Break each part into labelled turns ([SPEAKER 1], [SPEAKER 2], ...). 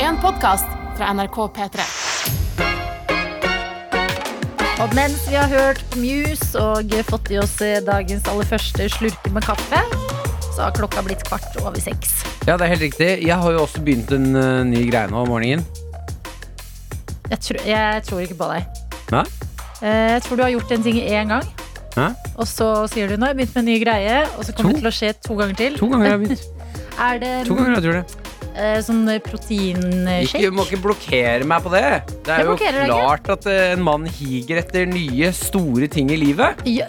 [SPEAKER 1] en podkast fra NRK P3.
[SPEAKER 2] Og mens vi har hørt på Muse og fått i oss eh, dagens aller første slurke med kaffe, så har klokka blitt kvart over seks.
[SPEAKER 3] Ja, det er helt riktig. Jeg har jo også begynt en eh, ny greie nå om morgenen.
[SPEAKER 2] Jeg, tr jeg tror ikke på deg.
[SPEAKER 3] Nei?
[SPEAKER 2] Eh, Jeg tror du har gjort en ting én gang,
[SPEAKER 3] Hæ?
[SPEAKER 2] og så sier du nå har jeg begynt med en ny greie, og så kommer
[SPEAKER 3] To?
[SPEAKER 2] det til å skje to ganger til.
[SPEAKER 3] To ganger har jeg begynt.
[SPEAKER 2] Er det
[SPEAKER 3] To ganger, jeg tror det.
[SPEAKER 2] eh, sånn
[SPEAKER 3] Ikke,
[SPEAKER 2] proteinshake?
[SPEAKER 3] må ikke blokkere meg på det. Det
[SPEAKER 2] Eh, Jeg
[SPEAKER 3] er jo
[SPEAKER 2] blokkerer deg ikke.
[SPEAKER 3] klart at eh, en mann higer etter nye, store ting i livet.
[SPEAKER 2] Ja,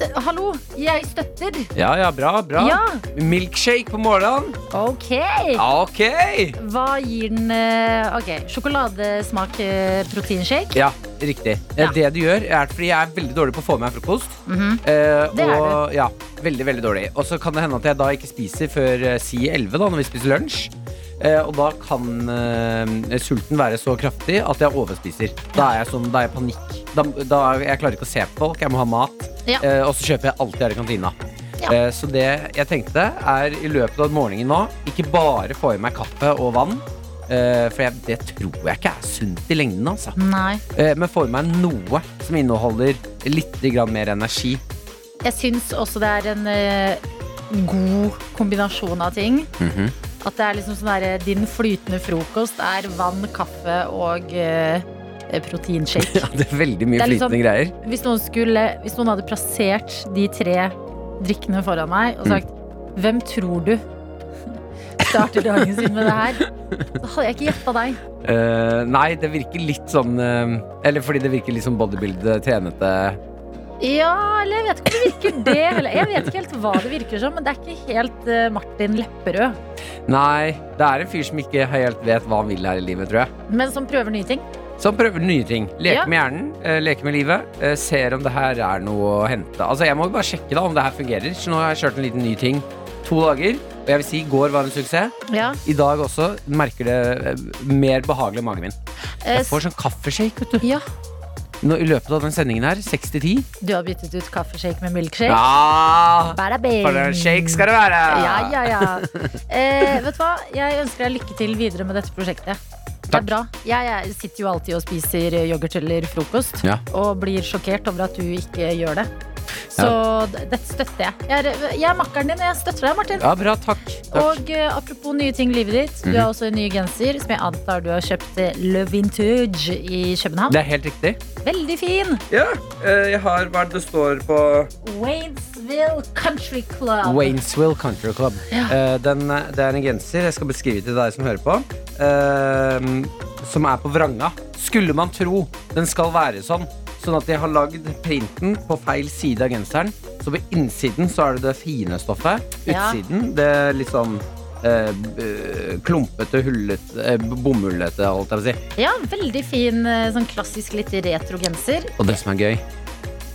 [SPEAKER 2] d- hallo, jeg støtter.
[SPEAKER 3] Ja, ja, bra, bra.
[SPEAKER 2] Ja,
[SPEAKER 3] Milkshake på morgenen.
[SPEAKER 2] ok.
[SPEAKER 3] Ja, Ok!
[SPEAKER 2] Hva gir den eh, Ok, sjokoladesmak eh, proteinshake?
[SPEAKER 3] Ja, riktig. Eh,
[SPEAKER 2] Ja.
[SPEAKER 3] Det du gjør, er fordi jeg er veldig dårlig på å få med meg frokost.
[SPEAKER 2] Mhm.
[SPEAKER 3] Eh,
[SPEAKER 2] Det er
[SPEAKER 3] og, Ja, veldig, veldig dårlig. Og så kan det hende at jeg da ikke spiser før eh, si 11, da, når vi spiser lunsj. Eh, og da kan eh, sulten være så kraftig at jeg overspiser. Da er jeg sånn, da er jeg i panikk. Da, da er, jeg klarer ikke å se på folk, jeg må ha mat.
[SPEAKER 2] Ja.
[SPEAKER 3] Eh, og så kjøper jeg alt jeg har i kantina.
[SPEAKER 2] Ja.
[SPEAKER 3] Eh, så det jeg tenkte, er i løpet av morgenen nå, ikke bare få i meg kaffe og vann. eh, for jeg, det tror jeg ikke er sunt i lengden, altså.
[SPEAKER 2] Nei.
[SPEAKER 3] Eh, men få i meg noe som inneholder litt grann mer energi.
[SPEAKER 2] Jeg syns også det er en eh, god kombinasjon av ting. At det er liksom sånn derre Din flytende frokost er vann, kaffe og eh, proteinshake.
[SPEAKER 3] Ja, det er veldig mye
[SPEAKER 2] Det er litt sånn-
[SPEAKER 3] flytende greier.
[SPEAKER 2] Hvis, noen skulle, hvis noen hadde plassert de tre drikkene foran meg og sagt Hvem tror du starter dagen sin med det her? Da hadde jeg ikke gjetta deg.
[SPEAKER 3] Eh, nei, det virker litt sånn eh, Eller fordi det virker litt sånn bodybuilder, trenete
[SPEAKER 2] Ja, eller jeg vet ikke om det virker det heller. Jeg vet ikke helt hva det virker som, men det er ikke helt eh, Martin Lepperød.
[SPEAKER 3] Nei, det er en fyr som ikke helt vet hva han vil her i livet, tror jeg.
[SPEAKER 2] Men som prøver nye ting.
[SPEAKER 3] Som prøver nye ting.
[SPEAKER 2] Ja.
[SPEAKER 3] Leker med hjernen, eh, leker med livet. eh, ser om det her er noe å hente. Altså, Jeg må bare sjekke da om det her fungerer. Så nå har jeg kjørt en liten ny ting to dager. Og jeg vil si, i går var en suksess.
[SPEAKER 2] Ja.
[SPEAKER 3] I dag også merker det eh, mer behagelig i magen min.
[SPEAKER 2] eh,
[SPEAKER 3] Jeg får sånn kaffeshake vet du.
[SPEAKER 2] ja.
[SPEAKER 3] Nå, i løpet av den sendingen her. 6-10.
[SPEAKER 2] Du har byttet ut kaffeshake med milkshake.
[SPEAKER 3] Ja!
[SPEAKER 2] Bada bing.
[SPEAKER 3] For en shake skal det være!
[SPEAKER 2] Ja, ja, ja. Eh, vet du hva? Jeg ønsker deg lykke til videre med dette prosjektet. Det er
[SPEAKER 3] Takk.
[SPEAKER 2] bra. Jeg, jeg sitter jo alltid og spiser yoghurt eller frokost
[SPEAKER 3] Ja.
[SPEAKER 2] og blir sjokkert over at du ikke gjør det. Så d- dette støtter jeg. Jeg er, jeg er makkeren din, og jeg støtter deg, Martin.
[SPEAKER 3] Ja, bra, takk. takk.
[SPEAKER 2] Og eh, apropos nye ting i livet ditt. Du
[SPEAKER 3] Mhm.
[SPEAKER 2] har også en ny genser som jeg antar du har kjøpt eh, Le Vintage i København.
[SPEAKER 3] Det er helt riktig.
[SPEAKER 2] Veldig fin!
[SPEAKER 3] Ja, eh, jeg har hva det står på
[SPEAKER 2] Waynesville Country Club.
[SPEAKER 3] Waynesville Country Club. Eh, Den, eh, det er en genser jeg skal beskrive til deg som hører på. eh, som er på vranga. Skulle man tro den skal være sånn, sånn at de har lagd printen på feil side av genseren. Så på innsiden så er det det fine stoffet.
[SPEAKER 2] Ja.
[SPEAKER 3] Utsiden det er litt sånn eh, b- klumpete, hullete, eh, bomullete, holdt jeg på å si.
[SPEAKER 2] Ja, veldig fin eh, sånn klassisk litt retro genser.
[SPEAKER 3] Og det som er gøy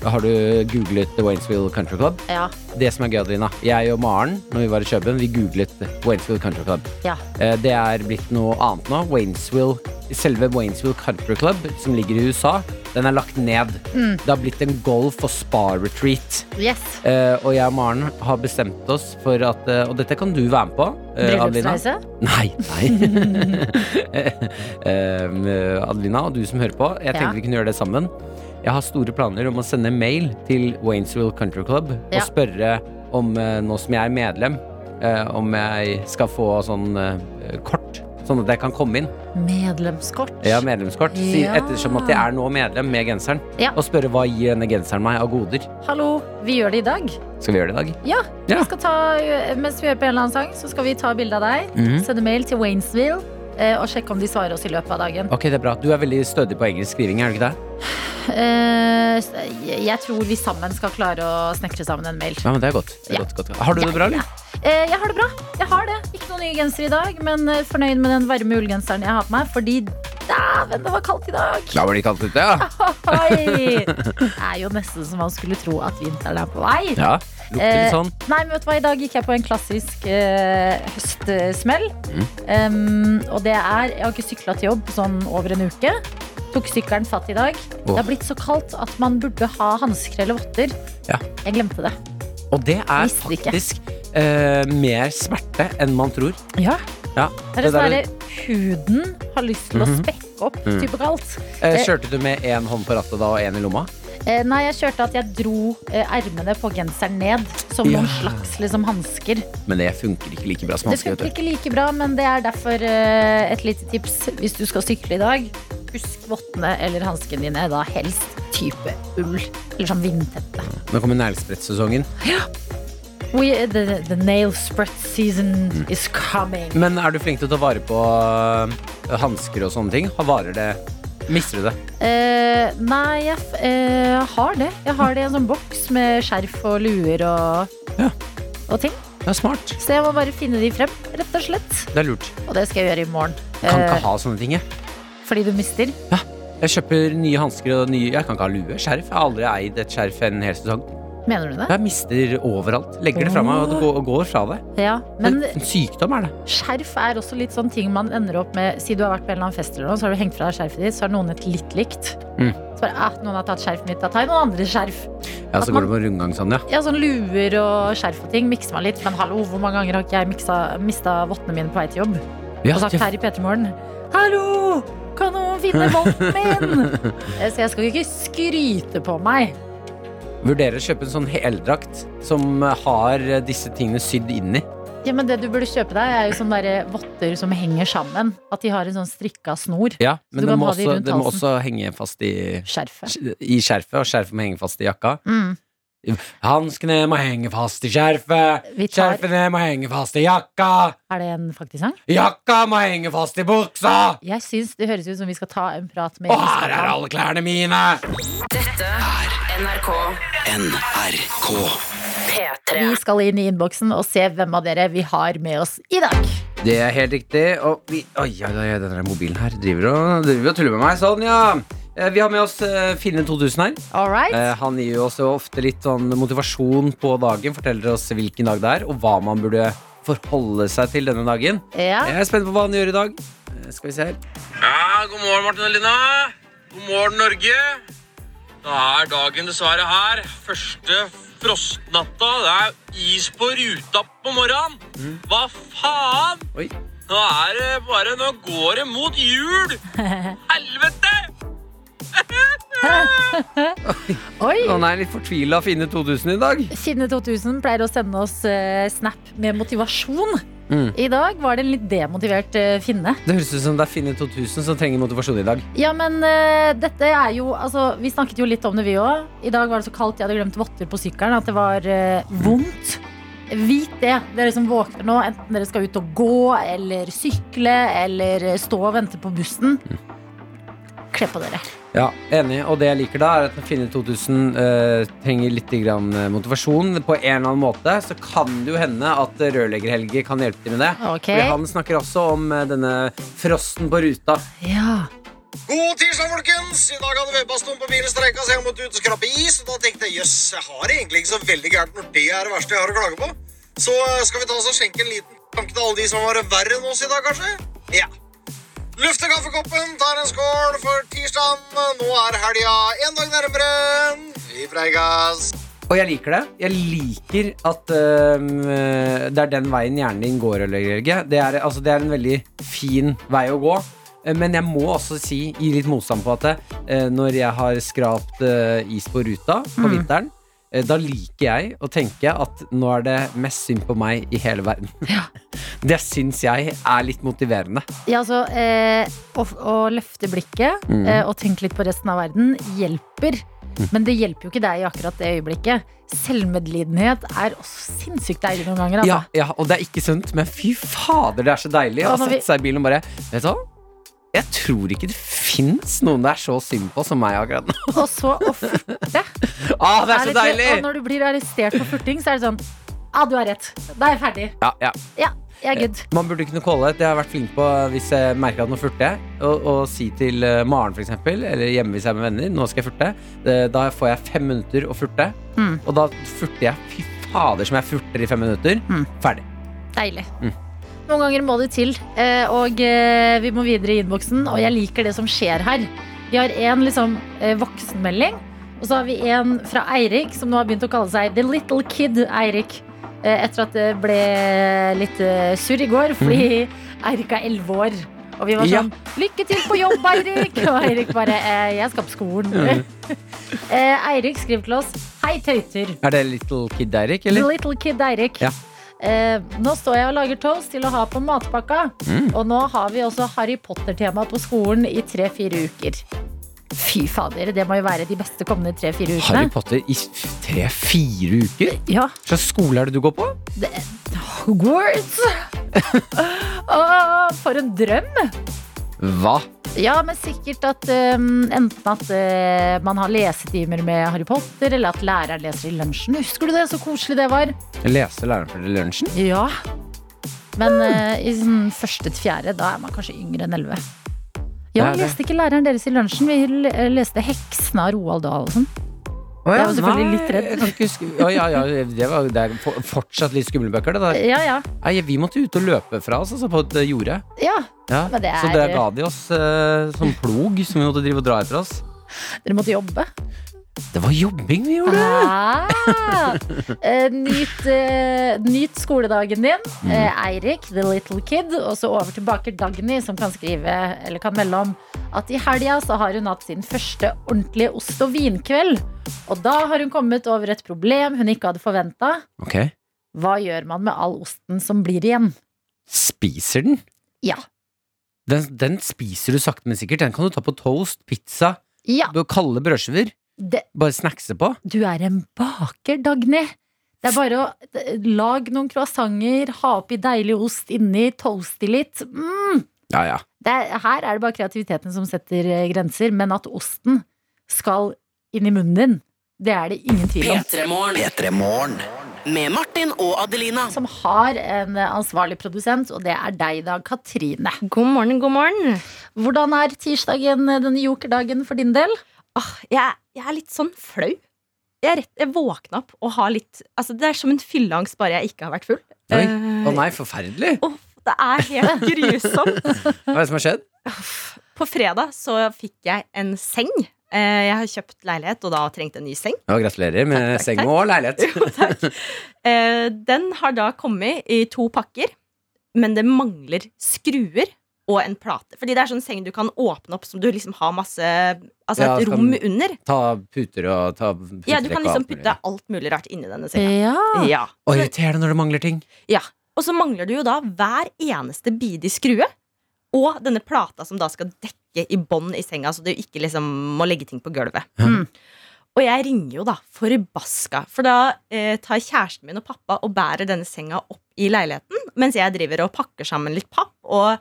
[SPEAKER 3] Har du googlet The Waynesville Country Club?
[SPEAKER 2] Ja,
[SPEAKER 3] Det som er gøy, Adelina Jeg og Maren, når vi var i København, vi googlet Waynesville Country Club
[SPEAKER 2] ja.
[SPEAKER 3] Eh, Det er blitt noe annet nå Waynesville, Selve Waynesville Country Club Som ligger i USA Den er lagt ned Det har blitt en golf og spa retreat
[SPEAKER 2] Yes.
[SPEAKER 3] Eh, Og jeg og Maren har bestemt oss for at eh, Og dette kan du være med på eh, Adelina.
[SPEAKER 2] Bryllupsreise.
[SPEAKER 3] Nei, nei. Em, Adelina, og du som hører på, jeg tenkte
[SPEAKER 2] Ja.
[SPEAKER 3] vi kunne gjøre det sammen. Jeg har store planer om å sende mail til Waynesville Country Club
[SPEAKER 2] Ja.
[SPEAKER 3] og spørre om, eh, nå som jeg er medlem, eh, om jeg skal få sånn eh, kort, sånn at jeg kan komme inn.
[SPEAKER 2] Medlemskort.
[SPEAKER 3] Jeg har medlemskort, si-
[SPEAKER 2] Ja.
[SPEAKER 3] ettersom at jeg er nå medlem med genseren.
[SPEAKER 2] Ja.
[SPEAKER 3] Og spørre hva gir denne genseren meg av goder.
[SPEAKER 2] Hallo, vi gjør det i dag.
[SPEAKER 3] Skal vi gjøre det i dag?
[SPEAKER 2] Ja.
[SPEAKER 3] Ja.
[SPEAKER 2] Vi skal ta, eh, mens vi hører på en eller annen sang, så skal vi ta bilde av deg.
[SPEAKER 3] Mhm.
[SPEAKER 2] Sende mail til Waynesville eh, og sjekke om de svarer oss i løpet av dagen.
[SPEAKER 3] Ok, det er bra. Du er veldig stødig på engelsk skriving, er du ikke det?
[SPEAKER 2] Eh, s- jeg jeg tror vi sammen skal klare å snekre sammen en mail.
[SPEAKER 3] Ja, men det er godt. Det er
[SPEAKER 2] Ja.
[SPEAKER 3] godt, godt. Har du det bra, eller?
[SPEAKER 2] Eh, jeg har det bra. Jeg har det. Ikke noen nye genser i dag, men eh, fornøyd med den varme ullgenseren jeg har på meg, fordi dæven, det var kaldt i dag.
[SPEAKER 3] Da var det kaldt ute, ja.
[SPEAKER 2] Oi! Det er jo nesten som man skulle tro at vinteren er på vei.
[SPEAKER 3] Ja, lukter
[SPEAKER 2] Eh,
[SPEAKER 3] litt sånn.
[SPEAKER 2] Nei, men vet du hva, I dag gikk jeg på en klassisk eh, høstsmell.
[SPEAKER 3] Mm.
[SPEAKER 2] Um, og det er Jeg har ikke sykla til jobb sånn over en uke. Tok sykkelen fatt i dag. Det har blitt så kaldt at man burde ha hansker eller votter.
[SPEAKER 3] Ja.
[SPEAKER 2] Jeg glemte det.
[SPEAKER 3] Og det er
[SPEAKER 2] Visste ikke.
[SPEAKER 3] faktisk eh, mer smerte enn man tror.
[SPEAKER 2] Ja.
[SPEAKER 3] Ja,
[SPEAKER 2] Det er
[SPEAKER 3] det
[SPEAKER 2] sånn
[SPEAKER 3] der-
[SPEAKER 2] derre huden har lyst til å
[SPEAKER 3] Mhm.
[SPEAKER 2] spekke opp
[SPEAKER 3] Mm.
[SPEAKER 2] type kaldt.
[SPEAKER 3] Eh, Kjørte du med én hånd på rattet da og én i lomma?
[SPEAKER 2] Eh, nei, jeg kjørte at jeg dro eh, ermene på genseren ned som
[SPEAKER 3] Ja.
[SPEAKER 2] noen slags liksom, hansker.
[SPEAKER 3] Men det funker ikke like bra som
[SPEAKER 2] Det
[SPEAKER 3] hansker.
[SPEAKER 2] funker
[SPEAKER 3] vet du.
[SPEAKER 2] ikke like bra, men det er derfor eh, et lite tips hvis du skal sykle i dag. Husk vottene eller hanskene dine, da helst type ull eller sånn vindtette.
[SPEAKER 3] Nå kommer neglesprettsesongen.
[SPEAKER 2] We, the, the nail spread season
[SPEAKER 3] Mm.
[SPEAKER 2] is coming.
[SPEAKER 3] Men er du flink til å ta vare på øh, hansker og sånne ting? Har- Varer det Mister du det?
[SPEAKER 2] Eh, nei, jeg f- eh, har det. Jeg har det i en sånn boks med skjerf og luer og,
[SPEAKER 3] Ja.
[SPEAKER 2] og ting.
[SPEAKER 3] Det er smart.
[SPEAKER 2] Så jeg må bare finne de frem, rett og slett.
[SPEAKER 3] Det er lurt.
[SPEAKER 2] Og det skal jeg gjøre i morgen.
[SPEAKER 3] Kan
[SPEAKER 2] Eh,
[SPEAKER 3] ikke ha sånne ting, jeg.
[SPEAKER 2] fordi du mister.
[SPEAKER 3] Jeg kjøper nye hansker og nye Jeg kan ikke ha lue. Skjerf. Jeg har aldri eid et skjerf en hel sesong.
[SPEAKER 2] Mener du det?
[SPEAKER 3] Jeg mister overalt. Legger det fra meg og det går, og går fra det.
[SPEAKER 2] Ja. Men
[SPEAKER 3] en sykdom er det.
[SPEAKER 2] skjerf er også litt sånn ting man ender opp med. Si du har vært på en eller annen fest eller noe, så har du hengt fra deg skjerfet ditt, så har noen et litt likt.
[SPEAKER 3] Mm.
[SPEAKER 2] Så bare, ah, noen har tatt skjerfet mitt, da tar jeg noen andre skjerf.
[SPEAKER 3] Ja, så går det på rundgang sånn, ja.
[SPEAKER 2] Ja, sånn luer og skjerf og ting mikser man litt. Men hallo, hvor mange ganger har ikke jeg miksa, mista vottene mine på vei til jobb?
[SPEAKER 3] Ja,
[SPEAKER 2] og sagt
[SPEAKER 3] jeg,
[SPEAKER 2] her i P3morgen Hallo! Kan noen finne votten min? Eh, Så jeg skal jo ikke skryte på meg.
[SPEAKER 3] vurderer å kjøpe en sånn heldrakt som eh, har eh, disse tingene sydd inni.
[SPEAKER 2] Ja, men Det du burde kjøpe deg, er jo sånne der votter som henger sammen. At de har en sånn strikka snor.
[SPEAKER 3] Ja,
[SPEAKER 2] du
[SPEAKER 3] men det
[SPEAKER 2] kan
[SPEAKER 3] må,
[SPEAKER 2] ha de
[SPEAKER 3] også,
[SPEAKER 2] rundt
[SPEAKER 3] det må
[SPEAKER 2] halsen.
[SPEAKER 3] også henge fast i,
[SPEAKER 2] Skjerfet.
[SPEAKER 3] i skjerfet, og skjerfet må henge fast i jakka.
[SPEAKER 2] Mm.
[SPEAKER 3] Hanskene må henge fast i skjerfet,
[SPEAKER 2] Vi tar,
[SPEAKER 3] skjerfene må henge fast i jakka,
[SPEAKER 2] er det en faktisk sang?
[SPEAKER 3] jakka må henge fast i buksa,
[SPEAKER 2] Jeg syns det høres ut som vi skal ta en prat med
[SPEAKER 3] og her er alle klærne mine!
[SPEAKER 4] Dette er NRK
[SPEAKER 5] NRK.
[SPEAKER 4] P3.
[SPEAKER 2] Vi skal inn i innboksen og se hvem av dere vi har med oss i dag.
[SPEAKER 3] Det er helt riktig, og vi Oi, oi, oi, den der mobilen her driver og, driver og tuller med meg. Sånn, ja. Eh, Vi har med oss eh, Finne 2000 her.
[SPEAKER 2] All right?
[SPEAKER 3] Eh, Han gir jo oss jo ofte litt sånn motivasjon på dagen, forteller oss hvilken dag det er, og hva man burde forholde seg til denne dagen.
[SPEAKER 2] Ja.
[SPEAKER 3] Jeg er spent på hva han gjør i dag. Eh, Skal vi se her.
[SPEAKER 6] Ja, god morgen, Martin og Lina. God morgen, Norge. Da er dagen dessverre her. Første frostnatta. Det er is på ruta på morgenen. Hva faen?
[SPEAKER 3] Mm. Oi.
[SPEAKER 6] Nå er det bare Nå går det mot jul! Helvete!
[SPEAKER 2] Oi!
[SPEAKER 3] Han er litt fortvila av Finne 2000 i dag.
[SPEAKER 2] Finne 2000 pleier å sende oss eh, snap med motivasjon.
[SPEAKER 3] Mm.
[SPEAKER 2] I dag var det en litt demotivert eh, Finne.
[SPEAKER 3] Det høres ut som det er Finne 2000 som trenger motivasjon i dag.
[SPEAKER 2] Ja, men eh, dette er jo altså, Vi snakket jo litt om det, vi òg. I dag var det så kaldt, jeg hadde glemt votter på sykkelen. At det var eh, vondt. Vit det, dere som våkner nå. Enten dere skal ut og gå eller sykle eller eh, stå og vente på bussen. Kle på dere.
[SPEAKER 3] Ja, Enig. Og det jeg liker da, er at når Finne 2000 eh, trenger litt grann eh, motivasjon på en eller annen måte. Så kan det jo hende at eh, rørlegger-Helge kan hjelpe til med det.
[SPEAKER 2] Ok?
[SPEAKER 3] Fordi Han snakker også om eh, denne frosten på ruta.
[SPEAKER 2] Ja.
[SPEAKER 7] God tirsdag, folkens! I dag hadde vedbastonen på bilen streika, så jeg måtte ut og skrape is. Og da tenkte jeg jøss, jeg har det egentlig ikke så veldig gærent når det er det verste jeg har å klage på. Så eh, skal vi ta oss og skjenke en liten tanke til alle de som har det verre enn oss i dag, kanskje? Ja. Løfter kaffekoppen, tar en skål for tirsdagen. Nå er helga en dag nærmere. Vi preikas.
[SPEAKER 3] Og jeg liker det. Jeg liker at øhm, det er den veien hjernen din går. Rørlegger-Helge. Det er, altså, det er en veldig fin vei å gå. Eh, Men jeg må også si, gi litt motstand på at eh, når jeg har skrapt eh, is på ruta på vinteren, eh, da liker jeg å tenke at nå er det mest synd på meg i hele verden. Det syns jeg er litt motiverende.
[SPEAKER 2] Ja, altså, eh, å, å løfte blikket eh, og tenke litt på resten av verden hjelper. Men det hjelper jo ikke deg i akkurat det øyeblikket. Selvmedlidenhet er også sinnssykt deilig noen ganger.
[SPEAKER 3] Ja,
[SPEAKER 2] Altså.
[SPEAKER 3] ja, og det er ikke sunt, men fy fader, det er så deilig å
[SPEAKER 2] Hva når vi-
[SPEAKER 3] sette seg i bilen og bare Vet du hva? Jeg tror ikke det fins noen det er så synd på som meg akkurat nå.
[SPEAKER 2] Og så å furte.
[SPEAKER 3] Ah, det er så
[SPEAKER 2] litt-
[SPEAKER 3] deilig!
[SPEAKER 2] Og når du blir arrestert for furting, så er det sånn Ja, du har rett. Da er jeg ferdig.
[SPEAKER 3] Ja, ja.
[SPEAKER 2] Ja, jeg er good.
[SPEAKER 3] Man burde kunne calle det. Det har jeg vært flink på hvis jeg merker at nå furter jeg. Og, og si til eh, Maren, for eksempel, eller hjemme hvis jeg er med venner, nå skal jeg furte. Eh, Da får jeg fem minutter å furte.
[SPEAKER 2] Mm.
[SPEAKER 3] Og da furter jeg. Fy fader som jeg furter i fem minutter.
[SPEAKER 2] Mm.
[SPEAKER 3] Ferdig.
[SPEAKER 2] Deilig.
[SPEAKER 3] Mm.
[SPEAKER 2] Noen ganger må det til, eh, og eh, vi må videre i innboksen. Og jeg liker det som skjer her. Vi har én liksom, eh, voksenmelding, og så har vi en fra Eirik, som nå har begynt å kalle seg The Little Kid Eirik. eh, Etter at det ble litt eh, surr i går, fordi Eirik er elleve år. Og vi var
[SPEAKER 3] Mhm. Ja.
[SPEAKER 2] sånn 'Lykke til på jobb, Eirik!' Og Eirik bare eh, 'Jeg skal på skolen'. Eh, Eirik skriver til oss 'Hei, tøyter'.
[SPEAKER 3] Er det Little Kid Eirik, eller?
[SPEAKER 2] Little Kid Eirik.
[SPEAKER 3] Ja.
[SPEAKER 2] Eh, nå står jeg og lager toast til å ha på matpakka.
[SPEAKER 3] Mm.
[SPEAKER 2] Og nå har vi også Harry Potter-tema på skolen i tre-fire uker. Fy fader, det må jo være de beste kommende tre-fire ukene.
[SPEAKER 3] Harry Potter i tre-fire uker?
[SPEAKER 2] Ja,
[SPEAKER 3] Hva slags skole er det du går på?
[SPEAKER 2] Hogwarts! Åh, for en drøm!
[SPEAKER 3] Hva?
[SPEAKER 2] Ja, men sikkert at eh, enten at eh, man har lesetimer med Harry Potter, eller at læreren leser i lunsjen. Husker du det? Så koselig det var.
[SPEAKER 3] Jeg leste læreren for lunsjen.
[SPEAKER 2] Ja. Men eh, i sånn første til fjerde, da er man kanskje yngre enn elleve. Ja,
[SPEAKER 3] Det er det.
[SPEAKER 2] leste ikke læreren deres i lunsjen. Vi l- eh, leste 'Heksene' av Roald Dahl og sånn.
[SPEAKER 3] Å,
[SPEAKER 2] Jeg var selvfølgelig litt redd.
[SPEAKER 3] Jeg kan ikke huske. Å, ja, ja, det, var, det er for- fortsatt litt skumle bøker, det der.
[SPEAKER 2] Ja, ja.
[SPEAKER 3] Nei, vi måtte ut og løpe fra oss, altså, på et eh, jorde.
[SPEAKER 2] ja.
[SPEAKER 3] Ja.
[SPEAKER 2] Men det
[SPEAKER 3] Så
[SPEAKER 2] er-
[SPEAKER 3] der ga de oss eh, sånn plog som vi måtte drive og dra etter oss.
[SPEAKER 2] Dere måtte jobbe.
[SPEAKER 3] Det var jobbing vi gjorde!
[SPEAKER 2] Ah, Eh, nyt, eh, nyt skoledagen din.
[SPEAKER 3] Mm.
[SPEAKER 2] Eh, Eirik, the little kid. Og så over til baker Dagny, som kan skrive eller kan melde om at i helga så har hun hatt sin første ordentlige ost- og vinkveld. Og da har hun kommet over et problem hun ikke hadde forventa.
[SPEAKER 3] Ok,
[SPEAKER 2] Hva gjør man med all osten som blir igjen?
[SPEAKER 3] Spiser den?
[SPEAKER 2] Ja.
[SPEAKER 3] Den, den spiser du sakte, men sikkert. Den kan du ta på toast, pizza,
[SPEAKER 2] Ja,
[SPEAKER 3] kalde brødskiver.
[SPEAKER 2] det,
[SPEAKER 3] Bare snackse på.
[SPEAKER 2] du er en baker, Dagny. Det er bare å eh, lage noen croissanter, ha oppi deilig ost inni, toaste litt. Mm.
[SPEAKER 3] Ja, ja.
[SPEAKER 2] Det er, her er det bare kreativiteten som setter eh, grenser, men at osten skal inn i munnen din, det er det ingen tvil om.
[SPEAKER 4] P3morgen.
[SPEAKER 5] P3 Morgen.
[SPEAKER 4] Med Martin og Adelina.
[SPEAKER 2] Som har en eh, ansvarlig produsent, og det er deg da, Katrine.
[SPEAKER 8] God morgen, god morgen.
[SPEAKER 2] Hvordan er tirsdagen, eh, denne jokerdagen, for din del?
[SPEAKER 8] Åh, jeg, jeg er litt sånn flau. Jeg, er rett, jeg våkna opp og har litt altså, Det er som en fylleangst, bare jeg ikke har vært full.
[SPEAKER 3] Oi.
[SPEAKER 8] Eh,
[SPEAKER 3] Å nei, forferdelig!
[SPEAKER 8] åh, det er helt grusomt.
[SPEAKER 3] Hva er det som har skjedd?
[SPEAKER 8] På fredag så fikk jeg en seng. Eh, Jeg har kjøpt leilighet, og da trengte jeg en ny seng.
[SPEAKER 3] Ja, gratulerer med
[SPEAKER 8] Takk, takk,
[SPEAKER 3] seng og leilighet.
[SPEAKER 8] Jo, takk. Eh, Den har da kommet i to pakker, men det mangler skruer og en plate. Fordi det er sånn seng du kan åpne opp som du liksom har masse Altså
[SPEAKER 3] Ja,
[SPEAKER 8] et
[SPEAKER 3] så kan-
[SPEAKER 8] rom under.
[SPEAKER 3] Ta puter og ta puter,
[SPEAKER 8] Ja, du kan liksom putte alt mulig rart inni denne senga.
[SPEAKER 2] Ja.
[SPEAKER 8] Ja.
[SPEAKER 3] Og irriterende når det mangler ting.
[SPEAKER 8] Ja, Og så mangler du jo da hver eneste bidige skrue. Og denne plata som da skal dekke i bånn i senga, så du ikke liksom må legge ting på gulvet.
[SPEAKER 2] Mm.
[SPEAKER 8] Og jeg ringer jo da forbaska, for da eh, tar kjæresten min og pappa og bærer denne senga opp i leiligheten, mens jeg driver og pakker sammen litt papp og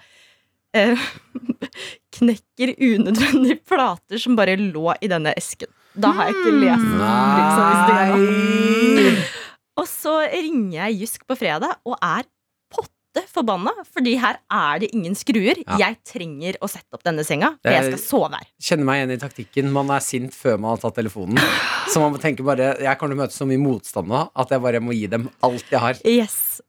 [SPEAKER 8] eh, knekker unødvendige plater som bare lå i denne esken. Da har jeg ikke lest liksom, hvis det er
[SPEAKER 3] Hmm. Nei!
[SPEAKER 8] og så ringer jeg Jysk på fredag og er potte forbanna, fordi her er det ingen skruer.
[SPEAKER 3] Ja.
[SPEAKER 8] Jeg trenger å sette opp denne senga,
[SPEAKER 3] Det
[SPEAKER 8] for
[SPEAKER 3] er-
[SPEAKER 8] jeg skal sove her.
[SPEAKER 3] Kjenner meg igjen i taktikken. Man er sint før man har tatt telefonen. Så man tenker bare Jeg kommer til å møte så mye motstand nå at jeg bare må gi dem alt jeg har.
[SPEAKER 8] Yes.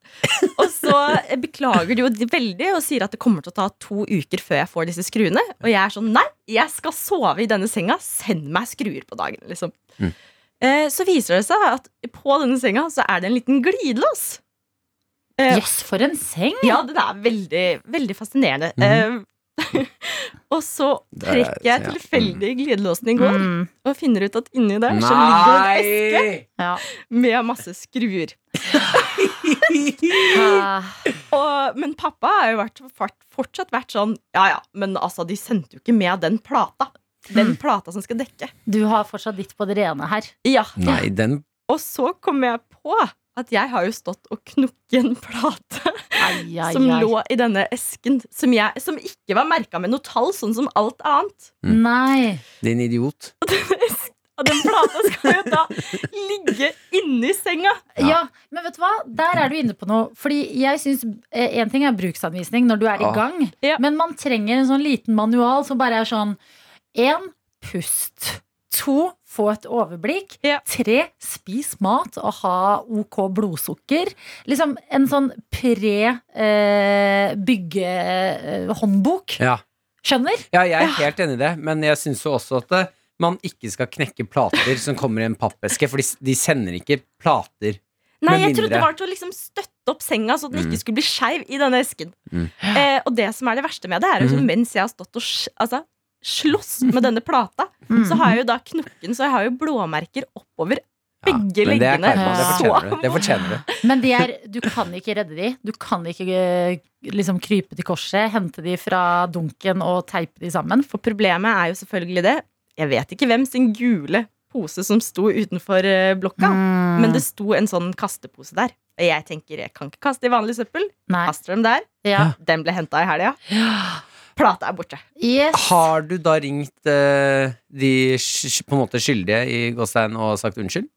[SPEAKER 8] Og så beklager du jo veldig og sier at det kommer til å ta to uker før jeg får disse skruene. Og jeg er sånn nei, jeg skal sove i denne senga. Send meg skruer på dagen, liksom.
[SPEAKER 3] Mm.
[SPEAKER 8] Eh, Så viser det seg at på denne senga så er det en liten glidelås. Eh,
[SPEAKER 2] Yes, for en seng!
[SPEAKER 8] Ja, den er veldig, veldig fascinerende. Eh, og
[SPEAKER 3] Mhm.
[SPEAKER 8] så
[SPEAKER 3] Det er-
[SPEAKER 8] trekker jeg
[SPEAKER 3] ja.
[SPEAKER 8] tilfeldig glidelåsen i går
[SPEAKER 2] Mm.
[SPEAKER 8] og finner ut at inni der så ligger det en eske
[SPEAKER 2] Ja.
[SPEAKER 8] med masse skruer.
[SPEAKER 2] Ah,
[SPEAKER 8] Og, men pappa har jo vært, fort- fortsatt vært sånn Ja ja, men altså, de sendte jo ikke med den plata. Den plata som skal dekke.
[SPEAKER 2] Du har fortsatt ditt på det rene her.
[SPEAKER 8] Ja.
[SPEAKER 3] Nei, den
[SPEAKER 8] Og så kom jeg på at jeg har jo stått og knukket en plate
[SPEAKER 2] Ai, ai,
[SPEAKER 8] som
[SPEAKER 2] ai.
[SPEAKER 8] lå i denne esken, som, jeg, som ikke var merka med noe tall, sånn som alt annet.
[SPEAKER 2] Nei.
[SPEAKER 3] Din idiot.
[SPEAKER 8] Og den plata skal jo da ligge inni senga.
[SPEAKER 2] Ja. men vet du hva? Der er du inne på noe. Fordi jeg synes, eh, En ting er bruksanvisning når du er i
[SPEAKER 3] Ja.
[SPEAKER 2] gang,
[SPEAKER 8] Ja.
[SPEAKER 2] men man trenger en sånn liten manual som bare er sånn Én pust. To få et overblikk.
[SPEAKER 8] Ja.
[SPEAKER 2] Tre spis mat og ha ok blodsukker. Liksom en sånn eh, pre-byggehåndbok.
[SPEAKER 3] Ja.
[SPEAKER 2] eh, Skjønner?
[SPEAKER 3] Ja, jeg er helt enig i det, men jeg syns jo også at eh, man ikke skal knekke plater som kommer i en pappeske, for de, s- de sender ikke plater.
[SPEAKER 8] Nei,
[SPEAKER 3] Med
[SPEAKER 8] jeg trodde
[SPEAKER 3] mindre-
[SPEAKER 8] det var til å liksom støtte opp senga så den
[SPEAKER 5] Mm.
[SPEAKER 8] ikke skulle bli skeiv i denne esken.
[SPEAKER 5] Mm.
[SPEAKER 8] Eh, og det som er det verste med det, er at
[SPEAKER 3] Mhm.
[SPEAKER 8] mens jeg har stått og sj- altså, slåss med denne plata,
[SPEAKER 2] Mm.
[SPEAKER 8] så har jeg jo da knokken, så jeg har jo blåmerker oppover
[SPEAKER 5] Ja,
[SPEAKER 8] begge
[SPEAKER 3] Men det er
[SPEAKER 8] leggene.
[SPEAKER 3] karma. Det
[SPEAKER 2] Ja.
[SPEAKER 3] fortjener du. Det fortjener du.
[SPEAKER 2] Men de er, du kan ikke redde de. Du kan ikke eh, liksom krype til korset, hente de fra dunken og teipe de sammen.
[SPEAKER 8] For problemet er jo selvfølgelig det. Jeg vet ikke hvem sin gule pose som sto utenfor eh, blokka,
[SPEAKER 2] Mm.
[SPEAKER 8] men det sto en sånn kastepose der. Og jeg tenker, jeg kan ikke kaste i vanlig søppel.
[SPEAKER 2] Nei.
[SPEAKER 8] Kaster dem der.
[SPEAKER 2] Ja.
[SPEAKER 8] Den ble henta i helga. Plata er borte.
[SPEAKER 2] Yes.
[SPEAKER 3] Har du da ringt eh, de sk- sk- på en måte skyldige i Gåstein og sagt unnskyld?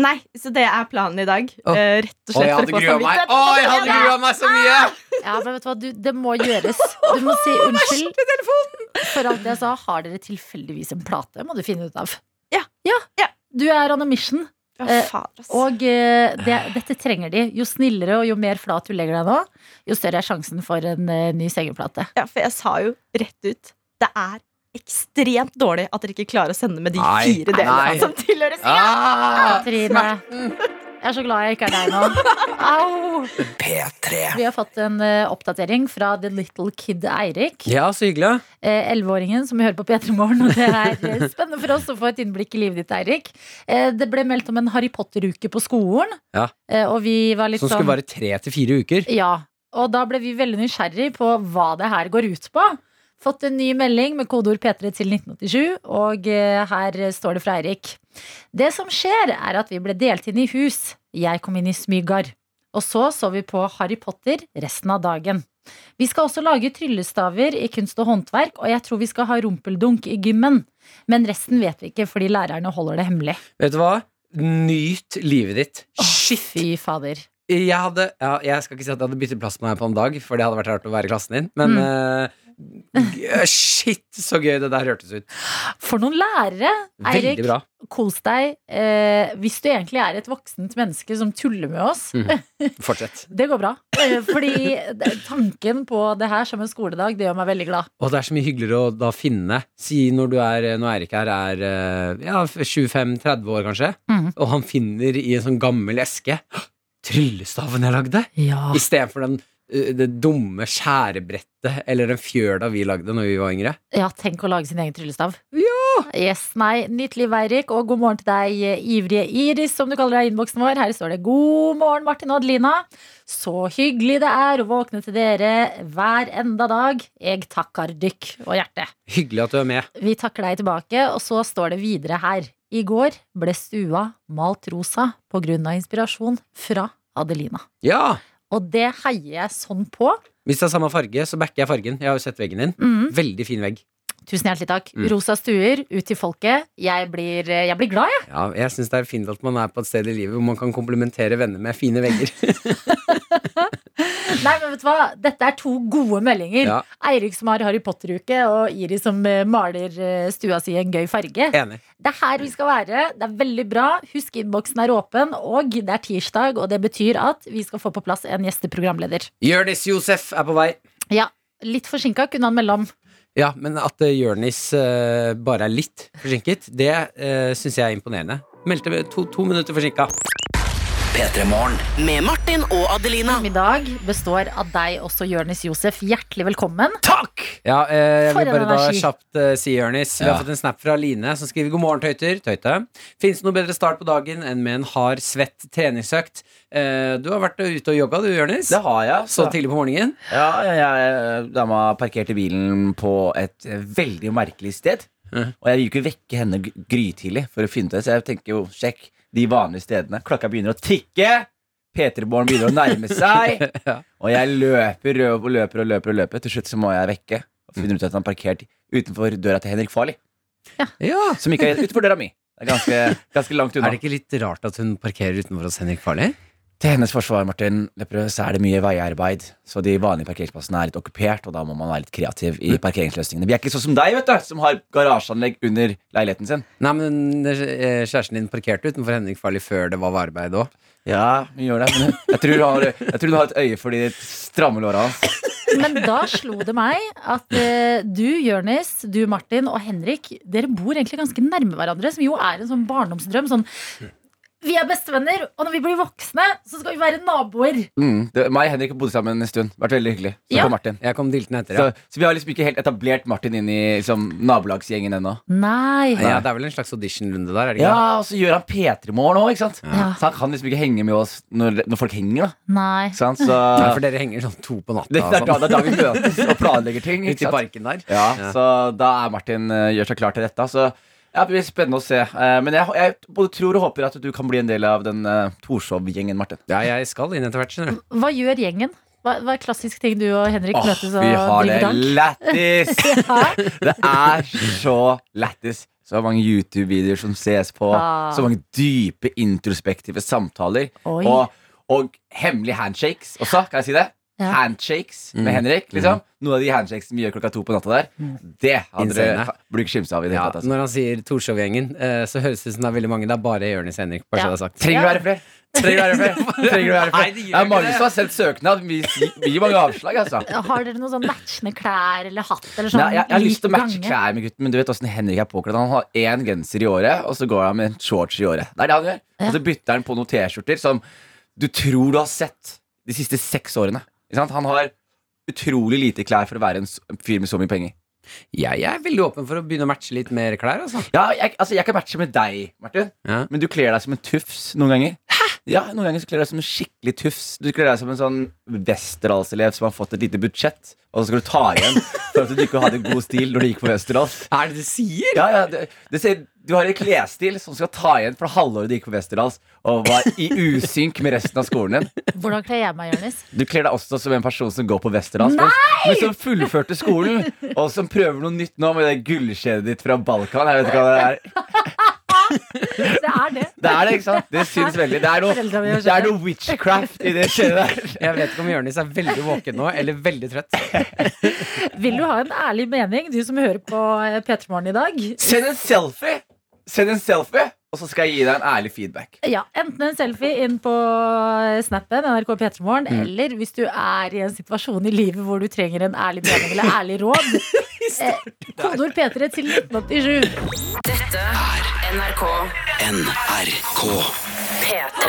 [SPEAKER 8] Nei, så det er planen i dag.
[SPEAKER 3] Å.
[SPEAKER 8] Eh, rett og
[SPEAKER 3] Å,
[SPEAKER 8] slett
[SPEAKER 3] jeg
[SPEAKER 8] for
[SPEAKER 3] hadde
[SPEAKER 8] å få
[SPEAKER 3] grua meg
[SPEAKER 8] samvittighet.
[SPEAKER 3] Å, jeg hadde grua meg så mye!
[SPEAKER 2] Ja, men vet du hva, du, det må gjøres. Du må si unnskyld. For alt jeg sa, har dere tilfeldigvis en plate, må du finne ut av.
[SPEAKER 8] Ja. Ja.
[SPEAKER 2] Du er on a mission,
[SPEAKER 8] Å, fader, ass.
[SPEAKER 2] og eh, det, dette trenger de. Jo snillere og jo mer flat du legger deg nå, jo større er sjansen for en eh, ny sengeplate.
[SPEAKER 8] Ja, for jeg sa jo rett ut Det er ekstremt dårlig at dere ikke klarer å sende med de
[SPEAKER 3] Nei,
[SPEAKER 8] fire delene
[SPEAKER 3] nei.
[SPEAKER 8] som tilhører senga.
[SPEAKER 3] Ah!
[SPEAKER 2] Katrine. Jeg er så glad jeg ikke er deg nå. Au!
[SPEAKER 5] P3.
[SPEAKER 2] Vi har fått en eh, oppdatering fra The Little Kid Eirik.
[SPEAKER 3] Ja, så hyggelig.
[SPEAKER 2] eh, 11-åringen som vi hører på P3 Morgen. Og det er eh, spennende for oss å få et innblikk i livet ditt, Eirik. Eh, Det ble meldt om en Harry Potter-uke på skolen.
[SPEAKER 3] Ja.
[SPEAKER 2] eh, Og vi var litt
[SPEAKER 3] Som skulle
[SPEAKER 2] sånn
[SPEAKER 3] vare tre til fire uker.
[SPEAKER 2] Ja. Og da ble vi veldig nysgjerrig på hva det her går ut på. Fått en ny melding med kodeord P3 til 1987, og eh, her står det fra Eirik. Det som skjer, er at vi ble delt inn i hus. Jeg kom inn i Smygar. Og så så vi på Harry Potter resten av dagen. Vi skal også lage tryllestaver i kunst og håndverk, og jeg tror vi skal ha rumpeldunk i gymmen. Men resten vet vi ikke, fordi lærerne holder det hemmelig.
[SPEAKER 3] Vet du hva? Nyt livet ditt. Shit!
[SPEAKER 2] Fy fader.
[SPEAKER 3] Jeg, hadde, ja, jeg skal ikke si at jeg hadde byttet plass med deg på en dag, for det hadde vært rart å være i klassen din, men
[SPEAKER 2] Mm.
[SPEAKER 3] eh, shit, så gøy det der hørtes ut.
[SPEAKER 2] For noen lærere! Eirik,
[SPEAKER 3] Veldig bra.
[SPEAKER 2] kos deg. Eh, hvis du egentlig er et voksent menneske som tuller med oss,
[SPEAKER 3] Fortsett.
[SPEAKER 2] det går bra. Eh, fordi det- tanken på det her som en skoledag, det gjør meg veldig glad.
[SPEAKER 3] Og det er så mye hyggeligere å da finne Si når du er, når Eirik her er eh, ja, 25-30 år kanskje
[SPEAKER 2] Mhm.
[SPEAKER 3] Og han finner i en sånn gammel eske «Hå! Tryllestaven jeg lagde
[SPEAKER 2] Ja.
[SPEAKER 3] I stedet for den, eh, det dumme skjærebrettet Eller den fjørda vi lagde når vi var yngre
[SPEAKER 2] tenk å lage sin egen tryllestav. Yes, nei. Nytt liv, Eirik, og god morgen til deg, eh, ivrige Iris, som du kaller deg i innboksen vår. Her står det 'God morgen, Martin og Adelina'. Så hyggelig det er å våkne til dere hver enda dag. Jeg takker dykk og hjerte.
[SPEAKER 3] Hyggelig at du er med
[SPEAKER 2] Vi takker deg tilbake, og så står det videre her. I går ble stua malt rosa på grunn av inspirasjon fra Adelina.
[SPEAKER 3] Ja,
[SPEAKER 2] Og det heier jeg sånn på.
[SPEAKER 3] hvis det er samme farge så backer jeg fargen Jeg har jo sett veggen din
[SPEAKER 2] Mm.
[SPEAKER 3] Veldig fin vegg
[SPEAKER 2] Tusen hjertelig takk.
[SPEAKER 3] Mm.
[SPEAKER 2] Rosa stuer, ut til folket. Jeg blir, eh, jeg blir glad, jeg.
[SPEAKER 3] Ja, jeg synes det er fint at man er på et sted i livet Hvor man kan komplementere venner med fine vegger
[SPEAKER 2] Nei, men vet du hva? Dette er to gode meldinger.
[SPEAKER 3] Ja.
[SPEAKER 2] Eirik som har Harry Potter-uke, og Iri som eh, maler eh, stua si i en gøy farge.
[SPEAKER 3] Enig
[SPEAKER 2] Det er her vi skal være. Det er veldig bra. Husk innboksen er åpen, og det er tirsdag, og det betyr at vi skal få på plass en gjesteprogramleder.
[SPEAKER 3] Jørnis Josef er på vei
[SPEAKER 2] Ja, litt forsinka kunne han melde om.
[SPEAKER 3] Ja, men at eh, Jørnis eh, bare er litt forsinket, det uh, syns jeg er imponerende. Meldte med to, to minutter forsinka.
[SPEAKER 5] P3 Morgen.
[SPEAKER 4] Med Martin og Adelina.
[SPEAKER 2] Middag består av deg også, Jørnis Josef. Hjertelig velkommen.
[SPEAKER 3] Takk! Ja, eh, jeg
[SPEAKER 2] For
[SPEAKER 3] vil
[SPEAKER 2] en
[SPEAKER 3] bare da
[SPEAKER 2] energi.
[SPEAKER 3] kjapt eh, si, Jørnis. Vi har
[SPEAKER 5] Ja.
[SPEAKER 3] fått en snap fra Line som skriver god morgen, tøyter. Tøyte. Fins det noe bedre start på dagen enn med en hard, svett treningsøkt? Eh, du har vært ute og jogga, du, Jørnis.
[SPEAKER 9] Det har jeg.
[SPEAKER 3] Så
[SPEAKER 9] altså.
[SPEAKER 3] tidlig på morgenen.
[SPEAKER 9] Ja, jeg, jeg dama parkerte bilen på et eh, veldig merkelig sted.
[SPEAKER 3] Mhm.
[SPEAKER 9] Og jeg vil jo ikke vekke henne gr- grytidlig for å finne ut det, så jeg tenker jo sjekk de vanlige stedene. Klokka begynner å tikke. P3-morgen begynner å nærme seg.
[SPEAKER 3] Ja.
[SPEAKER 9] Og jeg løper og løper og løper. og løper Til slutt så må jeg vekke. Og finner ut at han har parkert utenfor døra til Henrik Farley.
[SPEAKER 3] Ja.
[SPEAKER 9] Som ikke er utenfor døra mi. Det er ganske, ganske langt
[SPEAKER 3] Er
[SPEAKER 9] unna.
[SPEAKER 3] det ikke litt rart at hun parkerer utenfor hos Henrik Farley?
[SPEAKER 9] Til hennes forsvar, Martin Lepperød, så er det mye veiarbeid. Så de vanlige parkeringsplassene er litt okkupert, og da må man være litt kreativ i parkeringsløsningene. Vi er ikke sånn som deg, vet du, som har garasjeanlegg under leiligheten sin.
[SPEAKER 3] Nei, men eh, kjæresten din parkerte utenfor Henrik Farley før det var arbeid òg.
[SPEAKER 9] Ja, vi gjør det. Men jeg tror du har, jeg tror du har et øye for de stramme låra hans.
[SPEAKER 2] Men da slo det meg at eh, du, Jørnis, du, Martin og Henrik, dere bor egentlig ganske nærme hverandre, som jo er en sånn barndomsdrøm. Sånn Vi er bestevenner, og når vi blir voksne, så skal vi være naboer.
[SPEAKER 10] Mm. Det, meg og Henrik bodde sammen en stund. Vært veldig hyggelig. Så
[SPEAKER 2] Ja.
[SPEAKER 10] kom Martin.
[SPEAKER 3] Jeg kom diltende etter, ja.
[SPEAKER 10] Så, så vi har liksom ikke helt etablert Martin inn i liksom, nabolagsgjengen ennå.
[SPEAKER 2] Nei.
[SPEAKER 3] ja. Det er vel en slags auditionrunde der, er det ikke? det?
[SPEAKER 10] Ja, og så gjør han P3 Morgen òg, ikke sant?
[SPEAKER 2] Ja.
[SPEAKER 10] Så han kan liksom ikke henge med oss når, når folk henger, da.
[SPEAKER 2] Nei.
[SPEAKER 10] Ikke sant? Så
[SPEAKER 3] Nei, for dere henger sånn to på natta.
[SPEAKER 10] det, det, er da,
[SPEAKER 3] og sånn.
[SPEAKER 10] det er da vi møtes og planlegger ting.
[SPEAKER 3] Ute i
[SPEAKER 10] Ikke sant?
[SPEAKER 3] parken der.
[SPEAKER 10] Ja,
[SPEAKER 3] Ja.
[SPEAKER 10] Så da er Martin eh, gjør seg klar til dette. Så ja, det blir spennende å se. Eh, men jeg, jeg både tror og håper at du kan bli en del av den uh, Torshov-gjengen, Martin.
[SPEAKER 3] Ja, jeg skal inn etter hvert, skjønner du.
[SPEAKER 2] Hva gjør gjengen? Hva, hva er klassisk ting du og Henrik
[SPEAKER 10] Åh,
[SPEAKER 2] møtes og
[SPEAKER 10] vi har det
[SPEAKER 2] driver dank?
[SPEAKER 10] lættis!
[SPEAKER 2] Ja.
[SPEAKER 10] Det er så lættis. Så mange YouTube-videoer som ses på.
[SPEAKER 2] Ah.
[SPEAKER 10] Så mange dype, introspektive samtaler.
[SPEAKER 2] Oi.
[SPEAKER 10] Og, og hemmelige handshakes også, kan jeg si det?
[SPEAKER 2] Ja.
[SPEAKER 10] Handshakes med Henrik. liksom Noen av de handshakes vi gjør klokka to på natta der,
[SPEAKER 2] Mm.
[SPEAKER 10] det hadde
[SPEAKER 3] Insane.
[SPEAKER 10] dere burde ikke skimse av. i det
[SPEAKER 3] Ja,
[SPEAKER 10] hele tatt altså.
[SPEAKER 3] når han sier Torshov-gjengen, eh, så høres det ut som det er veldig mange. Det er bare Jonis Henrik.
[SPEAKER 2] Ja.
[SPEAKER 3] Bare så det er sagt.
[SPEAKER 10] Trenger det å være flere? Trenger det å være flere? Trenger det å være flere? Det er mange som har sendt søknad. Vi vi gir mange avslag, altså.
[SPEAKER 2] Har dere noen sånn matchende klær eller hatt? Eller sånn
[SPEAKER 10] Nei, jeg, jeg har
[SPEAKER 2] lik
[SPEAKER 10] lyst til å matche
[SPEAKER 2] gange?
[SPEAKER 10] klær med gutten, men du vet åssen Henrik er påkledd. Han har én genser i året, og så går han med en shorts i året. Det er det han gjør. Og så bytter han på noen T-skjorter som du tror du har sett de siste seks årene. Ikke sant? Han har utrolig lite klær for å være en s- en fyr med så mye penger.
[SPEAKER 3] Jeg er veldig åpen for å begynne å matche litt mer klær, altså.
[SPEAKER 10] Ja, jeg, altså, jeg kan matche med deg, Martin,
[SPEAKER 3] Ja.
[SPEAKER 10] men du kler deg som en tufs noen ganger. Ja, Noen ganger så kler du deg som en skikkelig tufs. Du kler deg som en sånn Westerdals-elev som har fått et lite budsjett, og så skal du ta igjen for at du ikke hadde god stil når du gikk på Westerdals.
[SPEAKER 3] Er det du sier?
[SPEAKER 10] Ja, ja, det, det ser, du har en klesstil som skal ta igjen for halvåret du gikk på Westerdals og var i usynk med resten av skolen din.
[SPEAKER 2] Hvordan kler jeg meg, Jonis?
[SPEAKER 10] Du kler deg også som en person som går på Westerdals, men, men som fullførte skolen, og som prøver noe nytt nå med det gullkjedet ditt fra Balkan. Jeg vet ikke hva det er.
[SPEAKER 2] Det er det.
[SPEAKER 10] Det er det, ikke sant? Det syns veldig. Det er noe,
[SPEAKER 2] Foreldrene gjør
[SPEAKER 10] det er noe witchcraft i det kjedet der.
[SPEAKER 3] Jeg vet ikke om Jonis er veldig våken nå, eller veldig trøtt.
[SPEAKER 2] Vil du ha en ærlig mening, du som hører på eh, P3 Morgen i dag?
[SPEAKER 10] Send en selfie! Send en selfie, og så skal jeg gi deg en ærlig feedback.
[SPEAKER 2] Ja, Enten en selfie inn på eh, snappen NRK P3morgen, eller hvis du er i en situasjon i livet hvor du trenger en ærlig mening eller ærlig råd. eh, Kodeord P3 til 1987.
[SPEAKER 11] Dette er NRK
[SPEAKER 12] NRK.
[SPEAKER 11] P3.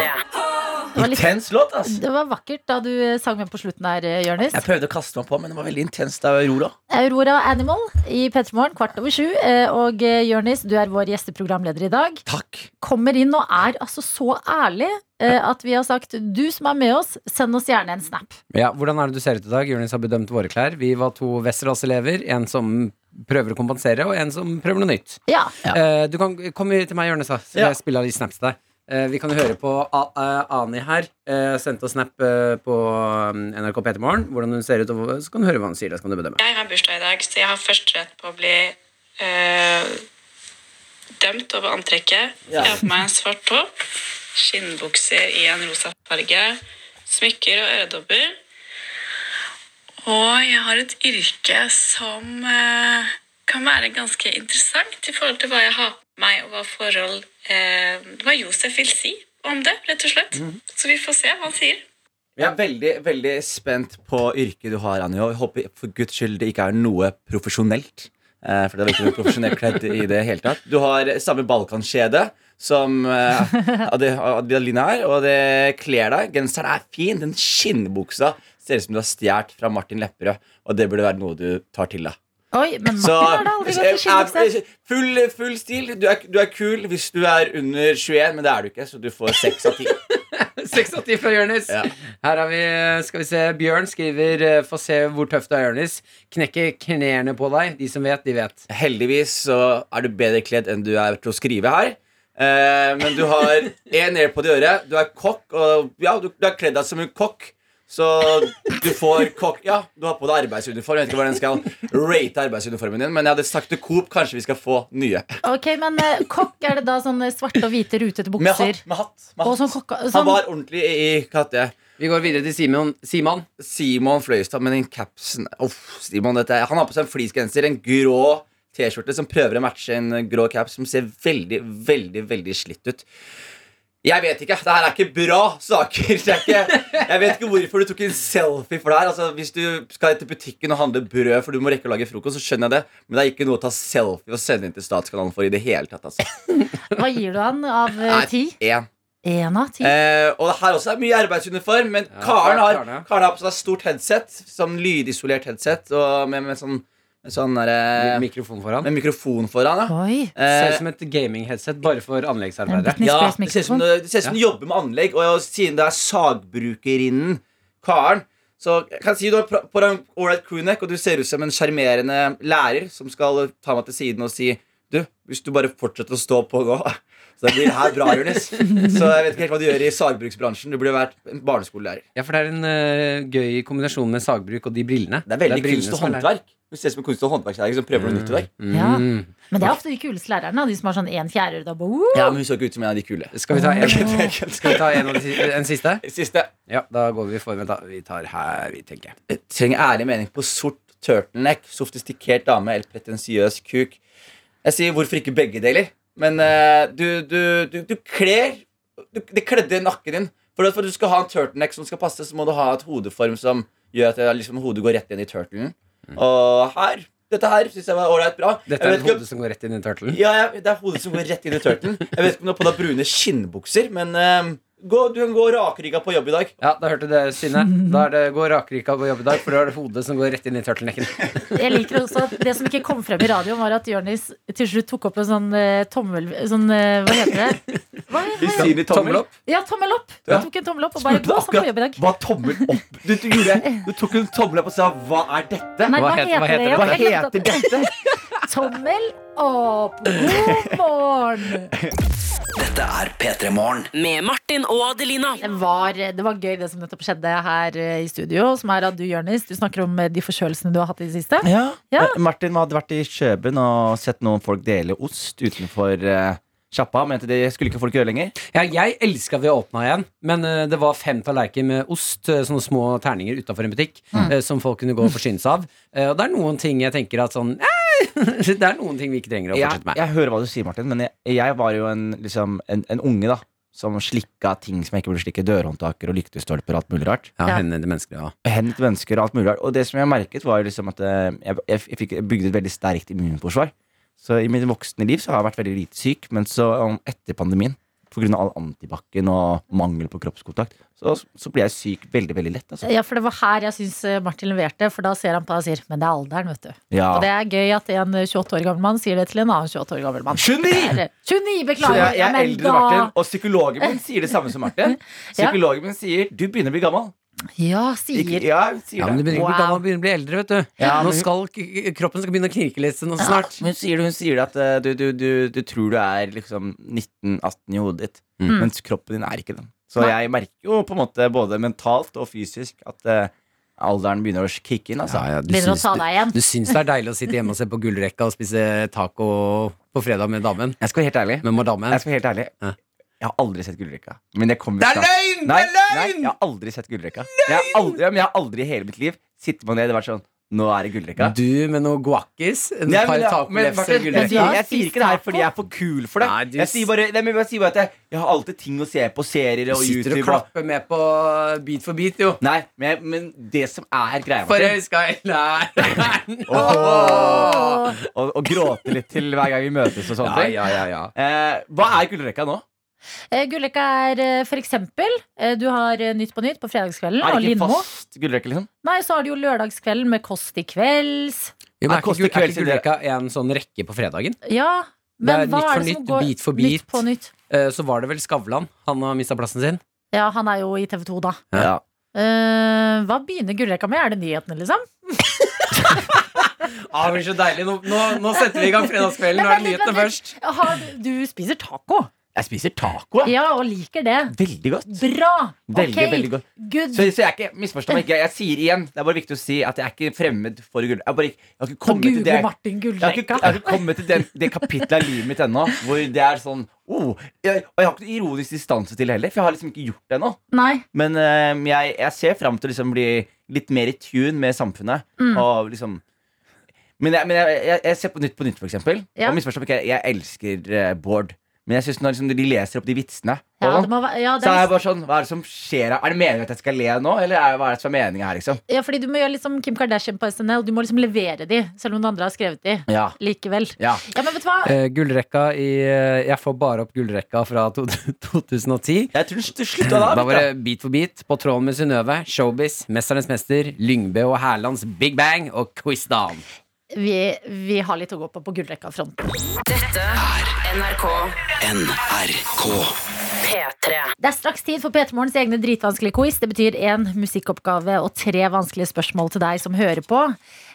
[SPEAKER 2] Det var, litt,
[SPEAKER 10] Intens låt, ass.
[SPEAKER 2] det var vakkert da du eh, sang med på slutten her, eh, Jonis.
[SPEAKER 10] Jeg prøvde å kaste meg på, men det var veldig intenst av Aurora.
[SPEAKER 2] Aurora Animal i P3 Morgen kvart over sju. eh, Og eh, Jonis, du er vår gjesteprogramleder i dag.
[SPEAKER 10] Takk.
[SPEAKER 2] Kommer inn og er altså så ærlig eh, at vi har sagt du som er med oss, send oss gjerne en snap.
[SPEAKER 3] Ja, Hvordan er det du ser ut i dag? Jonis har bedømt våre klær. Vi var to Westerdals-elever. En som prøver å kompensere, og en som prøver noe nytt.
[SPEAKER 2] Ja,
[SPEAKER 3] Eh, du kan komme til meg, Jonis, da, så skal
[SPEAKER 10] Ja.
[SPEAKER 3] jeg spille av de snaps til deg. Eh, vi kan jo høre på A eh, Ani her. eh, sendte oss snap eh, på eh, NRK P3 Morgen. Hvordan hun ser ut, og hva- så kan du høre hva hun sier. Da, så kan du bedømme.
[SPEAKER 13] Jeg har bursdag i dag, så jeg har først rett på å bli eh, dømt over antrekket. Jeg har på meg en svart topp, skinnbukser i en rosa farge, smykker og øredobber. Og jeg har et yrke som eh, kan være ganske interessant i forhold til hva jeg har på meg, og hva forhold eh, Hva Josef vil si om det, rett og slett. Så vi får se hva han sier.
[SPEAKER 10] Jeg er veldig veldig spent på yrket du har, Anjo. Jeg håper for guds skyld det ikke er noe profesjonelt. Eh, for det er ikke noe profesjonelt kledd i det hele tatt. Du har samme balkanskjede som eh, Ade- Adelina her, og det kler deg. Genseren er fin. Den skinnbuksa ser ut som du har stjålet fra Martin Lepperød, og det burde være noe du tar til deg.
[SPEAKER 2] Oi, men Martin
[SPEAKER 10] Så,
[SPEAKER 2] har da aldri gått i skinnbukse.
[SPEAKER 10] eh, full, full stil. Du er, du er kul hvis du er under 21, men det er du ikke, så du får seks av ti.
[SPEAKER 3] Seks av ti fra Jonis.
[SPEAKER 10] Ja.
[SPEAKER 3] Her har vi, skal vi se, Bjørn skriver eh, 'Få se hvor tøff du er, Jonis'. Knekke knærne på deg. De som vet, de vet.
[SPEAKER 10] Heldigvis så er du bedre kledd enn du er til å skrive her. Eh, men du har én airpod i øret, du er kokk, og ja, du, du har kledd deg som en kokk. Så du får kokk Ja, du har på deg arbeidsuniform. Jeg vet ikke hvordan jeg skal rate arbeidsuniformen din, men jeg hadde sagt til Coop kanskje vi skal få nye.
[SPEAKER 2] Ok, men eh, kokk er det da sånne svarte og hvite rutete
[SPEAKER 10] Med hatt.
[SPEAKER 2] bukser?
[SPEAKER 10] Med hatt, med
[SPEAKER 2] Og
[SPEAKER 10] hatt.
[SPEAKER 2] sånn kokka...
[SPEAKER 10] Han
[SPEAKER 2] Sånn,
[SPEAKER 10] var ordentlig i i katte.
[SPEAKER 3] Vi går videre til Simon. Simon.
[SPEAKER 10] Simon Fløystad med den capsen Uff, Simon, dette er- Han har på seg en fleecegenser, en grå T-skjorte som prøver å matche en eh, grå caps som ser veldig, veldig veldig slitt ut. Jeg vet ikke. Det her er ikke bra saker. Det er ikke, jeg vet ikke hvorfor du tok en selfie for det her. Altså, hvis du skal til butikken og handle brød for du må rekke å lage frokost, så skjønner jeg det, men det er ikke noe å ta selfie og sende inn til Statskanalen for i det hele tatt. Altså.
[SPEAKER 2] hva gir du han av eh,
[SPEAKER 10] Nei,
[SPEAKER 2] ti?
[SPEAKER 10] én.
[SPEAKER 2] Én av ti.
[SPEAKER 9] Eh, og det her også er mye arbeidsuniform, men Karen, har, Karen har på seg stort headset. Sånn lydisolert headset og med, med sånn, med sånn derre-
[SPEAKER 3] Mikrofon foran.
[SPEAKER 9] med mikrofon foran. Ja.
[SPEAKER 2] Oi.
[SPEAKER 3] Eh, Ser ut
[SPEAKER 9] Eh,
[SPEAKER 3] som et gaming-headset bare for
[SPEAKER 2] En
[SPEAKER 3] anleggsarbeidere.
[SPEAKER 2] Britney
[SPEAKER 9] ja, det
[SPEAKER 2] Spears
[SPEAKER 9] ser ut som
[SPEAKER 2] mikrofon.
[SPEAKER 9] du, det ser ut som du jobber med anlegg, og jeg- siden det er sagbrukerinnen Karen så jeg kan si du har pra- på deg en ålreit crewneck, og du ser ut som en sjarmerende lærer som skal ta meg til siden og si Du, hvis du bare fortsetter å stå på nå, så det blir det her bra, Jonis. Så jeg vet ikke helt hva du gjør i sagbruksbransjen. Du burde vært en barneskolelærer.
[SPEAKER 3] Ja, for det er en eh, gøy kombinasjon med sagbruk og de brillene.
[SPEAKER 9] Det er veldig
[SPEAKER 3] brillene
[SPEAKER 9] kunst og
[SPEAKER 3] som er der.
[SPEAKER 9] håndverk. Du ser ut som en kunst- og håndverkslærer som prøver noe nytt i dag.
[SPEAKER 2] Ja.
[SPEAKER 3] Mm.
[SPEAKER 2] Men det er ofte de kuleste lærerne. da, De som har sånn én fjerde da, bo.
[SPEAKER 9] Ja, men hun så ikke ut som en av de kule.
[SPEAKER 3] Skal vi ta en,
[SPEAKER 9] Ok, ok, ok.
[SPEAKER 3] skal vi ta en, av de si- en siste?
[SPEAKER 9] Siste.
[SPEAKER 3] Ja, da går vi for Vent, da. Vi tar her, vi, tenker jeg.
[SPEAKER 9] Jeg trenger ærlig mening på sort turtleneck, sofistikert dame eller pretensiøs kuk. Jeg sier hvorfor ikke begge deler. Men eh, du, du, du, du kler du, Det kledde nakken din. For at for at du skal ha en turtleneck som skal passe, så må du ha et hodeform som gjør at det, er liksom, hodet går rett inn i turtlen. Og her Dette her syns jeg var ålreit bra. Jeg
[SPEAKER 3] Dette
[SPEAKER 9] vet
[SPEAKER 3] er et
[SPEAKER 9] ikke om-
[SPEAKER 3] hode som går rett inn i turtlen.
[SPEAKER 9] Ja, ja, det er hodet som går rett inn i turtlen. Jeg vet ikke om du har på deg brune skinnbukser, men eh, gå, du kan gå rakrygga på jobb i dag.
[SPEAKER 3] Ja, da hørte du det, Synne. Da er det gå rakrika på jobb i dag, for da er det hodet som går rett inn i turtlenecken.
[SPEAKER 2] Jeg liker også at Det som ikke kom frem i radioen, var at Jonis til slutt tok opp en sånn eh, tommel... Sånn, eh, hva heter det? Hva, hva,
[SPEAKER 9] Sier de tommel opp?
[SPEAKER 2] ja, tommel opp!
[SPEAKER 9] Ja.
[SPEAKER 2] Han tok en tommel opp og bare gå sånn på jobb i dag.
[SPEAKER 9] Hva tommel opp? Du, du, gjorde, du tok en tommel opp og sa 'hva er dette'?
[SPEAKER 2] Nei, hva,
[SPEAKER 3] Hva het-
[SPEAKER 2] heter det?
[SPEAKER 3] hva heter
[SPEAKER 2] igjen?
[SPEAKER 9] Hva
[SPEAKER 2] Jeg glemte
[SPEAKER 9] heter dette?
[SPEAKER 2] at- Tommel opp! God morgen!
[SPEAKER 5] Dette er P3 Morgen.
[SPEAKER 4] Med Martin og Adelina.
[SPEAKER 2] Det var, det var gøy det som nettopp skjedde her eh, i studio, som er at du, Jonis, du snakker om eh, de forkjølelsene du har hatt i det siste.
[SPEAKER 10] Ja.
[SPEAKER 2] Ja.
[SPEAKER 10] Eh, Martin hadde vært i Kjøben og sett noen folk dele ost utenfor eh, sjappa. Mente det skulle ikke folk gjøre lenger.
[SPEAKER 3] Ja, jeg elska vi åpna igjen, men eh, det var fem tallerkener med ost, eh, sånne små terninger utafor en butikk, eh, som folk kunne gå og forsyne seg av. Eh, og det er noen ting jeg tenker at sånn eh, Det er noen ting vi ikke trenger å
[SPEAKER 10] Jeg,
[SPEAKER 3] fortsette med.
[SPEAKER 10] jeg hører hva du sier, Martin, men jeg, jeg var jo en, liksom, en, en unge da som slikka ting som jeg ikke burde slikke. Dørhåndtaker og lyktestolper og alt mulig rart.
[SPEAKER 3] Ja,
[SPEAKER 2] Ja.
[SPEAKER 3] henne, det menneskelige, ja.
[SPEAKER 10] Hendt mennesker og alt mulig rart. Og det som jeg merket, var jo liksom at eh, jeg, jeg, jeg fikk jeg bygde et veldig sterkt immunforsvar. Så i mitt voksne liv så har jeg vært veldig lite syk, men så um, etter pandemien Pga. all antibac-en og mangel på kroppskontakt, så, så blir jeg syk veldig veldig lett. Altså.
[SPEAKER 2] Ja, for det var her jeg syns eh, Martin leverte, for da ser han på deg og sier 'men det er alderen', vet du.
[SPEAKER 10] Ja.
[SPEAKER 2] Og det er gøy at en 28 år gammel mann sier det til en annen 28 år gammel mann.
[SPEAKER 10] 29!
[SPEAKER 2] Eller, 29,
[SPEAKER 10] Så
[SPEAKER 2] beklager!
[SPEAKER 10] jeg, jeg
[SPEAKER 2] Ja,
[SPEAKER 10] er
[SPEAKER 2] men
[SPEAKER 10] eldre enn Martin, og psykologen min sier det samme som Martin.
[SPEAKER 2] Ja.
[SPEAKER 10] Psykologen min sier 'du begynner å bli gammel'.
[SPEAKER 2] Ja,
[SPEAKER 10] Ikke,
[SPEAKER 2] sier
[SPEAKER 10] ja, hun
[SPEAKER 3] Ja,
[SPEAKER 10] sier
[SPEAKER 3] men du
[SPEAKER 10] det.
[SPEAKER 3] begynner ikke å bli gammel, du begynner å bli eldre, vet du.
[SPEAKER 10] Ja,
[SPEAKER 3] nå
[SPEAKER 10] men-
[SPEAKER 3] skal k- kroppen skal begynne å knirke litt nå snart.
[SPEAKER 10] Men Hun sier det, hun sier det at eh, du, du, du, du tror du er liksom 19-18 i hodet ditt,
[SPEAKER 3] Mm.
[SPEAKER 10] mens kroppen din er ikke den. Så jeg merker jo på en måte både mentalt og fysisk at eh, alderen begynner å kicke inn. Altså.
[SPEAKER 3] Ja, ja, du
[SPEAKER 2] Begynner å
[SPEAKER 3] syns
[SPEAKER 2] ta
[SPEAKER 3] du-
[SPEAKER 2] deg igjen.
[SPEAKER 3] Du syns det er deilig å sitte hjemme og se på gullrekka og spise taco på fredag med damen?
[SPEAKER 10] Jeg skal være helt ærlig.
[SPEAKER 3] Med madammen?
[SPEAKER 10] Jeg skal være helt ærlig.
[SPEAKER 3] Ja.
[SPEAKER 10] Jeg har aldri sett Gullrekka. Men jeg kommer
[SPEAKER 3] Det er
[SPEAKER 10] snart.
[SPEAKER 3] løgn!
[SPEAKER 10] Nei,
[SPEAKER 3] det er
[SPEAKER 10] nei,
[SPEAKER 3] løgn!
[SPEAKER 10] jeg har aldri sett Gullrekka. Jeg har aldri, ja, men jeg har aldri i hele mitt liv sittet meg ned og vært sånn Nå er det Gullrekka.
[SPEAKER 3] Du med noe guacis? En
[SPEAKER 10] Nei,
[SPEAKER 3] par
[SPEAKER 10] men, ja, men,
[SPEAKER 3] tacolefser
[SPEAKER 10] Martin,
[SPEAKER 3] og
[SPEAKER 2] Men
[SPEAKER 10] jeg,
[SPEAKER 2] du
[SPEAKER 3] gullrekka?
[SPEAKER 10] sier,
[SPEAKER 2] har
[SPEAKER 10] jeg sier ikke det her
[SPEAKER 2] spist
[SPEAKER 10] fordi jeg er for kul for det.
[SPEAKER 3] Nei, du
[SPEAKER 10] jeg, sier bare, nei, men jeg sier bare at jeg, jeg har alltid ting å se på. Serier
[SPEAKER 3] Du
[SPEAKER 10] og
[SPEAKER 3] sitter og
[SPEAKER 10] YouTube. Og,
[SPEAKER 3] klapper med på Beat for beat, jo.
[SPEAKER 10] nei, men, jeg, men det som er greia,
[SPEAKER 3] For
[SPEAKER 10] Martin,
[SPEAKER 3] jeg skal læreren
[SPEAKER 10] Åh. og, og gråte litt til hver gang vi møtes og sånne
[SPEAKER 3] Ja,
[SPEAKER 10] ting.
[SPEAKER 3] ja, ja, ja.
[SPEAKER 10] Eh, hva er gullrekka nå?
[SPEAKER 2] Eh, Gullrekka er eh, for eksempel eh, Du har eh, Nytt på Nytt på fredagskvelden,
[SPEAKER 10] Er
[SPEAKER 2] og
[SPEAKER 10] det ikke
[SPEAKER 2] Lindmo.
[SPEAKER 10] fast gullrekke, liksom?
[SPEAKER 2] Nei, så har du jo lørdagskvelden med Kåss til kvelds.
[SPEAKER 3] Jo, men
[SPEAKER 10] Nei,
[SPEAKER 3] er ikke,
[SPEAKER 10] koster
[SPEAKER 3] gull- er
[SPEAKER 10] kveld
[SPEAKER 3] ikke
[SPEAKER 10] til
[SPEAKER 3] gullrekka en sånn rekke på fredagen?
[SPEAKER 2] Ja,
[SPEAKER 3] Det
[SPEAKER 2] men hva
[SPEAKER 3] er Nytt
[SPEAKER 2] er
[SPEAKER 3] for
[SPEAKER 2] det som
[SPEAKER 3] Nytt,
[SPEAKER 2] går
[SPEAKER 3] Bit for Bit.
[SPEAKER 2] Nytt på nytt?
[SPEAKER 3] Eh, Så var det vel Skavlan. Han har mista plassen sin.
[SPEAKER 2] Ja, han er jo i TV 2, da.
[SPEAKER 3] Ja.
[SPEAKER 2] Eh, hva begynner Gullrekka med? Er det nyhetene, liksom?
[SPEAKER 3] Ah, det blir så deilig. Nå, nå, nå setter vi i gang fredagskvelden. Nå er det nyhetene først.
[SPEAKER 2] Har, du- du spiser taco.
[SPEAKER 10] Jeg spiser taco. jeg.
[SPEAKER 2] Ja, og liker det.
[SPEAKER 10] Veldig godt.
[SPEAKER 2] Bra!
[SPEAKER 10] Veldig,
[SPEAKER 2] ok,
[SPEAKER 10] veldig godt.
[SPEAKER 2] good.
[SPEAKER 10] Så, så jeg er ikke, misforstå meg ikke, jeg, jeg sier igjen, det er bare viktig å si at jeg er ikke fremmed for gull. Jeg, har bare ikke, jeg har ikke
[SPEAKER 2] Kan
[SPEAKER 10] kommet til det
[SPEAKER 2] Google Martin
[SPEAKER 10] jeg har, ikke,
[SPEAKER 2] Gullrekka.
[SPEAKER 10] jeg har ikke kommet til den, det kapitlet av livet mitt ennå hvor det er sånn oh, jeg, Og jeg har ikke noe ironisk distanse til det heller, for jeg har liksom ikke gjort det ennå.
[SPEAKER 2] Nei.
[SPEAKER 10] Men eh, jeg, jeg ser fram til å liksom bli litt mer i tune med samfunnet.
[SPEAKER 2] Mm.
[SPEAKER 10] Og liksom Men jeg, men jeg, jeg, jeg ser på Nytt på Nytt, for eksempel.
[SPEAKER 2] Ja.
[SPEAKER 10] Og misforstå meg ikke, jeg elsker eh, Bård. Men jeg synes når liksom, de leser opp de vitsene og
[SPEAKER 2] Ja, det
[SPEAKER 10] sånn,
[SPEAKER 2] må være, ja, det
[SPEAKER 10] Så er jeg
[SPEAKER 2] er,
[SPEAKER 10] bare sånn, hva er det som skjer her? Er det meningen at jeg skal le nå, eller er, hva er det som er meningen her, liksom?
[SPEAKER 2] ja, fordi du må gjøre litt som Kim Kardashian på SNL. Du må liksom levere de, selv om noen andre har skrevet de.
[SPEAKER 10] Ja.
[SPEAKER 2] Likevel.
[SPEAKER 10] ja.
[SPEAKER 2] Ja, men vet du hva?
[SPEAKER 3] Eh, gullrekka i eh, Jeg får bare opp gullrekka fra to, 2010.
[SPEAKER 10] Jeg tror du slutta da.
[SPEAKER 3] Da var
[SPEAKER 10] vet
[SPEAKER 3] det Beat for beat, På tråden med Synnøve, Showbiz, Mesternes mester, Lyngbø og Hærlands Big Bang og Quizdan.
[SPEAKER 2] Vi, vi har litt å gå på på gullrekka-fronten.
[SPEAKER 4] Dette er NRK
[SPEAKER 5] NRK.
[SPEAKER 4] P3.
[SPEAKER 2] Det er straks tid for P3 Morgens egne dritvanskelige quiz. Det betyr én musikkoppgave og tre vanskelige spørsmål til deg som hører på.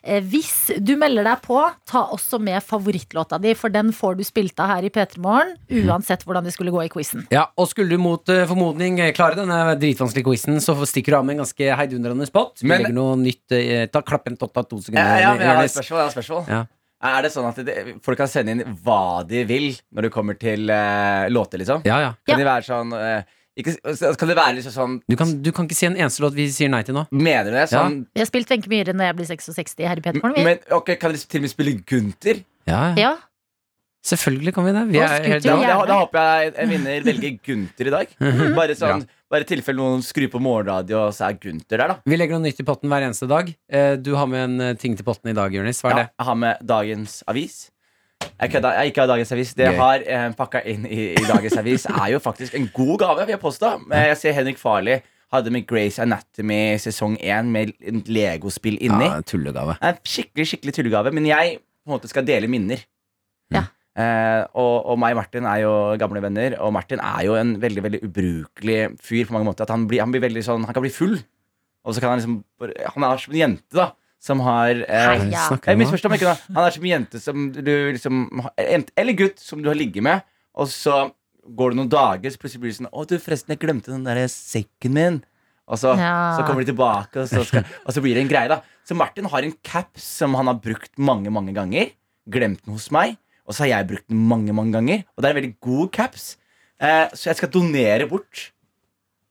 [SPEAKER 2] Eh, Hvis du melder deg på, ta også med favorittlåta di, for den får du spilt av her i P3 Morgen, uansett hvordan det skulle gå i quizen.
[SPEAKER 3] Ja, og skulle du mot eh, formodning eh, klare denne dritvanskelige quizen, så stikker du av med en ganske heidundrende spot. Vi
[SPEAKER 10] Men-
[SPEAKER 3] legger noe nytt eh, Ta klapp en totta to
[SPEAKER 10] du. Ja,
[SPEAKER 3] sekunder.
[SPEAKER 10] ja, men jeg har et
[SPEAKER 3] Jonis.
[SPEAKER 10] spørsmål. Jeg har et spørsmål.
[SPEAKER 3] Ja.
[SPEAKER 10] Er det sånn at det, folk kan sende inn hva de vil når det kommer til eh, låter, liksom?
[SPEAKER 3] ja, ja.
[SPEAKER 10] Kan det være sånn eh, ikke, så Kan det være liksom sånn
[SPEAKER 3] Du, kan, du kan ikke si en eneste låt vi sier nei til nå.
[SPEAKER 10] Mener du det? Sånn,
[SPEAKER 2] Vi har spilt Wenche Myhre når jeg blir 66 her i P3 Morgen. vi.
[SPEAKER 10] Men ok, Kan dere til og med spille Gunther?
[SPEAKER 3] Ja, ja.
[SPEAKER 2] Ja,
[SPEAKER 3] Selvfølgelig kan vi det. Vi
[SPEAKER 2] Og
[SPEAKER 3] er
[SPEAKER 2] Scooter,
[SPEAKER 3] helt
[SPEAKER 10] Da,
[SPEAKER 2] Jo,
[SPEAKER 10] da,
[SPEAKER 2] gjerne.
[SPEAKER 10] da håper jeg en vinner velger Gunther i dag. Bare sånn, bare i tilfelle noen skrur på morgenradio, og så er Gunther der, da.
[SPEAKER 3] Vi legger noe nytt i potten hver eneste dag. Eh, Du har med en eh, ting til potten i dag, Jonis. Hva er
[SPEAKER 10] Ja,
[SPEAKER 3] det?
[SPEAKER 10] jeg har med dagens avis. Jeg, kødda, jeg ikke har dagens avis. Det jeg
[SPEAKER 3] Gøy.
[SPEAKER 10] har eh, pakka inn i, i dagens avis, er jo faktisk en god gave, vil jeg påstå. Eh, Jeg ser Henrik Farley hadde med Grace Anatomy sesong 1 med et legospill inni.
[SPEAKER 3] tullegave.
[SPEAKER 10] Det er En skikkelig skikkelig tullegave, men jeg på en måte skal dele minner.
[SPEAKER 2] Ja.
[SPEAKER 10] Eh, og, og meg og Martin er jo gamle venner, og Martin er jo en veldig veldig ubrukelig fyr på mange måter. At han, blir, han, blir veldig sånn, han kan bli full, og så kan han liksom bare- Han er som en jente, da. Som har eh,
[SPEAKER 2] Hei, ja.
[SPEAKER 3] Snakker du om?
[SPEAKER 10] jeg misforstår meg ikke nå. Han er som en jente som du liksom jente- Eller gutt som du har ligget med, og så går det noen dager, så plutselig blir det sånn Å, du, forresten, jeg glemte den der sekken min. Og så,
[SPEAKER 2] Ja.
[SPEAKER 10] så kommer de tilbake, og så, skal, og så blir det en greie, da. Så Martin har en cap som han har brukt mange, mange ganger. Glemt den hos meg. Og så har jeg brukt den mange, mange ganger. Og det er en veldig god caps. Eh, så jeg skal donere bort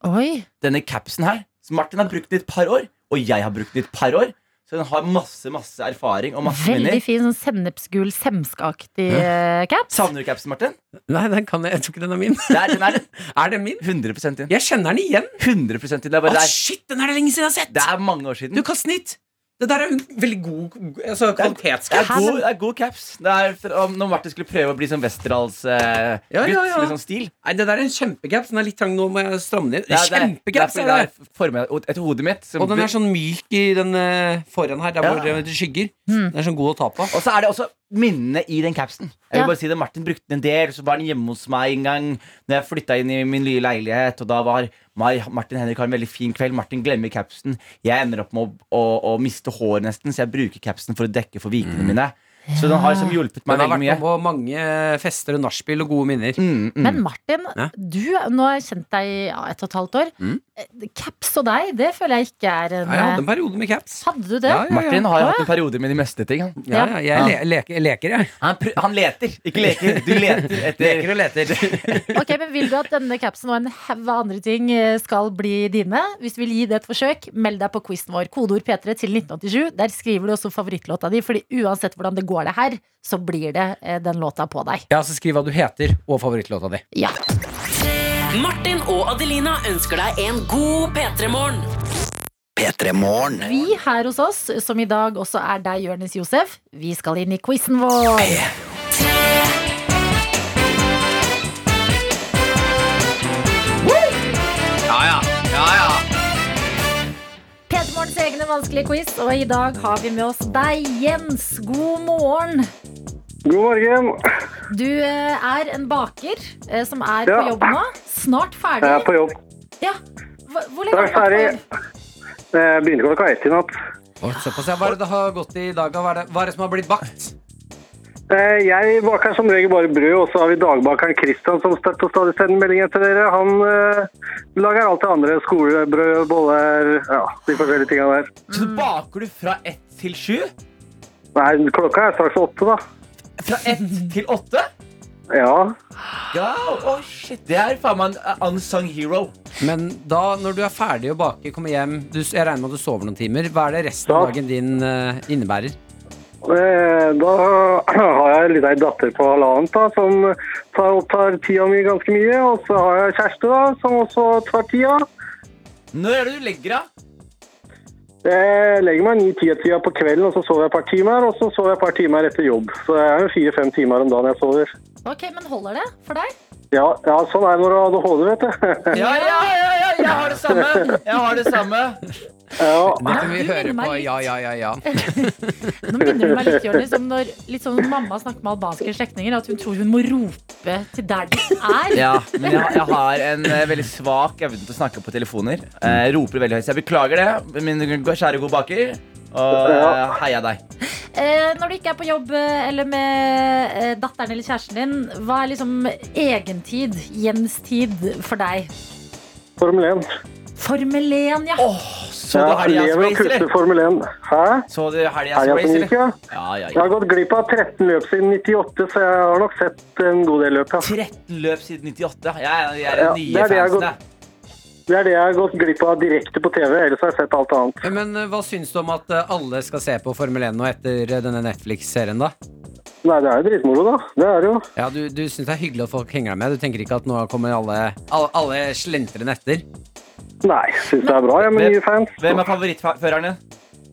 [SPEAKER 2] Oi.
[SPEAKER 10] denne capsen her. Så Martin har brukt den i et par år, og jeg har brukt den i et par år. Så den har masse, masse erfaring og masse minner.
[SPEAKER 2] Veldig fin sånn sennepsgul, semskeaktig eh, caps.
[SPEAKER 3] mm.
[SPEAKER 10] Savner du capsen, Martin?
[SPEAKER 3] Nei, den kan jeg. jeg tror ikke den er min.
[SPEAKER 10] Der, den er
[SPEAKER 3] Er den min?
[SPEAKER 10] 100 din.
[SPEAKER 3] Jeg kjenner den igjen.
[SPEAKER 10] 100 din. Det er, bare,
[SPEAKER 3] Å,
[SPEAKER 10] det, er,
[SPEAKER 3] shit, den er det lenge siden jeg har sett!
[SPEAKER 10] det er mange år siden.
[SPEAKER 3] Du, kast den hit! Det der er jo en veldig god altså,
[SPEAKER 10] Det er,
[SPEAKER 3] kvalitetscaps.
[SPEAKER 10] god, det er god caps. Det er, for, om, når Martin skulle prøve å bli sånn Westerdals eh,
[SPEAKER 3] Ja, ja,
[SPEAKER 10] gutt
[SPEAKER 3] ja.
[SPEAKER 10] med sånn stil
[SPEAKER 3] Nei, det der er en kjempecaps. Den er litt trang, nå må jeg stramme den inn.
[SPEAKER 10] Det er- det er-
[SPEAKER 3] Kjempecaps!
[SPEAKER 10] det
[SPEAKER 3] er det
[SPEAKER 10] er fordi det er formet av et hode mitt. som-
[SPEAKER 3] Og den er sånn myk i den eh, foran her, der
[SPEAKER 10] Ja. Hmm.
[SPEAKER 3] hvor det skygger. Den er sånn god å ta på.
[SPEAKER 10] Og så er det også minnene i den capsen. Jeg vil
[SPEAKER 2] Ja.
[SPEAKER 10] bare si det, Martin brukte den en del, så var den hjemme hos meg en gang Når jeg flytta inn i min nye leilighet. Og da var meg, Martin Henrik har en veldig fin kveld. Martin glemmer capsen. Jeg ender opp med å, å, å miste hår nesten, så jeg bruker capsen for å dekke for vikene mine. Så den har liksom hjulpet
[SPEAKER 3] Mm.
[SPEAKER 10] meg
[SPEAKER 3] Men det har vært
[SPEAKER 10] veldig mye.
[SPEAKER 3] med på mange fester og nachspiel og gode minner.
[SPEAKER 10] Mm, mm.
[SPEAKER 2] Men Martin,
[SPEAKER 3] Ja.
[SPEAKER 2] du, nå har jeg kjent deg i ja, ett og et halvt år.
[SPEAKER 3] Mm.
[SPEAKER 2] Eh, Caps og deg, det føler jeg ikke er en eh,
[SPEAKER 3] Ja, jeg hadde en periode med caps.
[SPEAKER 2] Hadde du det?
[SPEAKER 3] Ja, ja,
[SPEAKER 10] Martin har jo hatt en periode med de meste ting. Han,
[SPEAKER 3] Ja, ja, jeg le leker, leker, jeg.
[SPEAKER 10] han, pr- han leter, ikke leker. Du leter etter
[SPEAKER 3] og leter.
[SPEAKER 2] Ok, men Vil du at denne capsen og en haug av andre ting eh, skal bli dine? Hvis du vil gi det et forsøk, meld deg på quizen vår. Kodeord P3 til 1987. Der skriver du også favorittlåta di, Fordi uansett hvordan det går det her, så blir det eh, den låta på deg.
[SPEAKER 3] Ja, så skriv hva du heter, og favorittlåta di.
[SPEAKER 2] Ja.
[SPEAKER 4] Martin og Adelina ønsker deg en god P3-morgen.
[SPEAKER 5] P3 Morgen.
[SPEAKER 2] Vi her hos oss, som i dag også er deg, Jonis Josef, vi skal inn i quizen vår.
[SPEAKER 6] Ja, ja. Ja, ja.
[SPEAKER 2] P3 Morgens egne vanskelige quiz, og i dag har vi med oss deg, Jens. God morgen.
[SPEAKER 14] God morgen.
[SPEAKER 2] Du eh, er en baker eh, som er
[SPEAKER 14] Ja.
[SPEAKER 2] på jobb nå. Snart ferdig.
[SPEAKER 14] Jeg er på jobb.
[SPEAKER 2] Ja. Hvor, hvor
[SPEAKER 14] Jeg
[SPEAKER 2] lenge
[SPEAKER 14] er ferdig. Jeg begynte klokka ett i natt.
[SPEAKER 3] Og Såpass, ja. Hva er det det har gått i i dag? Hva er det, hva er det som har blitt bakt?
[SPEAKER 14] Eh, Jeg baker som regel bare brød, og så har vi dagbakeren Kristian som støtt og stadig sender meldinger til dere. Han eh, lager alt det andre. Skolebrød, boller, ja, de forskjellige tinga der.
[SPEAKER 10] Så baker du fra ett til sju?
[SPEAKER 14] Nei, klokka er straks åtte, da.
[SPEAKER 10] Fra ett til åtte?
[SPEAKER 14] Ja.
[SPEAKER 10] Ja, oh shit, Det er faen meg en unsung hero.
[SPEAKER 3] Men da, når du er ferdig å bake, kommer hjem du, Jeg regner med at du sover noen timer. Hva er det resten av
[SPEAKER 14] Ja.
[SPEAKER 3] dagen din eh, innebærer?
[SPEAKER 14] Eh, Da har jeg litt ei datter på halvannet da, som tar, opptar tida mi ganske mye. Og så har jeg kjæreste, da, som også tar tida.
[SPEAKER 10] Når er det du legger av?
[SPEAKER 14] Jeg legger meg ni-ti-tida på kvelden, og så sover jeg et par timer. Og så sover jeg et par timer etter jobb. Så det er jo fire-fem timer om dagen jeg sover.
[SPEAKER 2] Ok, Men holder det for deg?
[SPEAKER 14] Ja, ja sånn er det når du har ADHD, vet du.
[SPEAKER 10] Ja, ja, ja, ja, jeg har det samme! Jeg har det samme.
[SPEAKER 3] Dette vi hører på ja, ja, ja, ja.
[SPEAKER 2] Nå minner du meg litt, Jonis, om når litt sånn mamma snakker med albanske slektninger, at hun tror hun må rope til der de er.
[SPEAKER 10] Ja, men jeg, jeg har en eh, veldig svak evne til å snakke på telefoner. Eh, roper veldig høyt, så jeg beklager det, min kjære gode baker. Og eh, heia deg.
[SPEAKER 2] Eh, når du ikke er på jobb eh, eller med eh, datteren eller kjæresten din, hva er liksom egentid, Jens tid, for deg?
[SPEAKER 14] Formel 1.
[SPEAKER 2] Formel 1, ja.
[SPEAKER 10] så du helgas
[SPEAKER 14] Jeg lever og
[SPEAKER 10] race, eller?
[SPEAKER 14] kutter Formel 1. Hæ?
[SPEAKER 10] Så du helgas
[SPEAKER 14] Helga
[SPEAKER 10] race,
[SPEAKER 14] som gikk, ja.
[SPEAKER 10] eller? Ja, ja,
[SPEAKER 14] Jeg har gått glipp av 13 løp siden 98, så jeg har nok sett en god del løp. Ja.
[SPEAKER 10] 13 løp siden 98. Jeg, er- jeg er
[SPEAKER 14] Ja,
[SPEAKER 10] den
[SPEAKER 14] det
[SPEAKER 10] nye
[SPEAKER 14] er det jeg har
[SPEAKER 10] fansen.
[SPEAKER 14] gått- Det er det jeg har gått glipp av direkte på TV, ellers har jeg sett alt annet.
[SPEAKER 3] Men eh, hva syns du om at eh, alle skal se på Formel 1 nå etter eh, denne Netflix-serien, da?
[SPEAKER 14] Nei, det er jo dritmoro, da. Det er det jo.
[SPEAKER 3] Ja, Du, du syns det er hyggelig at folk henger deg med? Du tenker ikke at nå kommer alle, alle, alle slentrende etter?
[SPEAKER 14] Nei, jeg syns det er bra, jeg, med nye fans.
[SPEAKER 10] Hvem er favorittføreren din?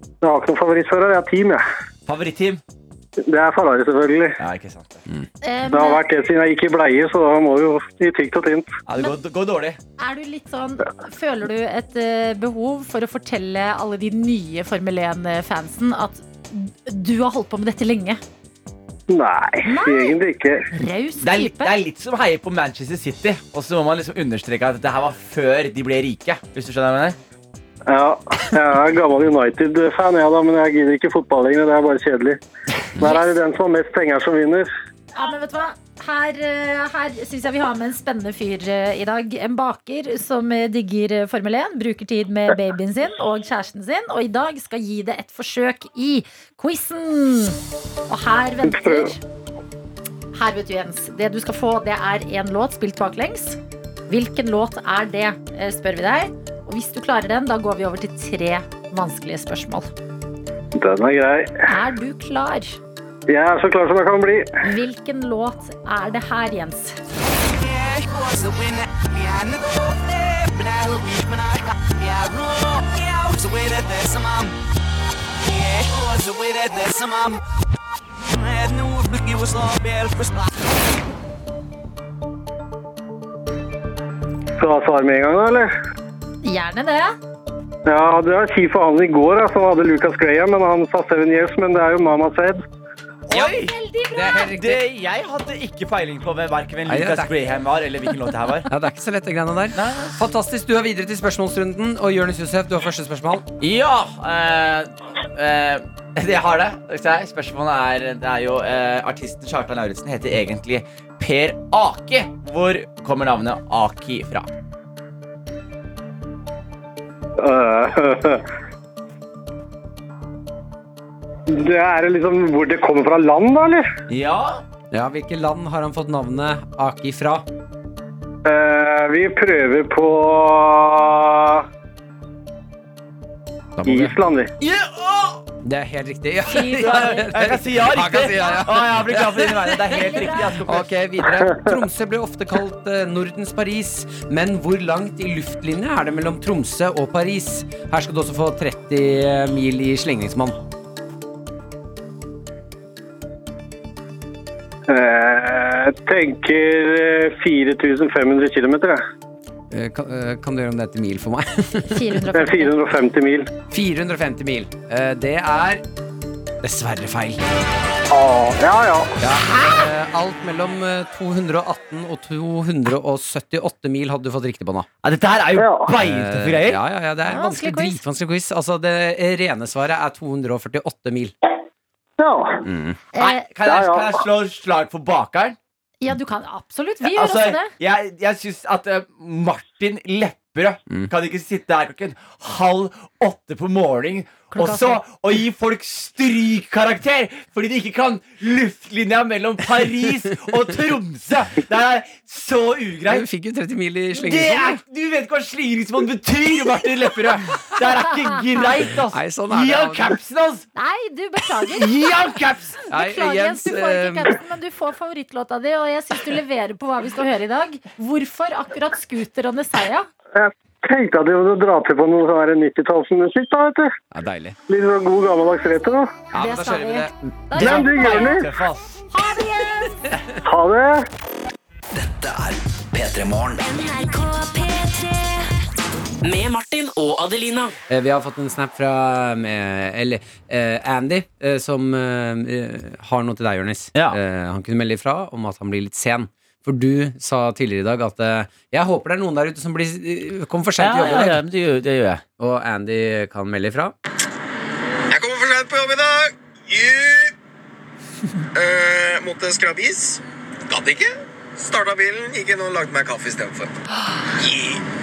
[SPEAKER 14] Jeg har ikke noen favorittfører, jeg har team, jeg.
[SPEAKER 10] Favorittteam?
[SPEAKER 14] Det er Ferrari, selvfølgelig.
[SPEAKER 10] Ja, ikke sant.
[SPEAKER 2] Eh,
[SPEAKER 14] Det har vært det siden jeg gikk i bleie, så da må vi jo i tykt og tynt.
[SPEAKER 10] Ja, det går, går dårlig.
[SPEAKER 2] Er du litt sånn, Føler du et eh, behov for å fortelle alle de nye Formel 1-fansen at du har holdt på med dette lenge?
[SPEAKER 14] Nei, egentlig ikke.
[SPEAKER 10] Det er, litt, det er litt som heier på Manchester City, og så må man liksom understreke at dette her var før de ble rike. Hvis du skjønner hva jeg mener?
[SPEAKER 14] Ja, jeg er gammel United-fan, jeg, da, men jeg gidder ikke fotball lenger. Det er bare kjedelig. Der er det den som har mest penger, som vinner.
[SPEAKER 2] Ja, men vet du hva? Her, eh, her syns jeg vi har med en spennende fyr eh, i dag. En baker som eh, digger eh, Formel 1, bruker tid med babyen sin og kjæresten sin, og i dag skal gi det et forsøk i quizen. Og her venter Her, vet du, Jens. Det du skal få, det er én låt spilt baklengs. Hvilken låt er det, eh, spør vi deg. Og hvis du klarer den, da går vi over til tre vanskelige spørsmål.
[SPEAKER 14] Den er grei.
[SPEAKER 2] Er du klar?
[SPEAKER 14] Jeg er så klar som jeg kan bli.
[SPEAKER 2] Hvilken låt er det her, Jens?
[SPEAKER 14] Skal du ha svar med en gang, da, eller?
[SPEAKER 2] Gjerne det.
[SPEAKER 14] Ja, det var kjipt for han i går, da, som hadde Lucas Graham, men han sa Seven Years, men det er jo Mama Said.
[SPEAKER 10] Oi! Det, jeg hadde ikke peiling på hvem verken hvem
[SPEAKER 3] Nei, det er
[SPEAKER 10] Lucas
[SPEAKER 3] takk.
[SPEAKER 10] Graham var, eller hvilken låt det her var.
[SPEAKER 3] Ja, Det er ikke så lett, de greiene der. Fantastisk. Du er videre til spørsmålsrunden. Og Jonis Josef, du har første spørsmål.
[SPEAKER 10] Ja! eh, eh, jeg har det. Se her, Spørsmålet er, det er jo eh, Artisten Kjartan Lauritzen heter egentlig Per Ake. Hvor kommer navnet Aki fra?
[SPEAKER 14] Øh, Det er liksom hvor det kommer fra land, da, eller?
[SPEAKER 10] Ja.
[SPEAKER 3] Ja, Hvilke land har han fått navnet Aki fra?
[SPEAKER 14] Eh, vi prøver på Island, vi.
[SPEAKER 3] Det er helt riktig. Ja.
[SPEAKER 10] Jeg kan si ja riktig.
[SPEAKER 3] Han kan si ja, ja.
[SPEAKER 10] Å, jeg blir glad for dine vegne. Det er helt riktig. Jeg skal på-
[SPEAKER 3] Ok, videre. Tromsø blir ofte kalt eh, Nordens Paris, men hvor langt i luftlinje er det mellom Tromsø og Paris? Her skal du også få 30 mil i slingringsmonn.
[SPEAKER 14] Eh, Jeg tenker eh, 4500 km, jeg.
[SPEAKER 3] Eh, Kan, eh, kan du gjøre om det til mil for meg?
[SPEAKER 14] Det er 450 mil.
[SPEAKER 3] 450 mil. Eh, Det er dessverre feil.
[SPEAKER 14] ja, ja.
[SPEAKER 3] eh, Alt mellom eh, 218 og 278 mil hadde du fått riktig på nå.
[SPEAKER 10] Ja, dette her er jo
[SPEAKER 3] Eh,
[SPEAKER 10] beintøffe greier.
[SPEAKER 3] Ja, ja, ja, det er en vanskelig, dritvanskelig quiz. Altså, det rene svaret er 248 mil.
[SPEAKER 14] Ja.
[SPEAKER 10] Nei, kan jeg, kan jeg slå slag for bakeren?
[SPEAKER 2] Eh, Ja, du kan absolutt. Vi gjør
[SPEAKER 10] Altså,
[SPEAKER 2] også det.
[SPEAKER 10] jeg, jeg syns at eh,
[SPEAKER 3] Mm.
[SPEAKER 10] Martin Lepperød kan ikke sitte her klokken halv åtte på morgenen Og så å gi folk strykkarakter fordi de ikke kan luftlinja mellom Paris og Tromsø! Det er så ugreit.
[SPEAKER 3] Du fikk jo 30 mil i
[SPEAKER 10] Det er, du vet ikke hva slingringsmonn betyr, Martin Lepperød! Det er ikke greit, altså. ass!
[SPEAKER 3] Nei, sånn er
[SPEAKER 10] Gi
[SPEAKER 3] det,
[SPEAKER 10] han
[SPEAKER 3] Agnes.
[SPEAKER 10] capsen, ass!
[SPEAKER 2] Nei, du beklager.
[SPEAKER 10] Gi han capsen!
[SPEAKER 2] Beklager, Jens, du får
[SPEAKER 10] eh,
[SPEAKER 3] eh,
[SPEAKER 2] ikke capsen, men du får favorittlåta di, og jeg syns du leverer på hva vi skal høre i dag. Hvorfor akkurat Scooter og Neseia?
[SPEAKER 14] Jeg tenkte at jeg ville dra til på noe sånn her 90-tallsmusikk, da, vet du.
[SPEAKER 3] Ja, deilig.
[SPEAKER 14] Litt sånn god gammeldags retro. da.
[SPEAKER 3] Ja, men da kjører vi det.
[SPEAKER 14] Glem de greiene. Ha det.
[SPEAKER 5] Dette er P3 Morgen.
[SPEAKER 4] Med Martin og Adelina.
[SPEAKER 3] Eh, Vi har fått en snap fra eh, eller, eh, Andy, eh, som eh, har noe til deg, Jonis. Eh, han kunne melde ifra om at han blir litt sen. For du sa tidligere i dag at eh, jeg håper det er noen der ute som blir, eh, kommer for sent til
[SPEAKER 10] Ja,
[SPEAKER 3] jobb.
[SPEAKER 10] ja, ja,
[SPEAKER 3] det, gjør, jeg. Og Andy kan melde ifra.
[SPEAKER 7] Jeg kommer for sent på jobb i dag. Yeah. Eh, måtte skrape is. Gadd ikke. Starta bilen, gikk inn og lagde meg kaffe istedenfor. Yeah.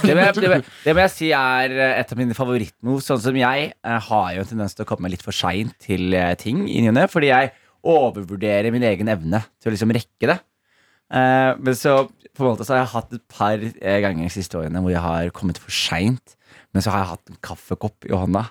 [SPEAKER 10] Det må, jeg, det, må, jeg- det må jeg si er eh, et av mine favorittmove. Sånn som jeg eh, har jo en tendens til å komme litt for seint til eh, ting i ny og ne, fordi jeg overvurderer min egen evne til å liksom rekke det. Eh, men så på en måte så har jeg hatt et par eh, ganger de siste årene hvor jeg har kommet for seint, men så har jeg hatt en kaffekopp i hånda.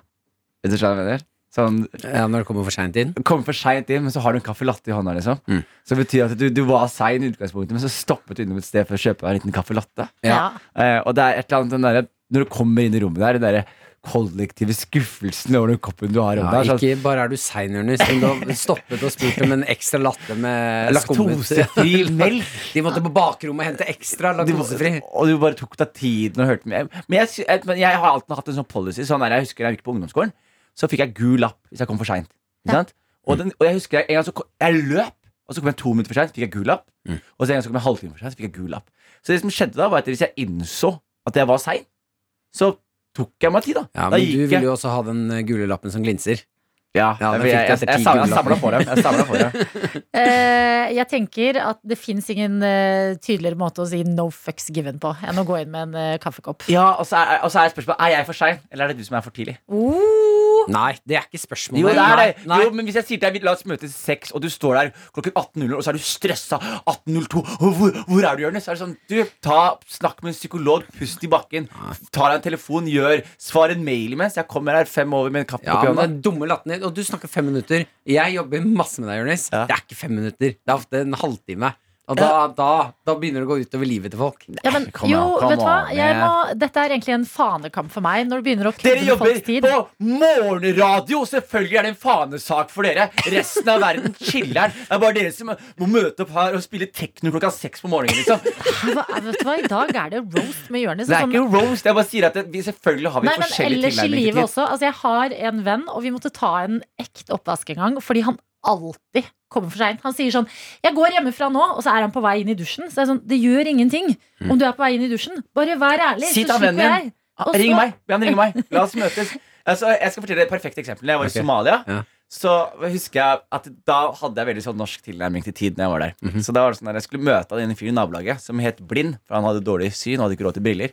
[SPEAKER 10] Vet du hva jeg mener? Sånn,
[SPEAKER 3] ja, når du kommer for seint inn?
[SPEAKER 10] Kommer for sent inn, Men så har du en caffè latte i hånda. liksom
[SPEAKER 3] Mm.
[SPEAKER 10] Så det betyr at du, du var sein i utgangspunktet, men så stoppet du innom et sted for å kjøpe deg en liten caffè latte.
[SPEAKER 2] Ja.
[SPEAKER 10] Eh, og det er et eller annet den derre- Når du kommer inn i rommet der, den derre kollektive skuffelsen over den koppen du har i
[SPEAKER 3] Ja,
[SPEAKER 10] hånda. sånn,
[SPEAKER 3] ikke bare er du sein, Jonis, men du har stoppet og spurt om en ekstra latte med
[SPEAKER 10] Laktosefri
[SPEAKER 3] skummet.
[SPEAKER 10] melk.
[SPEAKER 3] De måtte på bakrommet og hente ekstra laktosefri.
[SPEAKER 10] Og du bare tok deg tiden og hørte med. Men jeg, sy- et- men jeg har alltid hatt en sånn policy. Sånn der, jeg husker da jeg gikk på ungdomsskolen, så fikk jeg gul lapp hvis jeg kom for seint. Og, den- og jeg husker jeg, en gang så kom, jeg løp, og så kom jeg to minutter for seint, fikk jeg gul lapp.
[SPEAKER 3] Mm.
[SPEAKER 10] Og så en gang så kom jeg en halvtime for seint, fikk jeg gul lapp. Så det som skjedde da, var at hvis jeg innså at jeg var sein, så tok jeg meg tid, da.
[SPEAKER 3] Ja,
[SPEAKER 10] da
[SPEAKER 3] men du
[SPEAKER 10] gikk
[SPEAKER 3] ville jo også ha den eh, gule lappen som glinser.
[SPEAKER 10] Ja,
[SPEAKER 3] den fikk
[SPEAKER 10] for jeg,
[SPEAKER 3] du
[SPEAKER 10] jeg,
[SPEAKER 3] etter
[SPEAKER 10] jeg,
[SPEAKER 3] ti
[SPEAKER 10] sa-
[SPEAKER 3] gule
[SPEAKER 10] jeg samla
[SPEAKER 3] lapper.
[SPEAKER 10] for dem. Jeg samla for dem.
[SPEAKER 2] Eh, jeg tenker at det fins ingen eh, tydeligere måte å si no fucks given på enn å gå inn med en eh, kaffekopp.
[SPEAKER 10] Ja, og så er, og så er spørsmålet Er jeg for sein, eller er det du som er for tidlig? Oh.
[SPEAKER 3] Nei, det er ikke spørsmålet.
[SPEAKER 10] Jo, det er det.
[SPEAKER 3] Nei,
[SPEAKER 10] Jo, men hvis jeg sier til deg vi- La oss møtes seks, og du står der klokken 18.00, og så er du stressa 18.02 «Å, hvor, hvor er du, Jonis? Så er det sånn Du, ta, snakk med en psykolog, pust i bakken. Ta deg en telefon, gjør Svar en mail imens. Jeg kommer her fem over med en kapp
[SPEAKER 3] Ja,
[SPEAKER 10] oppi
[SPEAKER 3] men
[SPEAKER 10] hånda.
[SPEAKER 3] den dumme latten din Og du snakker fem minutter. Jeg jobber masse med deg, Jonis. Det er ikke fem minutter. Det er ofte en halvtime. Og da, da, da begynner det å gå utover livet til folk.
[SPEAKER 2] Ja, men,
[SPEAKER 3] Kom
[SPEAKER 2] jo,
[SPEAKER 3] an, kom
[SPEAKER 2] vet du hva?
[SPEAKER 3] an,
[SPEAKER 2] Jeg
[SPEAKER 3] jeg-
[SPEAKER 2] må, dette er egentlig en fanekamp for meg. Når du begynner å
[SPEAKER 10] Dere
[SPEAKER 2] kødde med
[SPEAKER 10] jobber
[SPEAKER 2] folks tid.
[SPEAKER 10] på morgenradio! Selvfølgelig er det en fanesak for dere. Resten av verden chiller'n. Det er bare dere som må møte opp her og spille tekno klokka seks på morgenen. liksom
[SPEAKER 2] Hva, vet du hva? I dag er det roast med Jonis.
[SPEAKER 10] Det er
[SPEAKER 2] og sånn-
[SPEAKER 10] ikke roast. Jeg bare sier at det, vi selvfølgelig har vi
[SPEAKER 2] Nei, men
[SPEAKER 10] forskjellig
[SPEAKER 2] ellers i
[SPEAKER 10] tilnærming til
[SPEAKER 2] livet
[SPEAKER 10] tid.
[SPEAKER 2] også. Altså, jeg har en venn, og vi måtte ta en ekte oppvask en gang, fordi han alltid kommer for seint. Han sier sånn 'Jeg går hjemmefra nå', og så er han på vei inn i dusjen. Så jeg er sånn, det gjør ingenting om du er på vei inn i dusjen. Bare vær ærlig,
[SPEAKER 10] Si
[SPEAKER 2] så
[SPEAKER 10] til han
[SPEAKER 2] slipper
[SPEAKER 10] vennen
[SPEAKER 2] jeg.
[SPEAKER 10] din.
[SPEAKER 2] Og så-
[SPEAKER 10] Ah, Ring meg. Be han ringe meg. La oss møtes. Altså, jeg skal fortelle deg et perfekt eksempel. Da jeg var
[SPEAKER 3] Ok.
[SPEAKER 10] i Somalia,
[SPEAKER 3] Ja.
[SPEAKER 10] så husker jeg at da hadde jeg veldig sånn norsk tilnærming til tid. Når Jeg var der
[SPEAKER 3] Mhm.
[SPEAKER 10] Så da var det sånn at jeg skulle møte han en fyr i nabolaget som het Blind, for han hadde dårlig syn og hadde ikke råd til briller.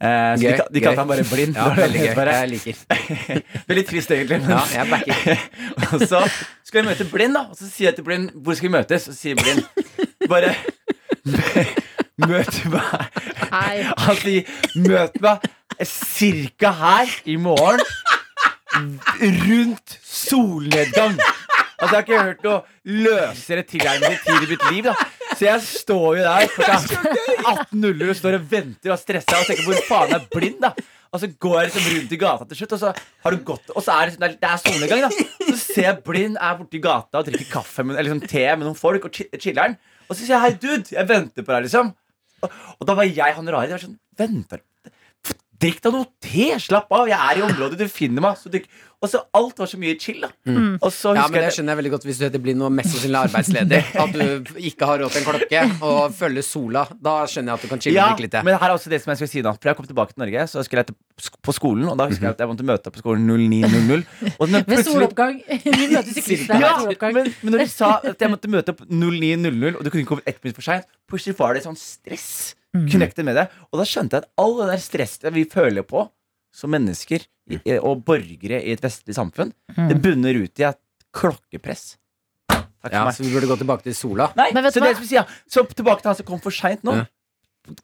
[SPEAKER 10] Eh, så de,
[SPEAKER 3] Gøy,
[SPEAKER 10] ka- de
[SPEAKER 3] gøy.
[SPEAKER 10] kalte han bare Blind.
[SPEAKER 3] Ja,
[SPEAKER 10] Det var det
[SPEAKER 3] veldig
[SPEAKER 10] han
[SPEAKER 3] gøy.
[SPEAKER 10] het bare.
[SPEAKER 3] Jeg liker.
[SPEAKER 10] Veldig trist, egentlig. Men...
[SPEAKER 3] Ja, jeg backer.
[SPEAKER 10] og så skal jeg møte Blind, da. Og så sier jeg til Blind hvor skal vi møtes. Og så sier Blind bare Møt meg Han sier møt meg cirka her i morgen rundt solnedgang. Altså, jeg har ikke hørt noe løsere tilnærming til tid i mitt liv. da Så jeg står jo der klokka 18.00 og står og venter og er stressa og tenker hvor faen er blind, da. Og så går jeg liksom rundt i gata til slutt, og så har du gått Og så er det, liksom, det er- det er solnedgang, da. Så ser jeg blind er borti gata og drikker kaffe med, eller liksom te med noen folk og chi- chiller'n. Og så sier jeg hei, dude, jeg venter på deg, liksom. Og, og da var jeg han rare. Jeg var sånn, venter Drikk deg noe te, slapp av. Jeg er i området, du finner meg. Så drikk- og så alt var så mye chill, da.
[SPEAKER 3] Mm.
[SPEAKER 10] Og så
[SPEAKER 3] Ja,
[SPEAKER 10] husker
[SPEAKER 3] men Det
[SPEAKER 10] jeg
[SPEAKER 3] skjønner jeg veldig godt hvis du heter Blind og mest sannsynlig er arbeidsledig. At du ikke har råd til en klokke og følger sola. Da skjønner jeg at du kan chille
[SPEAKER 10] ja,
[SPEAKER 3] og drikke litt. ja.
[SPEAKER 10] men her er også det som jeg skulle si da For jeg kom tilbake til Norge, så skulle jeg til sk- på skolen Og da
[SPEAKER 3] Mhm.
[SPEAKER 10] husker jeg at jeg måtte møte opp på skolen 09.00 og når
[SPEAKER 2] Ved
[SPEAKER 10] plutselig-
[SPEAKER 2] soloppgang. Vi møtes i krysset her ved
[SPEAKER 10] ja,
[SPEAKER 2] soloppgang.
[SPEAKER 10] men, men når du sa at jeg måtte møte opp 09.00 Og du kunne ikke komme ett minutt for sent
[SPEAKER 2] Mm.
[SPEAKER 10] Plutselig
[SPEAKER 3] Mm.
[SPEAKER 10] var det sånn stress Connected med det Og da skjønte jeg at all den der stress vi føler på som mennesker
[SPEAKER 3] Mm.
[SPEAKER 10] i- i- og borgere i et vestlig samfunn, det bunner ut i et klokkepress. Takk
[SPEAKER 3] Ja,
[SPEAKER 10] for meg.
[SPEAKER 3] så vi burde gå tilbake til sola.
[SPEAKER 10] Nei,
[SPEAKER 2] Men vet
[SPEAKER 10] så
[SPEAKER 2] du hva?
[SPEAKER 10] det som sier, så tilbake til han som kom for seint nå.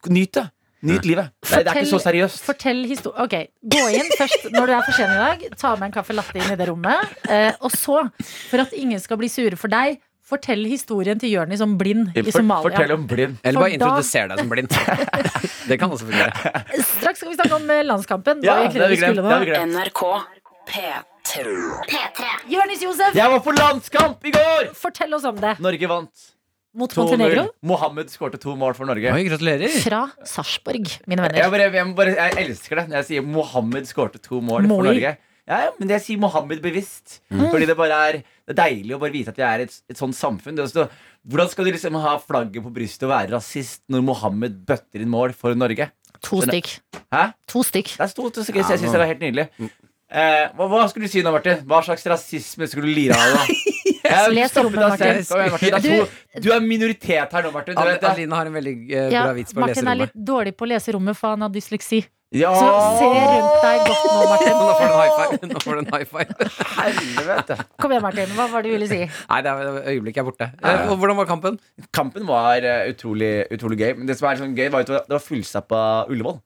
[SPEAKER 10] Nyt det. Nyt livet. Nei, det er ikke så seriøst.
[SPEAKER 2] Fortell histor- Ok, Gå inn først når du er for sen i dag. Ta med en kaffe latte inn i det rommet. Eh, og så, for at ingen skal bli sure for deg, fortell historien til Jonis om blind i Somalia.
[SPEAKER 10] blind.
[SPEAKER 2] For da-
[SPEAKER 3] Eller bare introduser deg som blind. Det kan også fungere.
[SPEAKER 2] Straks skal vi snakke om eh, landskampen.
[SPEAKER 3] Ja,
[SPEAKER 2] Hva vi
[SPEAKER 3] det har vi
[SPEAKER 2] egentlig
[SPEAKER 3] glemt,
[SPEAKER 2] skulle
[SPEAKER 3] det har vi
[SPEAKER 2] nå.
[SPEAKER 3] glemt.
[SPEAKER 4] NRK P3. P3.
[SPEAKER 2] Jonis Josef,
[SPEAKER 10] Jeg var på landskamp i går!
[SPEAKER 2] fortell oss om det.
[SPEAKER 10] Norge vant.
[SPEAKER 2] Mot
[SPEAKER 10] 2-0.
[SPEAKER 2] Montenegro
[SPEAKER 10] Mohammed skårte to mål for Norge.
[SPEAKER 2] fra Sarpsborg, mine
[SPEAKER 10] Jeg,
[SPEAKER 2] venner.
[SPEAKER 10] bare, jeg, må bare, jeg elsker det når jeg sier Mohammed skårte to mål
[SPEAKER 2] Moi.
[SPEAKER 10] for Norge. Ja, ja, men jeg sier Mohammed bevisst.
[SPEAKER 2] Mm.
[SPEAKER 10] Fordi det bare er Det er deilig å bare vite at vi er et, et sånt samfunn. Det er også, hvordan skal du liksom ha flagget på brystet og være rasist når Mohammed bøtter inn mål for Norge?
[SPEAKER 2] To
[SPEAKER 10] Skjønner-
[SPEAKER 2] stykk.
[SPEAKER 10] Hæ?
[SPEAKER 2] To stykk.
[SPEAKER 10] Det er to, to stykker, så jeg synes det var helt nydelig. Eh, hva, hva skulle du si nå, Martin? Hva slags rasisme skulle du lire av? da?
[SPEAKER 3] Les
[SPEAKER 10] Stopp
[SPEAKER 3] rommet,
[SPEAKER 10] deg selv.
[SPEAKER 3] Martin.
[SPEAKER 10] Kom igjen, Martin. Det er to- Du er minoritet her nå, Martin. Du vet det.
[SPEAKER 3] Adeline har en veldig eh,
[SPEAKER 2] Ja,
[SPEAKER 3] bra vits på å lese
[SPEAKER 2] Martin er
[SPEAKER 3] rommet.
[SPEAKER 2] litt dårlig på å lese rommet, for han har dysleksi.
[SPEAKER 10] Ja.
[SPEAKER 2] Så se rundt deg godt nå, Martin.
[SPEAKER 3] Nå får du en high five. Nå får du en high five.
[SPEAKER 10] Helvete.
[SPEAKER 2] Kom igjen, Martin. Hva var det du ville si?
[SPEAKER 3] Nei, det er øyeblikket er borte. Eh, og Hvordan var kampen?
[SPEAKER 10] Kampen var eh, utrolig, utrolig gøy. Men det som er sånn gøy, var at det var fullstappa Ullevål.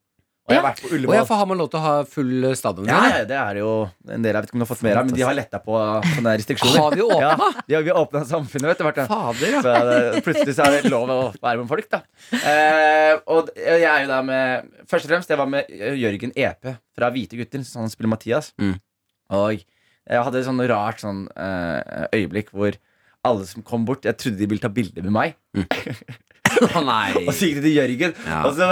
[SPEAKER 10] Og jeg har vært på
[SPEAKER 3] Og jeg
[SPEAKER 10] Ullevål.
[SPEAKER 3] får, har man lov til å ha full eh, stadion?
[SPEAKER 10] Ja,
[SPEAKER 3] eller?
[SPEAKER 10] ja, det er jo en del jeg vet ikke om du har fått mer av, men de har letta på sånne restriksjoner.
[SPEAKER 3] Har vi åpnet?
[SPEAKER 10] Ja, de har, vi har åpna samfunnet, vet du. Martin.
[SPEAKER 3] Fader, ja.
[SPEAKER 10] Så det, plutselig så er det lov å være med folk, da. Eh, og jeg er jo da med Først og fremst, jeg var med eh, Jørgen Epe fra Hvite gutter, så han spiller Mathias.
[SPEAKER 3] Mm.
[SPEAKER 10] Og jeg hadde et sånn rart sånn eh, øyeblikk hvor alle som kom bort, jeg trodde de ville ta bilde med meg.
[SPEAKER 3] Å, nei.
[SPEAKER 10] Og så gikk de til Jørgen, og så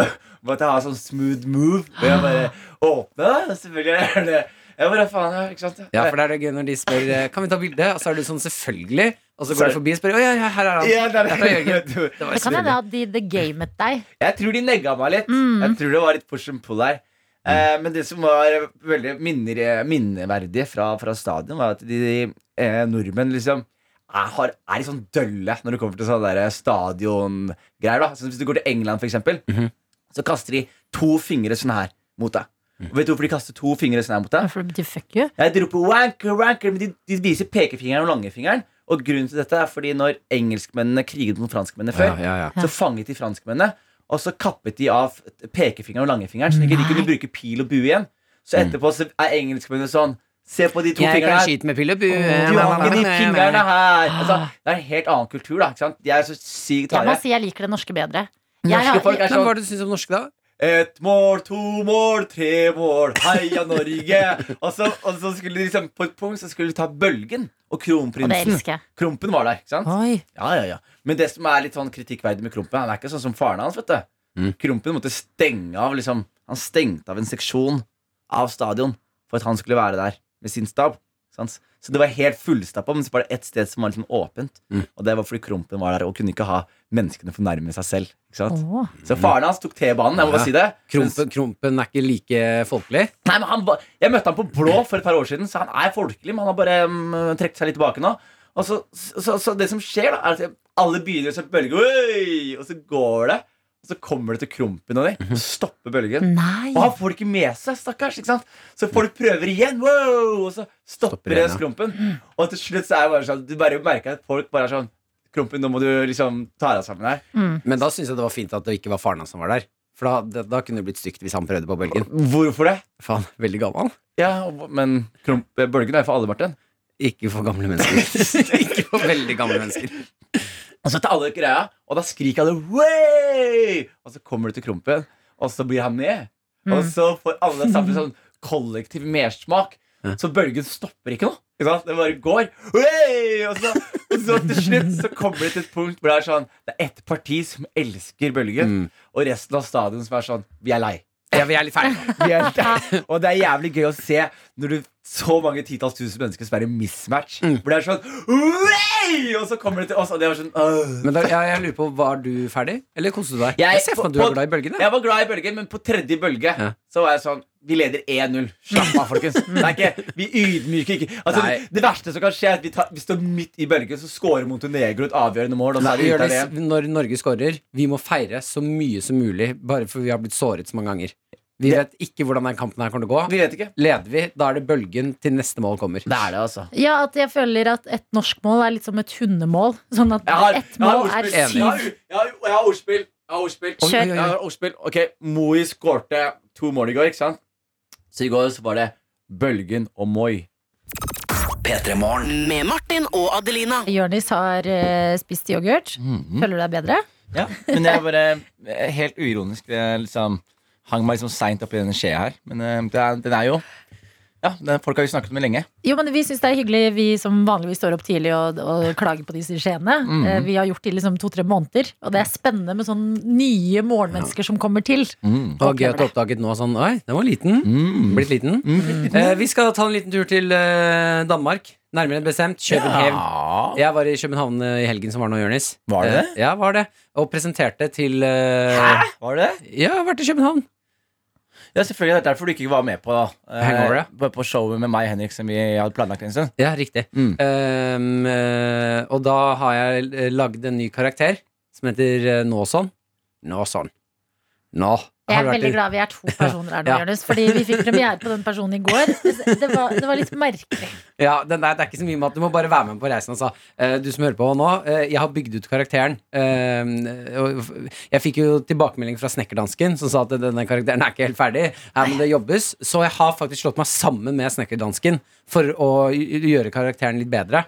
[SPEAKER 10] måtte jeg ha sånn smooth move. Og jeg bare åpna, og selvfølgelig er det Jeg bare faen, ja, ikke sant?
[SPEAKER 3] Ja, for det er det gøy når de spør eh, Kan vi ta bilde, og så er du sånn selvfølgelig, og så går
[SPEAKER 10] Sorry.
[SPEAKER 3] du forbi og spør Å ja, ja, her er han.
[SPEAKER 10] Ja, der er
[SPEAKER 3] Dette er Jørgen.
[SPEAKER 10] Jørgen.
[SPEAKER 3] Det var
[SPEAKER 2] Det kan hende at de the gamet deg.
[SPEAKER 10] Jeg tror de negga meg litt. Jeg tror det var litt push and pull her. Eh,
[SPEAKER 3] Mm.
[SPEAKER 10] men det som var veldig minner, minneverdig fra, fra stadion, var at de, eh, nordmenn liksom er, har, er i sånn dølle når det kommer til sånne der stadiongreier. da Så Hvis du går til England, for eksempel,
[SPEAKER 3] Mhm.
[SPEAKER 10] så kaster de to fingre sånn her mot deg.
[SPEAKER 3] Mm.
[SPEAKER 10] Og vet du hvorfor de kaster to fingre sånn her mot deg?
[SPEAKER 2] For de fuck you.
[SPEAKER 10] Jeg de roper wanker, wanker, men de, de viser pekefingeren og langefingeren. Og grunnen til dette er fordi når engelskmennene kriget mot franskmennene før,
[SPEAKER 3] Ja, ja,
[SPEAKER 10] så fanget de franskmennene, og så kappet de av pekefingeren og langefingeren, så de ikke de kunne bruke pil og bue igjen. Så etterpå så er engelskmennene sånn Se på de to
[SPEAKER 3] Mm. Jeg
[SPEAKER 10] fingrene
[SPEAKER 3] kan
[SPEAKER 10] her.
[SPEAKER 3] skyte med Eh, pil og bue.
[SPEAKER 10] Du har ikke de fingrene her. Altså, det er en helt annen kultur, da. Ikke sant? De er så
[SPEAKER 2] Jeg
[SPEAKER 10] sykt
[SPEAKER 2] må
[SPEAKER 10] harde.
[SPEAKER 2] si jeg liker det norske bedre. Jeg
[SPEAKER 10] Norske
[SPEAKER 2] har-
[SPEAKER 10] folk er
[SPEAKER 3] Men hva er
[SPEAKER 10] sånn
[SPEAKER 3] det du syns om norske, da?
[SPEAKER 10] Ett mål, to mål, tre mål, heia Norge! Og så, og så skulle de liksom på et punkt så skulle de ta Bølgen og
[SPEAKER 2] Og det
[SPEAKER 10] Kronprinsen.
[SPEAKER 2] elsker jeg.
[SPEAKER 10] Krompen var der, ikke sant?
[SPEAKER 2] Oi.
[SPEAKER 10] Ja, ja, ja. Men det som er litt sånn kritikkverdig med Krompen, han er ikke sånn som faren hans, vet du. Krompen måtte stenge av, liksom. Han stengte av en seksjon av stadion for at han skulle være der med sin stab. Sant? Så det var helt fullstappa, men så var det ett sted som var liksom åpent. Og det var fordi Krompen var der og kunne ikke ha menneskene fornærme seg selv. Ikke sant?
[SPEAKER 2] Åh.
[SPEAKER 10] Så faren hans tok T-banen, jeg
[SPEAKER 3] Ja.
[SPEAKER 10] må bare si det.
[SPEAKER 3] Krompen, krompen er ikke like folkelig?
[SPEAKER 10] Nei, men han, var- jeg møtte han på Blå for et par år siden, så han er folkelig, men han har bare mm, trukket seg litt tilbake nå. Og så, så, så det som skjer, da, er at alle begynner å se på bølge, «Oi!» og så går det. Og så kommer det til krumpen og de,
[SPEAKER 3] Mhm.
[SPEAKER 10] og stopper bølgen.
[SPEAKER 2] Nei.
[SPEAKER 10] Og han får det ikke med seg, stakkars. ikke sant? Så folk prøver igjen, wow! og så stopper det
[SPEAKER 3] igjen, ja.
[SPEAKER 10] skrumpen. Og til slutt så er det bare sånn, du bare merker at folk bare er sånn Krumpen, nå må du liksom ta deg sammen her.
[SPEAKER 3] Men da syns jeg det var fint at det ikke var faren hans som var der. For da, det, da kunne det blitt stygt hvis han prøvde på bølgen.
[SPEAKER 10] Hvorfor det?
[SPEAKER 3] Faen, veldig gammel.
[SPEAKER 10] Ja, og- men Krump- bølgen er jo for alle, Martin.
[SPEAKER 3] Ikke for gamle mennesker. ikke for veldig gamle mennesker.
[SPEAKER 10] Og så tar alle greia, og da skriker alle Way! Og så kommer du til Krompen, og så blir han med. Og så får alle sammen sånn kollektiv mersmak. Så bølgen stopper ikke nå. Ikke sant? Det bare går. Way! Og så, og så til slutt så kommer det til et punkt hvor det er sånn Det er ett parti som elsker bølgen, og resten av stadion som er sånn Vi er lei.
[SPEAKER 3] Ja, vi er litt ferdige.
[SPEAKER 10] Vi er der. Og det er jævlig gøy å se når du så mange titalls tusen mennesker som er i mismatch. Hvor det er sånn Way! Og så kommer det til oss, og det var sånn «Åh».
[SPEAKER 3] Men da, ja, jeg lurer på, var du ferdig? Eller koste du deg?
[SPEAKER 10] Jeg-
[SPEAKER 3] Jeg ser for meg at du
[SPEAKER 10] på-
[SPEAKER 3] er glad i bølgene.
[SPEAKER 10] Jeg var glad i bølgen, men på tredje bølge
[SPEAKER 3] Ja.
[SPEAKER 10] så var jeg sånn Vi leder 1-0. Slapp av, folkens. Det er ikke, vi ydmyker ikke. Altså,
[SPEAKER 3] Nei.
[SPEAKER 10] det, det verste som kan skje, er at vi, tar, vi står midt i bølgen, så scorer Montenegro et avgjørende mål. Og så
[SPEAKER 3] Nei,
[SPEAKER 10] er vi ute av
[SPEAKER 3] Jonis,
[SPEAKER 10] VM.
[SPEAKER 3] når Norge scorer, vi må feire så mye som mulig, bare for vi har blitt såret så mange ganger. Vi vet ikke hvordan den kampen her kommer til å gå.
[SPEAKER 10] Vi vet ikke
[SPEAKER 3] Leder vi, da er det bølgen til neste mål kommer.
[SPEAKER 10] Det er det altså
[SPEAKER 2] Ja, at jeg føler at et norsk mål er litt som et hundemål. Sånn at
[SPEAKER 10] Jeg har,
[SPEAKER 2] ett mål er
[SPEAKER 10] ordspill. Jeg har,
[SPEAKER 2] syv.
[SPEAKER 10] jeg har, jeg har ordspill. Jeg har ordspill.
[SPEAKER 2] Oi, Kjør. oi, oi.
[SPEAKER 10] Jeg har ordspill. Ok, Moi skårte to mål i går, ikke sant? Så i går så var det Bølgen og Moi.
[SPEAKER 4] Med Martin og Adelina.
[SPEAKER 2] Jørnis har eh, spist yoghurt.
[SPEAKER 10] Mhm.
[SPEAKER 2] Føler du deg bedre?
[SPEAKER 10] Ja, men jeg bare eh, Helt uironisk. Det liksom hang meg liksom seint oppi denne skjea her. Men eh, det er, den er jo Ja, den, folk har jo snakket om det lenge.
[SPEAKER 2] Jo, men Vi syns det er hyggelig, vi som vanligvis står opp tidlig og, og klager på disse skjeene.
[SPEAKER 10] Mhm.
[SPEAKER 2] Eh, Vi har gjort det i liksom to-tre måneder, og det er spennende med sånn nye morgenmennesker som kommer til.
[SPEAKER 3] Det var gøy at du oppdaget nå sånn Oi, den var liten. Blitt liten.
[SPEAKER 10] Mm.
[SPEAKER 3] Eh, vi skal ta en liten tur til eh, Danmark. Nærmere bestemt København. Jeg var i København eh, i helgen som var nå, Jonis.
[SPEAKER 10] Var det det?
[SPEAKER 3] Eh, ja, var det. Og presenterte til eh,
[SPEAKER 10] Var det det?
[SPEAKER 3] Ja, jeg har vært i København.
[SPEAKER 10] Ja, selvfølgelig. Det er derfor du ikke var med på da eh,
[SPEAKER 3] Hangover, ja.
[SPEAKER 10] på- På showet med meg og Henrik som vi hadde planlagt en stund.
[SPEAKER 3] Ja, riktig. Um, eh, og da har jeg eh, lagd en ny karakter som heter uh, Nåson. Nåson. Nå.
[SPEAKER 2] Jeg
[SPEAKER 3] Har
[SPEAKER 2] er
[SPEAKER 3] du vært
[SPEAKER 2] veldig
[SPEAKER 3] i-
[SPEAKER 2] glad vi er to personer her nå,
[SPEAKER 3] Ja.
[SPEAKER 2] Jonas. Fordi vi fikk premiere på den personen i går. Det var, det var litt merkelig.
[SPEAKER 3] Ja, den der, det er ikke så mye med at du må bare være med på reisen. Altså. Eh, du som hører på nå, eh, jeg har bygd ut karakteren. Eh, og f- jeg fikk jo tilbakemelding fra snekkerdansken som sa at denne karakteren er ikke helt ferdig. Her må det jobbes. Så jeg har faktisk slått meg sammen med snekkerdansken for å gj- gjøre karakteren litt bedre.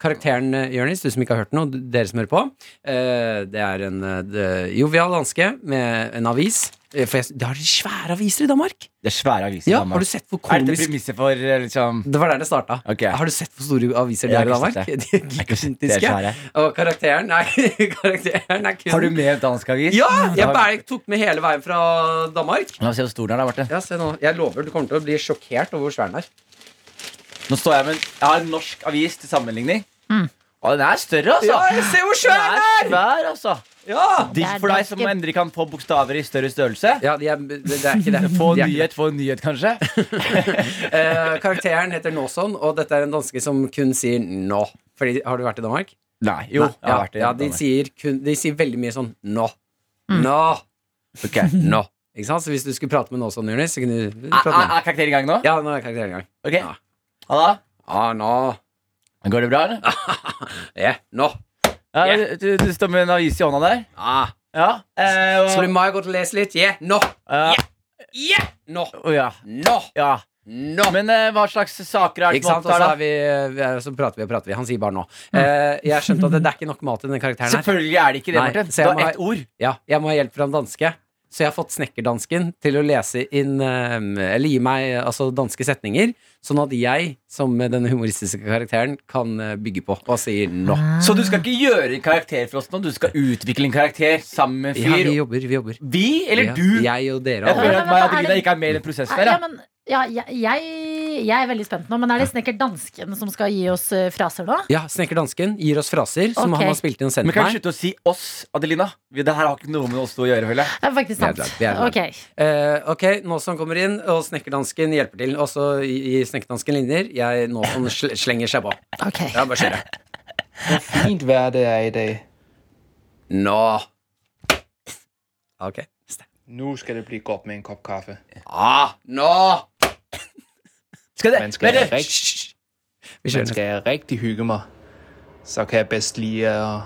[SPEAKER 3] Karakteren eh, Jonis, du som ikke har hørt den, og d- dere som hører på, eh, det er en eh, d- jovial danske med en avis. Eh, For jeg, det har de svære aviser i Danmark!
[SPEAKER 10] Det er svære aviser i
[SPEAKER 3] Ja,
[SPEAKER 10] Danmark.
[SPEAKER 3] har du sett hvor
[SPEAKER 10] Er dette
[SPEAKER 3] komisk
[SPEAKER 10] premisset for eh, liksom
[SPEAKER 3] det var der det starta.
[SPEAKER 10] Ok.
[SPEAKER 3] Har du sett hvor store aviser de
[SPEAKER 10] Jeg har
[SPEAKER 3] har i
[SPEAKER 10] ikke
[SPEAKER 3] Danmark?
[SPEAKER 10] sett det.
[SPEAKER 3] De er
[SPEAKER 10] Jeg har ikke sett det,
[SPEAKER 3] gigantiske.
[SPEAKER 10] dessverre.
[SPEAKER 3] Og karakteren nei, karakteren er kun
[SPEAKER 10] Har du med dansk avis? Mm.
[SPEAKER 3] Ja! Jeg
[SPEAKER 10] Da-
[SPEAKER 3] bare tok med hele veien fra Danmark.
[SPEAKER 10] La oss se hvor stor den er, da, Marte.
[SPEAKER 3] Ja, se nå. Jeg lover, du kommer til å bli sjokkert over hvor svær den er.
[SPEAKER 10] Nå står jeg med en, Jeg har en norsk avis til sammenligning. Og den er større, altså.
[SPEAKER 3] Mm. Ja, jeg ser hvor svær den er!
[SPEAKER 10] Den er svær, altså.
[SPEAKER 3] Det
[SPEAKER 10] Digg
[SPEAKER 3] er
[SPEAKER 10] for deg
[SPEAKER 3] ganske-
[SPEAKER 10] som endelig kan få bokstaver i større størrelse.
[SPEAKER 3] Ja, de er, det det er ikke det.
[SPEAKER 10] Få
[SPEAKER 3] De er ikke det.
[SPEAKER 10] en nyhet, få en nyhet, kanskje.
[SPEAKER 3] Eh, karakteren heter Nåson, og dette er en danske som kun sier nå. Fordi, har du vært i Danmark?
[SPEAKER 10] Nei, jo, jeg har
[SPEAKER 3] ja,
[SPEAKER 10] vært i
[SPEAKER 3] ja, de,
[SPEAKER 10] Danmark.
[SPEAKER 3] sier kun, de sier veldig mye sånn nå.
[SPEAKER 10] Mm.
[SPEAKER 3] Nå.
[SPEAKER 10] Ok.
[SPEAKER 3] nå. Ikke sant? Så hvis du skulle prate med Nåson, Jonis, så kunne du
[SPEAKER 10] Er,
[SPEAKER 3] prate
[SPEAKER 10] Ah, er,
[SPEAKER 3] med
[SPEAKER 10] er karakteren i gang nå?
[SPEAKER 3] Ja, nå er karakteren i gang.
[SPEAKER 10] ah. Ok.
[SPEAKER 3] Ja.
[SPEAKER 10] Halla.
[SPEAKER 3] Ah, nå.
[SPEAKER 10] Går det bra,
[SPEAKER 3] Ah,
[SPEAKER 10] eller?
[SPEAKER 3] Ja, nå.
[SPEAKER 10] Ja, du, du står med en avis i hånda der.
[SPEAKER 3] Ah.
[SPEAKER 10] Ja. Eh, og-
[SPEAKER 3] Skulle Mai gått og lese litt? Ja, nå.
[SPEAKER 10] Ja.
[SPEAKER 3] Ja, nå.
[SPEAKER 10] Å, ja.
[SPEAKER 3] Nå.
[SPEAKER 10] ja. Men eh, hva slags saker er det
[SPEAKER 3] Ikke
[SPEAKER 10] som
[SPEAKER 3] sant? Og så,
[SPEAKER 10] opptar
[SPEAKER 3] er
[SPEAKER 10] deg?
[SPEAKER 3] vi, eh, vi er, så prater vi og prater vi. Han sier bare nå.
[SPEAKER 10] Mm.
[SPEAKER 3] Eh, jeg skjønte at det, det er ikke nok mat i denne karakteren her.
[SPEAKER 10] Selvfølgelig er det ikke det,
[SPEAKER 3] Nei,
[SPEAKER 10] Martin.
[SPEAKER 3] så
[SPEAKER 10] Det
[SPEAKER 3] jeg
[SPEAKER 10] var
[SPEAKER 3] må-
[SPEAKER 10] ett ord.
[SPEAKER 3] Ja, jeg må ha hjelp fra en danske. Så jeg har fått snekkerdansken til å lese inn eh, Eller gi meg eh, altså, danske setninger, sånn at jeg, som denne humoristiske karakteren, kan eh, bygge på og sier nå.
[SPEAKER 10] Så du skal ikke gjøre en karakter for oss nå, du skal utvikle en karakter sammen med en
[SPEAKER 3] Ja,
[SPEAKER 10] fyr.
[SPEAKER 3] vi jobber, vi jobber.
[SPEAKER 10] vi, eller
[SPEAKER 3] Ja,
[SPEAKER 10] du?
[SPEAKER 3] Jeg og dere.
[SPEAKER 10] Jeg
[SPEAKER 3] alle.
[SPEAKER 10] føler at
[SPEAKER 2] men
[SPEAKER 10] meg og
[SPEAKER 2] hva er
[SPEAKER 10] Adelina
[SPEAKER 2] det-
[SPEAKER 10] ikke er med i den prosessen der.
[SPEAKER 2] Ja,
[SPEAKER 10] Ja.
[SPEAKER 2] men, ja, jeg, jeg- jeg er veldig spent nå, men er det snekker dansken som skal gi oss eh, fraser nå?
[SPEAKER 3] Ja, Snekker Dansken gir oss fraser som
[SPEAKER 2] Ok.
[SPEAKER 3] han har spilt inn og sendt
[SPEAKER 10] Men kan du
[SPEAKER 3] meg.
[SPEAKER 10] slutte å si oss, Adelina? Vi- Det her har ikke noe med oss to å gjøre, føler jeg.
[SPEAKER 2] Det er faktisk
[SPEAKER 3] Vi er
[SPEAKER 2] sant.
[SPEAKER 3] glad, vi er glad.
[SPEAKER 2] Ok.
[SPEAKER 3] Eh, ok, nå som kommer inn, og snekkerdansken hjelper til. Og så gir snekkerdansken linjer. Jeg nå som sl slenger seg på.
[SPEAKER 2] Ok.
[SPEAKER 3] Ja, bare kjør. det.
[SPEAKER 14] Fint vær det er i dag.
[SPEAKER 3] Nå. Ok.
[SPEAKER 14] Nu skal det blive godt med en kop kaffe.
[SPEAKER 3] Ah, nå!
[SPEAKER 10] Skal det?
[SPEAKER 14] Man skal,
[SPEAKER 10] Vent litt.
[SPEAKER 14] rigt- man skal rigtig hygge mig. Så kan jeg bedst lide at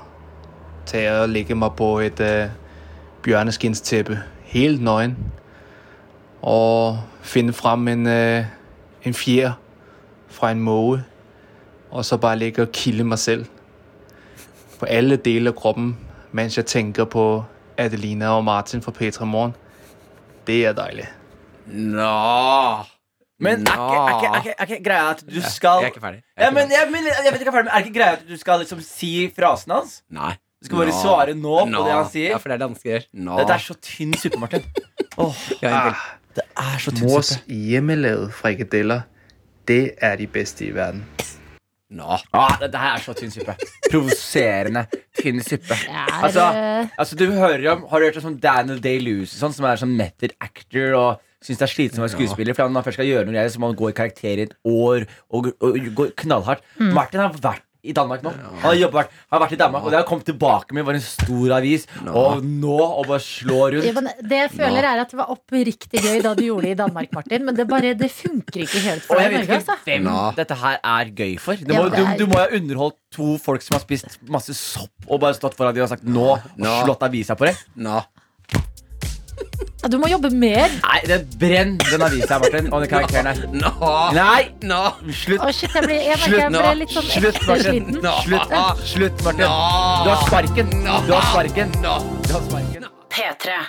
[SPEAKER 14] tage og ligge mig på et øh, bjørneskinstæppe. Helt nøgen. Og finde frem en, øh, en fjer fra en måge. Og så bare ligge og kilde mig selv. På alle dele af kroppen, mens jeg tænker på Adelina og Martin fra Petra Morgen. Det er deiligt.
[SPEAKER 3] Nå.
[SPEAKER 10] Men er ikke, er, ikke, er, ikke, er ikke greia at du skal
[SPEAKER 3] Jeg er ikke ferdig. Jeg
[SPEAKER 10] Ja,
[SPEAKER 3] er ikke
[SPEAKER 10] men,
[SPEAKER 3] ferdig.
[SPEAKER 10] jeg, men, jeg vet ikke, hva jeg er ferdig, men er det ikke greia at du skal liksom si frasen hans?
[SPEAKER 3] Nei.
[SPEAKER 10] Du skal bare
[SPEAKER 3] Nå.
[SPEAKER 10] svare nå på
[SPEAKER 3] Nå.
[SPEAKER 10] det han sier?
[SPEAKER 3] Ja, for det er det dansker gjør. Nå.
[SPEAKER 10] Dette er så tynn suppe, Martin. Åh,
[SPEAKER 3] Ja,
[SPEAKER 14] Ah.
[SPEAKER 10] det er så tynn
[SPEAKER 14] Mors
[SPEAKER 10] suppe.
[SPEAKER 14] hjemmelavede frikadeller, det er de bedste i verden.
[SPEAKER 3] Nå.
[SPEAKER 10] Ah, dette her er så tynn suppe. Provoserende tynn suppe.
[SPEAKER 2] er,
[SPEAKER 10] Altså,
[SPEAKER 2] eh,
[SPEAKER 10] altså du hører om, Har du hørt om sånn Daniel Day-Lewis, og sånn, som er sånn method actor og syns det er slitsomt å være skuespiller?
[SPEAKER 2] Mm.
[SPEAKER 10] For når han først skal gjøre noe, greier, så må han gå i karakter i et år og, og, og gå knallhardt. Martin har vært i Danmark nå. Han har, jobbet, han har vært i Danmark, og det har kommet tilbake med bare en stor avis. Og nå, og bare slå rundt.
[SPEAKER 2] Ja, men Det jeg føler er at det var oppriktig gøy da du gjorde det i Danmark, Martin. Men det bare, det funker ikke helt for
[SPEAKER 10] Og
[SPEAKER 2] deg
[SPEAKER 10] jeg
[SPEAKER 2] i
[SPEAKER 10] vet
[SPEAKER 2] Norge.
[SPEAKER 10] ikke
[SPEAKER 2] Altså.
[SPEAKER 10] hvem dette her er gøy for. Det
[SPEAKER 2] Ja,
[SPEAKER 10] må,
[SPEAKER 2] det
[SPEAKER 10] du,
[SPEAKER 2] er-
[SPEAKER 10] du må jo ha underholdt to folk som har spist masse sopp og bare stått foran dem og sagt 'nå' og slått avisa på deg.
[SPEAKER 2] Ja, Du må jobbe mer.
[SPEAKER 10] Nei, den brenn den avisa, Martin, og den karakteren her. Nei! Slutt.
[SPEAKER 2] Å, shit, jeg, blir, jeg merker jeg
[SPEAKER 10] Slutt nå.
[SPEAKER 2] ble litt sånn
[SPEAKER 10] Slutt,
[SPEAKER 2] ekte
[SPEAKER 10] Martin.
[SPEAKER 2] sliten.
[SPEAKER 10] Slutt, slutt, Martin. Du har sparken. Du har sparken. Du har sparken.
[SPEAKER 4] P3.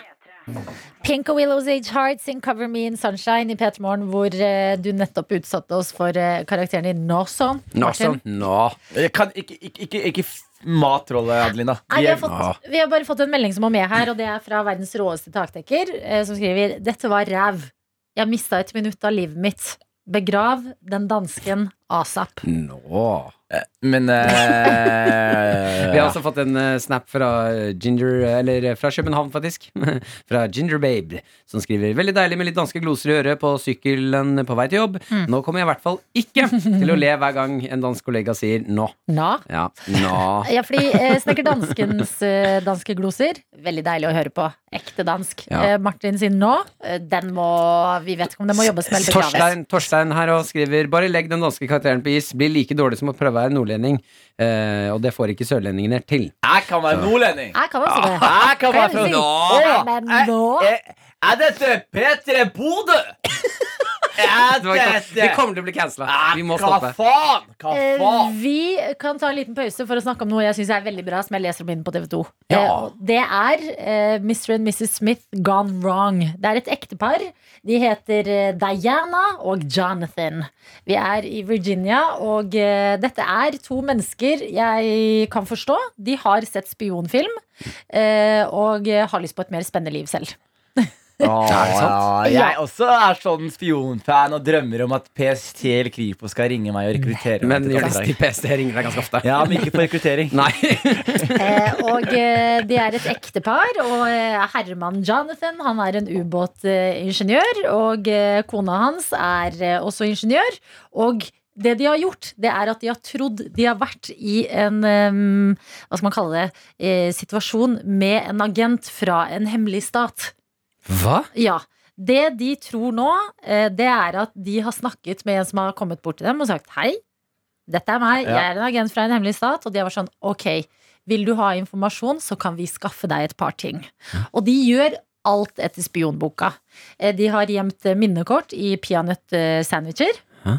[SPEAKER 2] Pink og Willows Age Hearts in Cover Me in Sunshine i P3 Morgen, hvor eh, du nettopp utsatte oss for eh, karakteren din Nawson. Martin.
[SPEAKER 10] Jeg kan ikke, ikke, ikke, ikke f- mat trollet, Adelina.
[SPEAKER 2] Nei, vi,
[SPEAKER 10] Vi
[SPEAKER 2] har
[SPEAKER 10] er-
[SPEAKER 2] fått, vi har bare fått en melding som var med her, og det er fra verdens råeste takdekker, eh, som skriver Dette var ræv. Jeg mista et minutt av livet mitt. Begrav den dansken asap.
[SPEAKER 3] Eh,
[SPEAKER 10] Men eh,
[SPEAKER 3] Vi har også fått en eh, snap fra Ginger eh, Eller fra København, faktisk. fra Ginger Babe, som skriver Veldig deilig med litt danske gloser i øret på sykkelen på vei til jobb. Nå kommer jeg i hvert fall ikke til å le hver gang en dansk kollega sier nå.
[SPEAKER 2] Nå.
[SPEAKER 3] Ja, nå.
[SPEAKER 2] Ja, fordi eh, Snekker Danskens eh, danske gloser, veldig deilig å høre på. Ekte dansk.
[SPEAKER 3] Ja.
[SPEAKER 2] Eh, Martin sin nå, eh, den må Vi vet ikke om den må jobbes med eller begraves.
[SPEAKER 3] Torstein, Torstein her og skriver Bare legg den danske karakteren på is. Blir like dårlig som å prøve å være nordlending. Eh, og det får ikke sørlendingene til.
[SPEAKER 10] Jeg kan være
[SPEAKER 3] Så.
[SPEAKER 10] nordlending.
[SPEAKER 2] Jeg kan også
[SPEAKER 3] Ah,
[SPEAKER 2] det.
[SPEAKER 10] Jeg kan være fra
[SPEAKER 2] si.
[SPEAKER 10] nå.
[SPEAKER 2] Ja, men
[SPEAKER 3] Eh,
[SPEAKER 2] nå
[SPEAKER 10] Eh, Er dette P3 Bodø? Er
[SPEAKER 3] Det var ikke-
[SPEAKER 10] dette-
[SPEAKER 3] Vi kommer til å bli Ah, cancela. Vi må
[SPEAKER 10] Hva
[SPEAKER 3] stoppe.
[SPEAKER 10] faen? Hva
[SPEAKER 2] Eh,
[SPEAKER 10] faen?
[SPEAKER 2] Vi kan ta en liten pause for å snakke om noe jeg syns er veldig bra, som jeg leser om inne på TV2.
[SPEAKER 10] Ja.
[SPEAKER 2] Eh, og Det er eh, Mr. and Mrs. Smith Gone Wrong. Det er et ektepar. De heter eh, Diana og Jonathan. Vi er i Virginia, og eh, dette er to mennesker jeg kan forstå. De har sett spionfilm eh, og eh, har lyst på et mer spennende liv selv.
[SPEAKER 10] Åh,
[SPEAKER 2] Er det sant?
[SPEAKER 10] Ja,
[SPEAKER 2] Ja.
[SPEAKER 10] jeg også er sånn spionfan og drømmer om at PST eller Kripos skal ringe meg og rekruttere
[SPEAKER 3] Men
[SPEAKER 10] meg.
[SPEAKER 3] de fleste i PST ringer deg ganske ofte.
[SPEAKER 10] Ja, men ikke på rekruttering.
[SPEAKER 2] Eh, og eh, de er et ektepar. Og eh, herremannen Jonathan han er en ubåtingeniør. Og eh, kona hans er eh, også ingeniør. Og det de har gjort, det er at de har trodd de har vært i en eh, hva skal man kalle det, eh, situasjon med en agent fra en hemmelig stat.
[SPEAKER 3] Hva?
[SPEAKER 2] Ja. Det de tror nå, eh, det er at de har snakket med en som har kommet bort til dem og sagt hei, dette er meg, jeg
[SPEAKER 15] Ja.
[SPEAKER 2] er en agent fra en hemmelig stat. Og de var sånn ok, vil du ha informasjon, så kan vi skaffe deg et par ting. Og de gjør alt etter spionboka. Eh, De har gjemt eh, minnekort i peanøttsandwicher.
[SPEAKER 3] Hæ?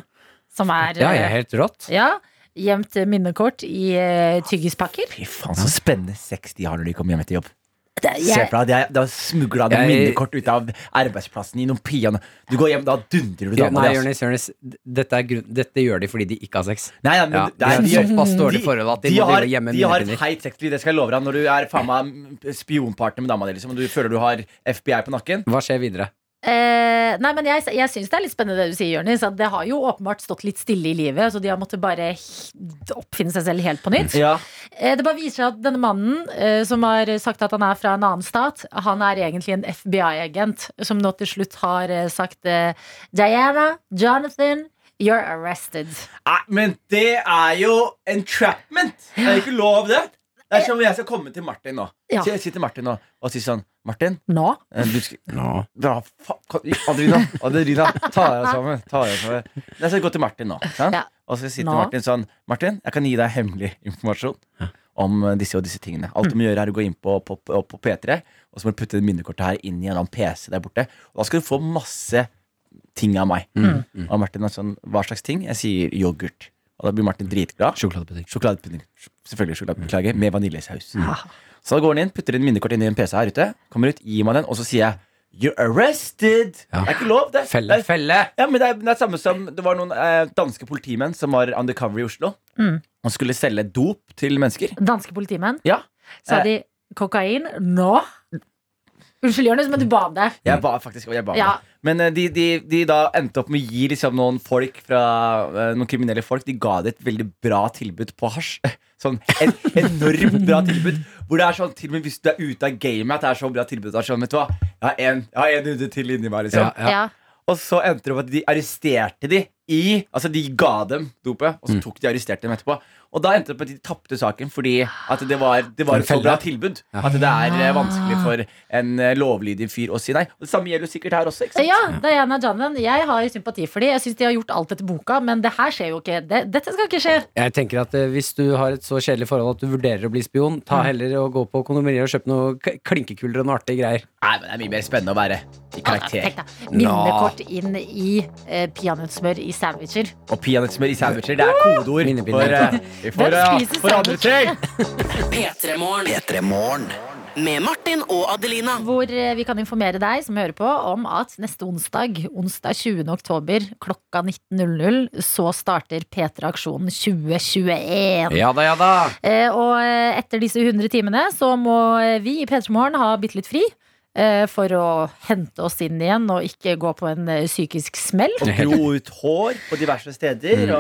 [SPEAKER 2] Som er
[SPEAKER 3] Ja,
[SPEAKER 2] eh,
[SPEAKER 3] jeg er helt rått.
[SPEAKER 2] Ja. Gjemt eh, minnekort i eh, tyggispakker.
[SPEAKER 10] Fy faen, så spennende sex de har når de kommer hjem etter jobb.
[SPEAKER 2] Det-
[SPEAKER 10] Se
[SPEAKER 2] jeg-
[SPEAKER 10] for deg, at de har smugla noen
[SPEAKER 3] Jeg-
[SPEAKER 10] minnekort ut av arbeidsplassen i noen peanøtter. Du går hjem, da dundrer du
[SPEAKER 3] Ja,
[SPEAKER 10] dama
[SPEAKER 3] Nei,
[SPEAKER 10] di, ass.
[SPEAKER 3] Jonis, Jonis. Dette, er grunn, dette gjør de fordi de ikke har sex.
[SPEAKER 10] Nei, ja, men
[SPEAKER 3] Ja,
[SPEAKER 10] det er-
[SPEAKER 3] de har
[SPEAKER 10] de-
[SPEAKER 3] såpass dårlig forhold at de, må
[SPEAKER 10] har,
[SPEAKER 3] drive hjemme
[SPEAKER 10] de har et
[SPEAKER 3] minnepinner.
[SPEAKER 10] heit sexliv, det skal jeg love deg. Når du er faen meg spionpartner med dama di, liksom, og du føler du har FBI på nakken.
[SPEAKER 3] Hva skjer videre?
[SPEAKER 2] Eh, nei, men jeg, jeg syns det er litt spennende det du sier, Jonis. At det har jo åpenbart stått litt stille i livet, så de har måttet bare he- oppfinne seg selv helt på nytt.
[SPEAKER 10] Ja.
[SPEAKER 2] Eh, det bare viser seg at denne mannen eh, som har sagt at han er fra en annen stat, han er egentlig en FBI-agent som nå til slutt har eh, sagt eh, Diana, Jonathan, you're arrested.
[SPEAKER 10] Nei, men det er jo entrapment! Det er jo ikke lov, det. Det er som om jeg skal komme til Martin nå.
[SPEAKER 2] Ja.
[SPEAKER 10] Så jeg sier til Martin nå og sier sånn Martin,
[SPEAKER 2] Nå?
[SPEAKER 10] eh, du skal Bra, fa- kan- Adelina, Adelina, ta deg sammen. Ta deg sammen. Jeg skal gå til Martin nå. sant? Og så skal jeg si til
[SPEAKER 9] Nå.
[SPEAKER 10] Martin sånn Martin, jeg kan gi deg hemmelig informasjon om eh, disse og disse tingene. Alt du må gjøre, er å gå inn på, på, på, på P3, og så må du putte det minnekortet her inn i en eller annen PC der borte. Og da skal du få masse ting av meg.
[SPEAKER 9] Mm.
[SPEAKER 10] Og Martin er sånn Hva slags ting? Jeg sier yoghurt. Og da blir Martin dritglad. Sjokoladepudding. Sj- Selvfølgelig sjokoladebeklager. Med vaniljesaus. Så da går han inn, putter inn minnekort inn i en PC her ute, kommer ut, gir meg den, og så sier jeg You're arrested! Det er ikke lov, det. Felle, det er,
[SPEAKER 3] felle.
[SPEAKER 10] Ja, men det er, det er samme som Det var noen eh, danske politimenn som var undercover i Oslo.
[SPEAKER 2] Mm.
[SPEAKER 10] Og skulle selge dop til mennesker.
[SPEAKER 2] Danske politimenn.
[SPEAKER 10] Ja.
[SPEAKER 2] Sa
[SPEAKER 10] Eh,
[SPEAKER 2] de kokain nå? Unnskyld, Jonis, men du ba om det.
[SPEAKER 10] Jeg ba faktisk jeg ba om
[SPEAKER 2] Ja.
[SPEAKER 10] det. Men eh, de, de, de da endte opp med å gi liksom noen folk fra eh, Noen kriminelle folk De ga det et veldig bra tilbud på hasj. Sånn en, enormt bra tilbud. Hvor det er sånn til og med hvis du er ute av gamet, at det er så bra tilbud. Det er sånn, vet du hva, Jeg har en- jeg har en hund til inni meg, liksom.
[SPEAKER 2] Ja, ja.
[SPEAKER 10] Og så endte det opp at de arresterte de i Altså, de ga dem dopet,
[SPEAKER 3] Mm.
[SPEAKER 10] og så tok de og arresterte dem etterpå. Og da endte det på at de tapte saken fordi at det var, det var
[SPEAKER 9] En
[SPEAKER 10] et så
[SPEAKER 9] felle.
[SPEAKER 10] bra tilbud
[SPEAKER 9] Ja.
[SPEAKER 10] at det er eh,
[SPEAKER 2] Ah.
[SPEAKER 10] vanskelig for en eh, lovlydig fyr å si nei. Og det samme gjelder jo sikkert her også, ikke sant?
[SPEAKER 2] Ja, Diana Janven. Jeg har sympati for de Jeg syns de har gjort alt etter boka, men det her skjer jo ikke. Det, dette skal ikke skje.
[SPEAKER 3] Jeg tenker at eh, Hvis du har et så kjedelig forhold at du vurderer å bli spion,
[SPEAKER 10] Mm.
[SPEAKER 3] ta heller og gå på kondomeriet og kjøpe noe k- klinkekuler og noe artige greier.
[SPEAKER 10] Nei, men Det er mye mer spennende å være i karakter.
[SPEAKER 2] Tenk deg, Minnekort inn i eh, peanøttsmør i sandwicher.
[SPEAKER 10] Og peanøttsmør i sandwicher. Det er kodeord for, eh, for,
[SPEAKER 4] Hvem
[SPEAKER 10] eh,
[SPEAKER 4] spiser
[SPEAKER 10] for andre ting.
[SPEAKER 4] P3morgen. Med Martin og Adelina.
[SPEAKER 2] Hvor eh, vi kan informere deg som hører på om at neste onsdag, onsdag 20. oktober klokka 19.00, så starter P3-aksjonen 2021.
[SPEAKER 3] Ja da, ja da.
[SPEAKER 2] Eh, og eh, etter disse 100 timene så må eh, vi i P3 Morgen ha bitte litt fri. eh, For å hente oss inn igjen og ikke gå på en eh, psykisk smell.
[SPEAKER 10] Og gro ut hår på diverse steder.
[SPEAKER 3] Mm,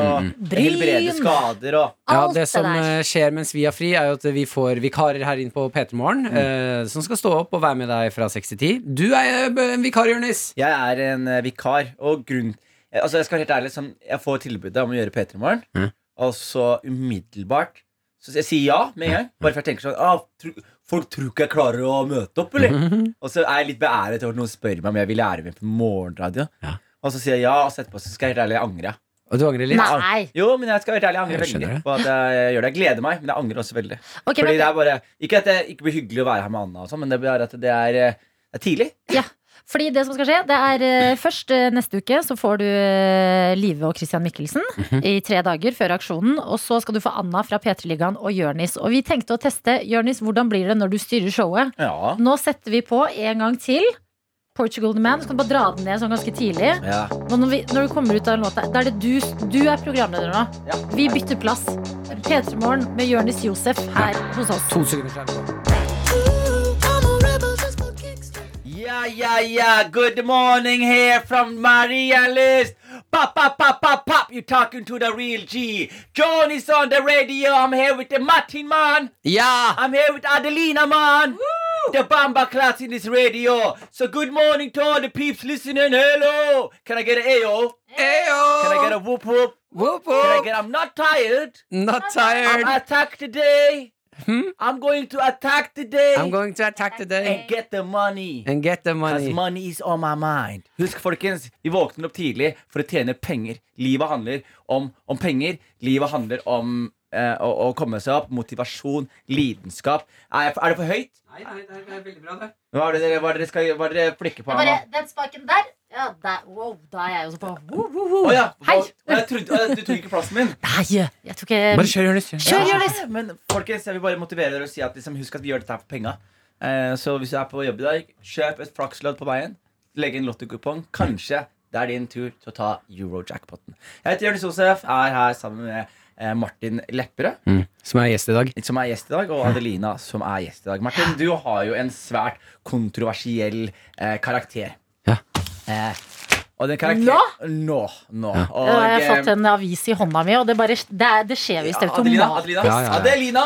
[SPEAKER 10] Og
[SPEAKER 2] Bryn.
[SPEAKER 10] helbrede skader og
[SPEAKER 3] Ja, det som eh, skjer mens vi har fri, er jo at vi får vikarer her inn på P3
[SPEAKER 10] Mm.
[SPEAKER 3] Morgen, eh, som skal stå opp og være med deg fra 6 til 10. Du er eh, en vikar, Jonis.
[SPEAKER 10] Jeg er en eh, vikar. Og grunn eh, Altså, jeg skal være helt ærlig, sånn, jeg får tilbudet om å gjøre P3 Morgen,
[SPEAKER 9] Mhm.
[SPEAKER 10] og så umiddelbart så jeg sier ja med en gang. Bare for jeg tenker sånn ah, tro, Folk tror ikke jeg klarer å møte opp,
[SPEAKER 3] Mm-hmm.
[SPEAKER 10] eller? Og så er jeg litt beæret over at noen spør meg om jeg vil lære meg på morgenradio. Og så sier jeg ja, og så etterpå så skal jeg helt ærlig angre.
[SPEAKER 3] Og du angrer
[SPEAKER 2] litt? Nei.
[SPEAKER 10] Jo, men jeg skal helt ærlig angre
[SPEAKER 9] Jeg skjønner
[SPEAKER 10] veldig på at jeg gjør det. Jeg gleder meg, men jeg angrer også veldig.
[SPEAKER 2] Ok,
[SPEAKER 10] Fordi
[SPEAKER 2] men-
[SPEAKER 10] det er bare, Ikke at det ikke blir hyggelig å være her med Anna, og sånn, men det er bare at det er, eh, det er tidlig.
[SPEAKER 2] Fordi det som skal skje, det er eh, først eh, neste uke så får du eh, Live og Christian Mikkelsen
[SPEAKER 10] Mhm.
[SPEAKER 2] i tre dager før aksjonen. Og så skal du få Anna fra P3-ligaen og Jørnis. Og vi tenkte å teste, Jørnis, hvordan blir det når du styrer showet?
[SPEAKER 10] Ja.
[SPEAKER 2] Nå setter vi på en gang til. Portugal The Man. Så kan du bare dra den ned sånn ganske tidlig.
[SPEAKER 10] Ja.
[SPEAKER 2] Nå Når, vi, når du kommer ut av en låt, da er det du, du er programleder nå. Vi bytter plass. P3 Morgen med Jørnis Josef her hos oss.
[SPEAKER 3] To sekunder skjerm.
[SPEAKER 10] Yeah, yeah, yeah. Good morning here from Maria List. Pop, pop, pop, pop, pop. You're talking to the real G. John is on the radio. I'm here with the Martin man.
[SPEAKER 3] Yeah.
[SPEAKER 10] I'm here with Adelina man. The Bamba class in this radio. So good morning to all the peeps listening. Hello. Can I get an AO?
[SPEAKER 3] AO.
[SPEAKER 10] Can I get a whoop whoop?
[SPEAKER 3] Whoop
[SPEAKER 10] Can I get, I'm not tired.
[SPEAKER 3] Not tired. Hmm?
[SPEAKER 10] I'm attacked today. I'm going to attack today.
[SPEAKER 3] I'm going to attack today.
[SPEAKER 10] And get the money.
[SPEAKER 3] And get the money.
[SPEAKER 10] Because money is on my mind. Husk, folkens, vi våkner opp tidlig for å tjene penger. Livet handler om, om penger. Livet handler om eh, å, å komme seg opp. Motivasjon, lidenskap. Er, jeg- er det for høyt?
[SPEAKER 3] Nei, nei, det er veldig bra, det.
[SPEAKER 10] Hva er det dere, hva er det dere, skal, hva er det dere flikker på? her nå?
[SPEAKER 2] den spaken der. Ja, der. Wow, da er jeg også på. Wow, wow,
[SPEAKER 10] Å
[SPEAKER 2] wow.
[SPEAKER 10] ja!
[SPEAKER 2] Hei!
[SPEAKER 10] Å, jeg trodde, å, du tok ikke plassen min.
[SPEAKER 2] Nei, jeg tok ikke
[SPEAKER 3] Bare kjør, Jonis.
[SPEAKER 2] Kjør,
[SPEAKER 10] Ja,
[SPEAKER 2] Jonis.
[SPEAKER 10] Men folkens, jeg vil bare motivere dere og si at liksom, husk at vi gjør dette her for penga. Eh, så hvis du er på jobb i dag, kjøp et flakslodd på veien. Legg inn lottokupong. Kanskje det er din tur til å ta euro-jackpoten. Jeg heter Jonis Josef, er her sammen med eh, Martin Lepperød,
[SPEAKER 3] Hmm. Som er gjest i dag.
[SPEAKER 10] som er gjest i dag, og Adelina, som er gjest i dag. Martin, du har jo en svært kontroversiell eh, karakter. Eh, og den karakter... Nå? Nå. Og,
[SPEAKER 2] Da har jeg
[SPEAKER 10] eh,
[SPEAKER 2] fått en avis i hånda mi, og det, bare, det, er, det skjer visst helt
[SPEAKER 10] Adelina, Adelina,
[SPEAKER 2] automatisk.
[SPEAKER 10] Adelina,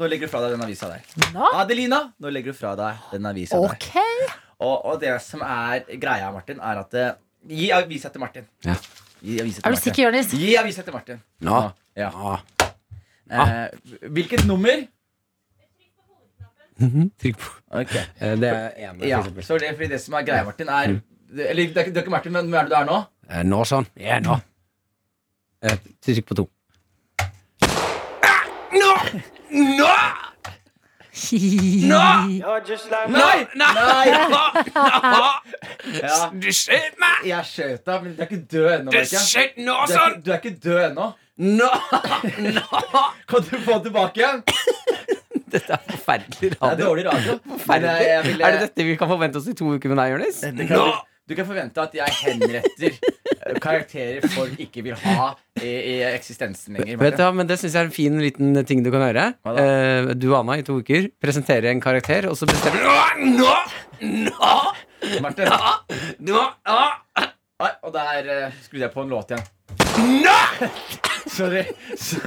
[SPEAKER 10] nå legger du fra deg den avisa der. Adelina, nå legger du fra deg den avisa
[SPEAKER 2] Ok.
[SPEAKER 10] der. Og, og det som er greia, Martin, er at eh, Gi avisa til Martin.
[SPEAKER 3] Ja.
[SPEAKER 10] Gi avisa til
[SPEAKER 2] Er du
[SPEAKER 10] Martin.
[SPEAKER 2] sikker, Jonis?
[SPEAKER 10] Gi avisa til Martin.
[SPEAKER 3] Nå.
[SPEAKER 10] Ja. Eh, hvilket nummer?
[SPEAKER 3] Trykk på. Eh, Det er en, for
[SPEAKER 10] Ja,
[SPEAKER 3] eksempel.
[SPEAKER 10] så det, fordi det som er greia, Martin, er
[SPEAKER 3] Mm.
[SPEAKER 10] Eller det er, ikke- det er ikke Martin, men hvem er det du er nå?
[SPEAKER 3] Eh, Nå sånn. Ja, nå. Eh, Trykk på to.
[SPEAKER 10] Ah,
[SPEAKER 3] Nå! Nå! Nå!
[SPEAKER 10] Nei! Nei! Ja.
[SPEAKER 3] Du skjøt meg!
[SPEAKER 10] Jeg skjøt deg, men du sånn! er ikke død ennå.
[SPEAKER 3] Du
[SPEAKER 10] vet jeg.
[SPEAKER 3] skjøt altså! nå,
[SPEAKER 10] Du er ikke- Du er ikke død ennå. Kan du få den tilbake igjen?
[SPEAKER 3] Forferdelig
[SPEAKER 10] Det er dårlig radio.
[SPEAKER 3] Forferdelig.
[SPEAKER 10] Men, eh, jeg ville-
[SPEAKER 3] Er det dette vi kan forvente oss i to uker med deg, Jonis?
[SPEAKER 10] Det kan du- Du kan forvente at jeg henretter eh, karakterer folk ikke vil ha i, i eksistensen
[SPEAKER 3] Vet du,
[SPEAKER 10] lenger. Martin.
[SPEAKER 3] hva, men Det syns jeg er en fin liten ting du kan gjøre. Eh, du og Anna i to uker presenterer en karakter, og så bestemmer du Nå! Nå!
[SPEAKER 10] Martin.
[SPEAKER 3] Nå! Nå!
[SPEAKER 10] Nei, og der eh, skrudde jeg på en låt igjen.
[SPEAKER 9] Nei! Sorry. Så,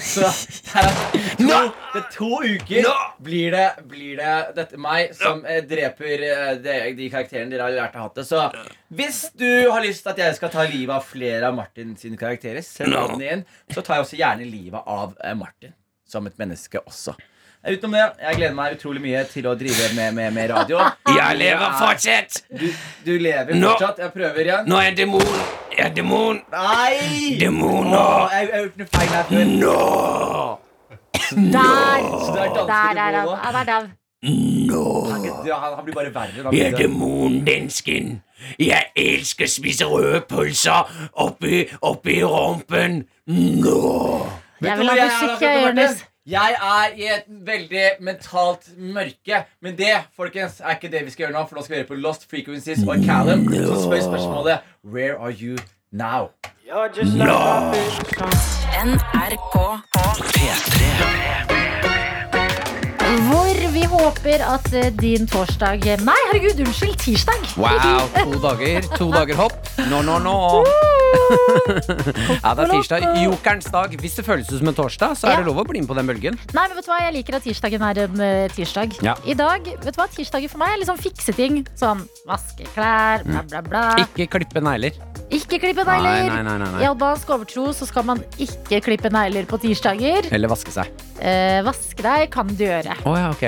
[SPEAKER 9] så her er to, det er to uker blir det, blir det dette meg som eh, dreper eh, de, de karakterene dere har lært å hate. Så hvis du har lyst til at jeg skal ta livet av flere av Martin sine karakterer, send
[SPEAKER 15] No.
[SPEAKER 9] den inn, så tar jeg også gjerne livet av eh, Martin som et menneske også. Eh, Utenom det, jeg gleder meg utrolig mye til å drive med, med, med radio.
[SPEAKER 15] Jeg lever
[SPEAKER 9] Du er-
[SPEAKER 15] fortsatt.
[SPEAKER 9] Du, du lever
[SPEAKER 15] Nå.
[SPEAKER 9] fortsatt. Jeg prøver igjen.
[SPEAKER 15] Nå er jeg demon. Jeg er demon.
[SPEAKER 9] Nei!
[SPEAKER 15] Demoner.
[SPEAKER 9] Åh, jeg jeg har gjort noe feil her før.
[SPEAKER 2] Der!
[SPEAKER 9] Så det er danske
[SPEAKER 2] Der er han.
[SPEAKER 9] demoner.
[SPEAKER 2] Han er dau.
[SPEAKER 9] Han, kan ikke dø, han, han blir bare verre. når Han
[SPEAKER 15] Jeg er
[SPEAKER 9] blir død.
[SPEAKER 15] demonen, densken. Jeg elsker å spise røde pølser oppi, oppi rumpen. Nå!
[SPEAKER 9] Vet
[SPEAKER 2] Jeg
[SPEAKER 9] du
[SPEAKER 2] vil
[SPEAKER 9] hva jeg
[SPEAKER 2] ha
[SPEAKER 9] er,
[SPEAKER 2] musikk,
[SPEAKER 9] Martin?
[SPEAKER 2] jeg, Jonis.
[SPEAKER 9] Jeg er i et veldig mentalt mørke. Men det folkens, er ikke det vi skal gjøre nå, for nå skal vi høre på Lost Frequencies og Callum. Så spør spørsmålet Where are you now?
[SPEAKER 4] NRK
[SPEAKER 2] Hvor vi håper at eh, din torsdag Nei, herregud, unnskyld, tirsdag.
[SPEAKER 3] Wow, to dager, to dager hopp. Nå, nå, nå. Ja, det er tirsdag. Jokerens dag. Hvis det føles ut som en torsdag, så er det lov å bli med på den bølgen.
[SPEAKER 2] Nei, men vet du hva, jeg liker at tirsdagen er en eh, tirsdag.
[SPEAKER 3] Ja.
[SPEAKER 2] I dag, vet du hva, tirsdagen for meg er liksom fikse ting. Sånn vaske klær, bla, bla, bla.
[SPEAKER 3] Ikke klippe negler.
[SPEAKER 2] Ikke klippe
[SPEAKER 3] Mm. Nei,
[SPEAKER 2] negler.
[SPEAKER 3] nei, nei, nei, nei.
[SPEAKER 2] I albansk overtro så skal man ikke klippe negler på tirsdager.
[SPEAKER 3] Eller vaske seg.
[SPEAKER 2] Eh, vaske deg kan du gjøre.
[SPEAKER 3] Å ja, ok.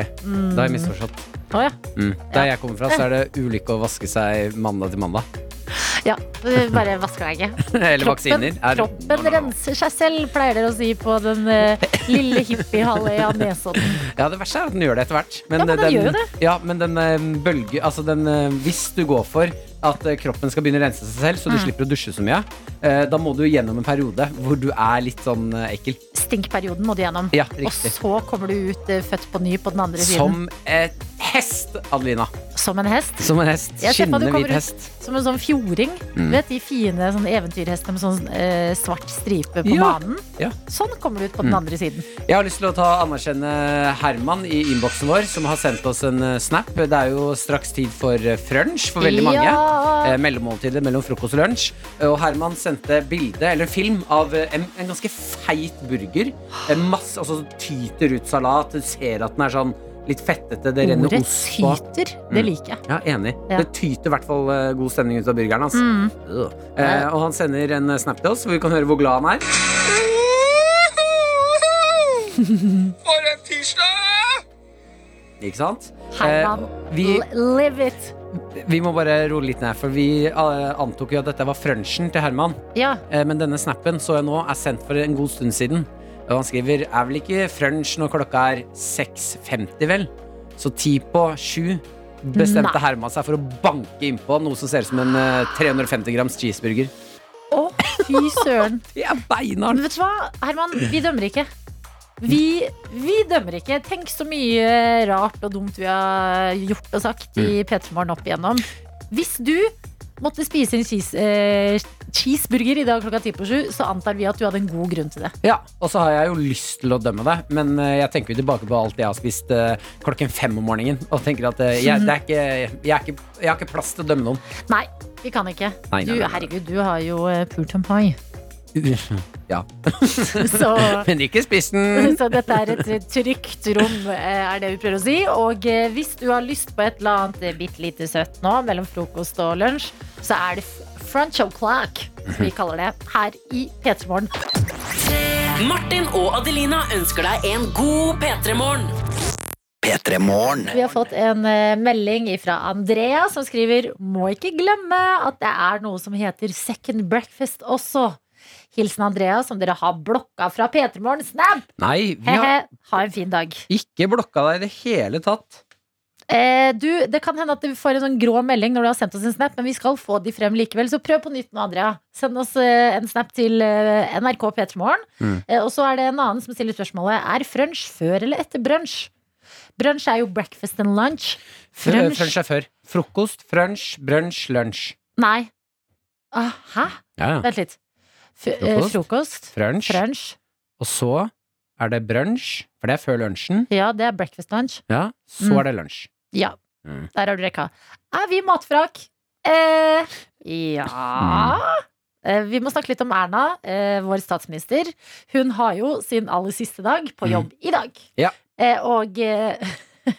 [SPEAKER 3] Da har jeg misforstått.
[SPEAKER 2] Å ja.
[SPEAKER 3] Mm. Der jeg kommer fra, så er det ulykke å vaske seg mandag til mandag.
[SPEAKER 2] Ja, eh, bare vasker deg ikke.
[SPEAKER 3] Eller vaksiner. Er-
[SPEAKER 2] Kroppen renser seg selv, pleier dere å si på den eh, lille hippiehalvøya Nesodden.
[SPEAKER 3] Ja, det verste er at den gjør det etter hvert.
[SPEAKER 2] Ja, men den gjør jo det.
[SPEAKER 3] Ja, men den eh, bølge Altså, den eh, Hvis du går for at eh, kroppen skal begynne å rense seg selv, så du
[SPEAKER 2] Mm.
[SPEAKER 3] slipper å dusje så mye, eh, da må du gjennom en periode hvor du er litt sånn eh, ekkel.
[SPEAKER 2] Stinkperioden må du gjennom.
[SPEAKER 3] Ja,
[SPEAKER 2] og
[SPEAKER 3] riktig.
[SPEAKER 2] så kommer du ut eh, født på ny på den andre
[SPEAKER 3] Som
[SPEAKER 2] siden.
[SPEAKER 3] et hest, Adelina.
[SPEAKER 2] Som en hest.
[SPEAKER 3] Som en hest.
[SPEAKER 2] Jeg ser for meg at du
[SPEAKER 3] Skinnende hvit
[SPEAKER 2] kommer
[SPEAKER 3] hest.
[SPEAKER 2] ut som en sånn fjording.
[SPEAKER 3] Mm.
[SPEAKER 2] Du vet de fine sånn eventyrhestene med sånn eh, svart stripe på
[SPEAKER 3] Ja.
[SPEAKER 2] banen?
[SPEAKER 3] Ja.
[SPEAKER 2] Sånn kommer du ut på den
[SPEAKER 3] Mm.
[SPEAKER 2] andre siden.
[SPEAKER 3] Jeg har lyst til å ta anerkjenne Herman i innboksen vår, som har sendt oss en eh, snap. Det er jo straks tid for eh, frunch for veldig mange.
[SPEAKER 2] Ja.
[SPEAKER 3] Eh, Mellommåltidet mellom frokost og lunsj. Eh, Og Herman sendte bilde, eller film, av eh, en, en ganske feit burger. Eh, Masse, altså tyter ut salat. Du ser at den er sånn litt fettete. Det renner
[SPEAKER 2] Ordet
[SPEAKER 3] ost på.
[SPEAKER 2] tyter, det
[SPEAKER 3] Mm.
[SPEAKER 2] liker jeg.
[SPEAKER 3] Ja, enig.
[SPEAKER 2] Ja.
[SPEAKER 3] Det tyter i hvert fall eh, god stemning ut av burgeren hans.
[SPEAKER 2] Mm.
[SPEAKER 3] Øh. Eh, og han sender en eh, snap til oss, hvor vi kan høre hvor glad han er.
[SPEAKER 7] For en tirsdag!
[SPEAKER 3] Ikke sant?
[SPEAKER 2] Herman,
[SPEAKER 3] Eh, vi,
[SPEAKER 2] l- live it!
[SPEAKER 3] vi må bare roe litt ned, for vi eh, antok jo at dette var frunchen til Herman.
[SPEAKER 2] Ja.
[SPEAKER 3] Eh, Men denne snappen så jeg nå er sendt for en god stund siden. Og han skriver er vel ikke frunch når klokka er 6.50, vel? Så ti på sju bestemte
[SPEAKER 2] Nei.
[SPEAKER 3] Herman seg for å banke innpå noe som ser ut som en eh, 350 grams cheeseburger.
[SPEAKER 2] Å, fy søren.
[SPEAKER 3] Det er beinhardt.
[SPEAKER 2] Men vet du hva, Herman? Vi dømmer ikke. Vi, vi dømmer ikke. Tenk så mye rart og dumt vi har gjort og sagt
[SPEAKER 3] Mm.
[SPEAKER 2] i P3 Morgen opp igjennom. Hvis du måtte spise en cheese, eh, cheeseburger i dag klokka ti på sju, så antar vi at du hadde en god grunn til det.
[SPEAKER 3] Ja, og så har jeg jo lyst til å dømme deg, men eh, jeg tenker jo tilbake på alt jeg har spist eh, klokken fem om morgenen, og tenker at eh, jeg, det er ikke, jeg, er ikke, jeg har ikke plass til å dømme noen.
[SPEAKER 2] Nei, vi kan ikke.
[SPEAKER 3] Nei, nei,
[SPEAKER 2] Du,
[SPEAKER 3] nei, nei.
[SPEAKER 2] herregud, du har jo eh, pult en pai.
[SPEAKER 3] Ja.
[SPEAKER 2] Så-
[SPEAKER 3] Men ikke spist den.
[SPEAKER 2] Så dette er et trygt rom, eh, er det vi prøver å si. Og eh, hvis du har lyst på et eller annet eh, bitte lite søtt nå, mellom frokost og lunsj, så er det f- French o'clock, som vi kaller det, her i P3 Morgen.
[SPEAKER 4] Martin og Adelina ønsker deg en god P3-morgen.
[SPEAKER 2] Vi har fått en eh, melding fra Andrea som skriver Må ikke glemme at det er noe som heter second breakfast også. Hilsen Andrea, som dere har blokka fra P3 Morgen. Snap!
[SPEAKER 3] Nei, vi
[SPEAKER 2] He-he.
[SPEAKER 3] har
[SPEAKER 2] Ha en fin dag.
[SPEAKER 3] ikke blokka deg i det hele tatt.
[SPEAKER 2] Eh, du, Det kan hende at du får en sånn grå melding når du har sendt oss en snap, men vi skal få de frem likevel. Så prøv på nytt nå, Andrea. Send oss eh, en snap til eh, NRK P3morgen.
[SPEAKER 1] Mm.
[SPEAKER 2] Eh, og så er det en annen som stiller spørsmålet Er frunch før eller etter brunch? Brunch er jo breakfast and lunch.
[SPEAKER 3] Frunch.
[SPEAKER 2] Frunch
[SPEAKER 3] er før. Frokost, frunch, brunch, lunsj.
[SPEAKER 2] Nei. Ah, hæ?
[SPEAKER 3] Ja, ja.
[SPEAKER 2] Vent litt. F eh,
[SPEAKER 3] Frokost.
[SPEAKER 2] frokost.
[SPEAKER 3] Frunch.
[SPEAKER 2] Frunch.
[SPEAKER 3] Og så er det brunch, for det er før lunsjen.
[SPEAKER 2] Ja, det er breakfast lunch.
[SPEAKER 3] Ja, så
[SPEAKER 2] Mm.
[SPEAKER 3] er det lunsj.
[SPEAKER 2] Ja,
[SPEAKER 3] Mm. Mm.
[SPEAKER 2] der har du rekka. Er vi matvrak? Eh, ja Eh, Vi må snakke litt om Erna, eh, vår statsminister. Hun har jo sin aller siste dag på
[SPEAKER 3] Mm.
[SPEAKER 2] jobb i dag.
[SPEAKER 3] Ja.
[SPEAKER 2] Eh, Og eh,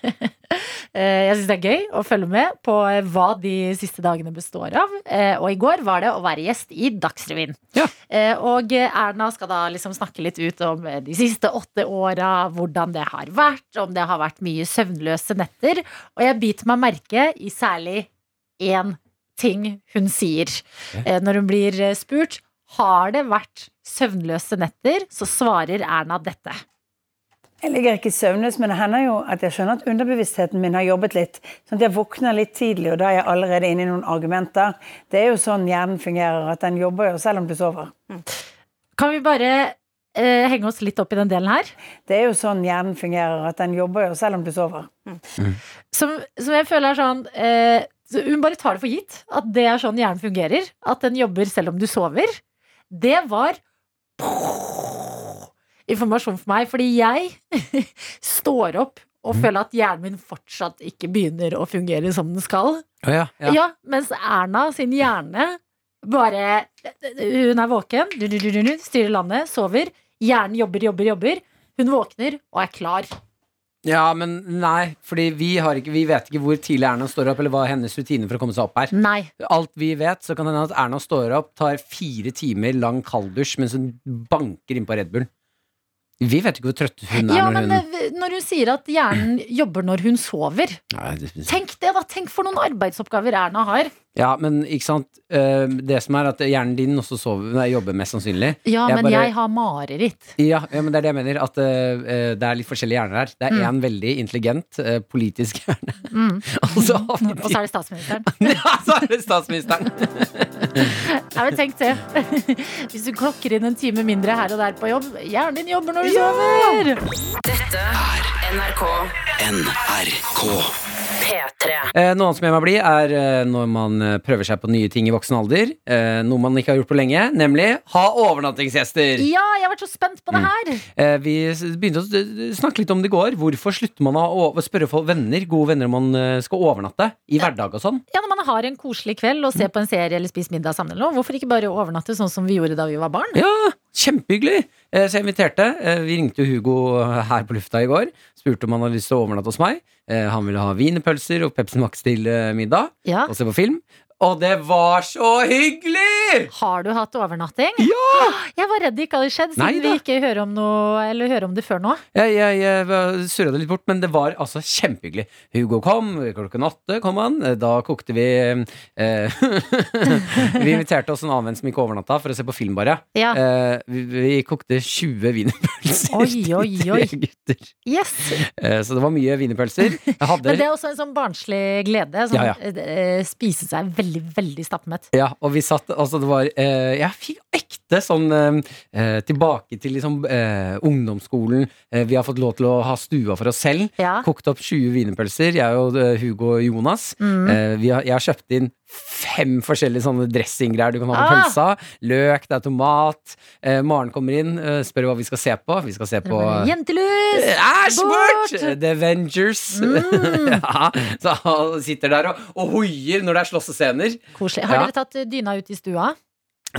[SPEAKER 2] eh, jeg syns det er gøy å følge med på eh, hva de siste dagene består av. Eh, Og i går var det å være gjest i Dagsrevyen. Eh, Og eh, Erna skal da liksom snakke litt ut om eh, de siste åtte åra, hvordan det har vært, om det har vært mye søvnløse netter. Og jeg biter meg merke i særlig én ting hun sier. Eh, Når hun blir eh, spurt har det vært søvnløse netter, så svarer Erna dette.
[SPEAKER 16] Jeg ligger ikke søvnløs, men det hender jo at jeg skjønner at underbevisstheten min har jobbet litt. Sånn at jeg våkner litt tidlig, og da er jeg allerede inne i noen argumenter. Det er jo sånn hjernen fungerer, at den jobber jo selv om du sover.
[SPEAKER 2] Kan vi bare eh, henge oss litt opp i den delen her?
[SPEAKER 16] Det er jo sånn hjernen fungerer, at den jobber jo selv om du sover.
[SPEAKER 2] Som, som jeg føler er sånn eh, så Hun bare tar det for gitt at det er sånn hjernen fungerer. At den jobber selv om du sover. Det var informasjon for meg, fordi jeg står opp og føler at hjernen min fortsatt ikke begynner å fungere som den skal.
[SPEAKER 3] Å ja,
[SPEAKER 2] Ja.
[SPEAKER 3] ja.
[SPEAKER 2] mens Erna sin hjerne bare Hun er våken, du, du, du, du, du, styrer landet, sover. Hjernen jobber, jobber, jobber. Hun våkner og er klar.
[SPEAKER 3] Ja, men nei, fordi vi, har ikke, vi vet ikke hvor tidlig Erna står opp, eller hva er hennes rutine for å komme seg opp her.
[SPEAKER 2] Nei.
[SPEAKER 3] Alt vi vet, så kan det hende at Erna står opp, tar fire timer lang kalddusj mens hun banker innpå Red Bullen. Vi vet ikke hvor trøtt hun er
[SPEAKER 2] Ja,
[SPEAKER 3] når
[SPEAKER 2] men
[SPEAKER 3] hun
[SPEAKER 2] eh, når hun sier at hjernen jobber når hun sover
[SPEAKER 3] Nei, det-
[SPEAKER 2] Tenk det, da! Tenk for noen arbeidsoppgaver Erna har.
[SPEAKER 3] Ja, men ikke sant Eh, Det som er at hjernen din også sover Nei, jobber mest sannsynlig
[SPEAKER 2] Ja, men
[SPEAKER 3] bare-
[SPEAKER 2] jeg har mareritt.
[SPEAKER 3] ja, ja, men det er det jeg mener At eh, eh, det er litt forskjellige hjerner her Det er
[SPEAKER 2] Mm.
[SPEAKER 3] en veldig intelligent eh, politisk hjerne
[SPEAKER 2] Mm.
[SPEAKER 3] Altså,
[SPEAKER 2] Og så er det statsministeren.
[SPEAKER 3] Ja, så er det statsministeren
[SPEAKER 2] Nei, men tenk det. Hvis du klokker inn en time mindre her og der på jobb, hjernen din jobber når du sover!
[SPEAKER 4] Dette er NRK
[SPEAKER 5] NRK
[SPEAKER 4] P3.
[SPEAKER 3] Eh, Noe annet som gjør meg blid er eh, når man eh, prøver seg på nye ting i voksen alder eh, Noe man ikke har gjort på lenge Nemlig, ha overnattingsgjester
[SPEAKER 2] Ja, jeg har vært så spent på det her!
[SPEAKER 3] Eh, Vi s- begynte å s- snakke litt om det i går. Hvorfor slutter man å å spørre for venner, gode venner om man eh, skal overnatte i hverdag og sånn?
[SPEAKER 2] Ja, Når man har en koselig kveld og ser på en serie eller spiser middag sammen, eller noe, hvorfor ikke bare overnatte sånn som vi gjorde da vi var barn?
[SPEAKER 3] Ja, kjempehyggelig! Eh, Så jeg inviterte. Eh, Vi ringte jo Hugo her på lufta i går. Spurte om han hadde lyst til å overnatte hos meg. Eh, Han ville ha wienerpølser og Pepsi Max til eh, middag
[SPEAKER 2] Ja.
[SPEAKER 3] og se på film. Og det var så hyggelig!
[SPEAKER 2] Har du hatt overnatting? Ah,
[SPEAKER 3] Ja!
[SPEAKER 2] Jeg var redd det ikke hadde skjedd,
[SPEAKER 3] Nei
[SPEAKER 2] siden vi ikke hører om, noe, eller hører om det før nå.
[SPEAKER 3] Jeg, jeg, jeg surra det litt bort, men det var altså kjempehyggelig. Hugo kom, klokken åtte kom han. Da kokte vi eh, Vi inviterte oss en annen venn som ikke overnatta, for å se på film, bare.
[SPEAKER 2] Ja.
[SPEAKER 3] Eh, vi, vi kokte 20 wienerpølser
[SPEAKER 2] Oi, oi,
[SPEAKER 3] til
[SPEAKER 2] oi.
[SPEAKER 3] tre gutter.
[SPEAKER 2] Yes!
[SPEAKER 3] Eh, så det var mye wienerpølser. Jeg hadde
[SPEAKER 2] Men det er også en sånn barnslig glede. Sånn,
[SPEAKER 3] Ja, ja.
[SPEAKER 2] eh, Spise seg veldig, veldig stappmett.
[SPEAKER 3] Ja, og vi satt Altså, det var eh, Jeg fikk ekte sånn eh, Tilbake til liksom eh, ungdomsskolen. Eh, vi har fått lov til å ha stua for oss selv.
[SPEAKER 2] Ja.
[SPEAKER 3] Kokt opp 20 wienerpølser, jeg og eh, Hugo og Jonas.
[SPEAKER 2] Mm.
[SPEAKER 3] Eh, vi har, jeg har kjøpt inn fem forskjellige sånne dressinggreier du kan ha på
[SPEAKER 2] Ah!
[SPEAKER 3] pølsa. Løk, det er tomat. Eh, Maren kommer inn, eh, spør hva vi skal se på. Vi skal se på
[SPEAKER 2] Jentelus!
[SPEAKER 3] Æsj,
[SPEAKER 2] Bort! Mm.
[SPEAKER 3] bort! The Avengers. ja, så han sitter der og, og hoier når det er slåssescener.
[SPEAKER 2] Koselig. Har
[SPEAKER 3] Ja.
[SPEAKER 2] dere tatt eh, dyna ut i stua?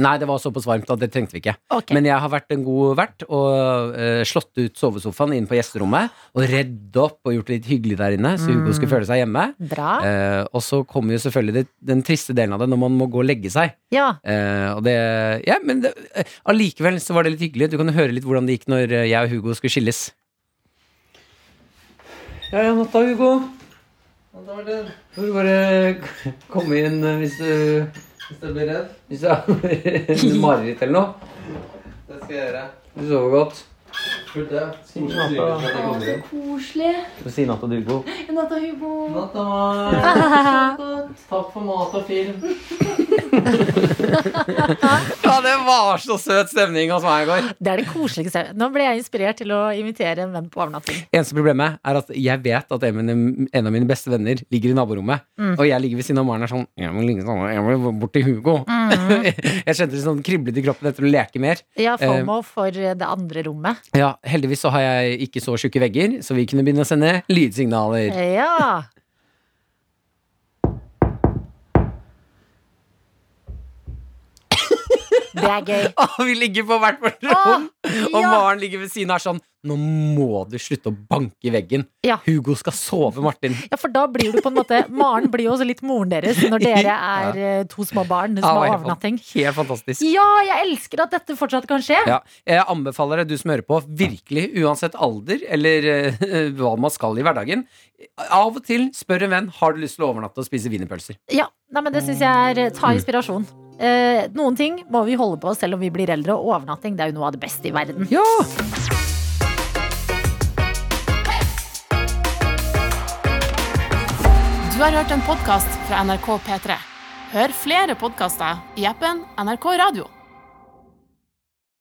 [SPEAKER 3] Nei, det var såpass varmt at det trengte vi ikke.
[SPEAKER 2] Ok.
[SPEAKER 3] Men jeg har vært en god vert og eh, slått ut sovesofaen inn på gjesterommet. Og redd opp og gjort det litt hyggelig der inne, så Hugo
[SPEAKER 2] Mm.
[SPEAKER 3] skulle føle seg hjemme.
[SPEAKER 2] Bra.
[SPEAKER 3] Eh, og så kommer jo selvfølgelig det, den triste delen av det, når man må gå og legge seg.
[SPEAKER 2] Ja.
[SPEAKER 3] Eh, og det, ja, men det- eh, allikevel så var det litt hyggelig. Du kan høre litt hvordan det gikk når eh, jeg og Hugo skulle skilles. Ja, ja, natta, Hugo. Får du bare komme inn eh, hvis du, blir redd. Hvis du har mareritt eller noe.
[SPEAKER 9] Det skal jeg gjøre.
[SPEAKER 3] Du sover godt.
[SPEAKER 17] koselig.
[SPEAKER 3] Si natta, du, Hugo.
[SPEAKER 17] Natta, Hugo. Natta,
[SPEAKER 9] Takk for mat og film.
[SPEAKER 3] Ja, det var så søt stemning hos meg i går.
[SPEAKER 2] Det er det koseligste. Nå ble jeg inspirert til å invitere en venn på overnatting.
[SPEAKER 3] Eneste problemet er at jeg vet at en av mine- en av mine beste venner ligger i naborommet.
[SPEAKER 2] Mm.
[SPEAKER 3] Og jeg ligger ved siden av Maren og er sånn Jeg må ligge sammen, jeg må bort til Hugo.
[SPEAKER 2] Mm.
[SPEAKER 3] jeg kjente det sånn kriblet i kroppen etter å leke mer.
[SPEAKER 2] Ja,
[SPEAKER 3] Eh,
[SPEAKER 2] FOMO for eh, det andre rommet.
[SPEAKER 3] ja, heldigvis så har jeg ikke så tjukke vegger, så vi kunne begynne å sende lydsignaler.
[SPEAKER 2] Eh, Ja. Det er gøy.
[SPEAKER 3] vi ligger på hvert vårt rom, og Maren ligger ved siden av sånn Nå må du slutte å banke i veggen. Hugo skal sove, Martin.
[SPEAKER 2] Ja, for da blir du på en måte Maren blir jo også litt moren deres når dere er
[SPEAKER 3] Ja.
[SPEAKER 2] eh, to små barn som
[SPEAKER 3] Ja, det var
[SPEAKER 2] har
[SPEAKER 3] helt fan-
[SPEAKER 2] overnatting.
[SPEAKER 3] Helt fantastisk.
[SPEAKER 2] Ja, jeg elsker at dette fortsatt kan skje.
[SPEAKER 3] Ja, jeg anbefaler deg, du som hører på, virkelig, uansett alder eller eh, hva man skal i hverdagen, av og til spør en venn har du lyst til å overnatte og spise wienerpølser.
[SPEAKER 2] Ja, nei, men det syns jeg er Ta inspirasjon. Eh, noen ting må vi holde på selv om vi blir eldre, og overnatting det er jo noe av det beste i verden.
[SPEAKER 1] Du har hørt en podkast fra NRK P3. Hør flere podkaster i appen NRK Radio.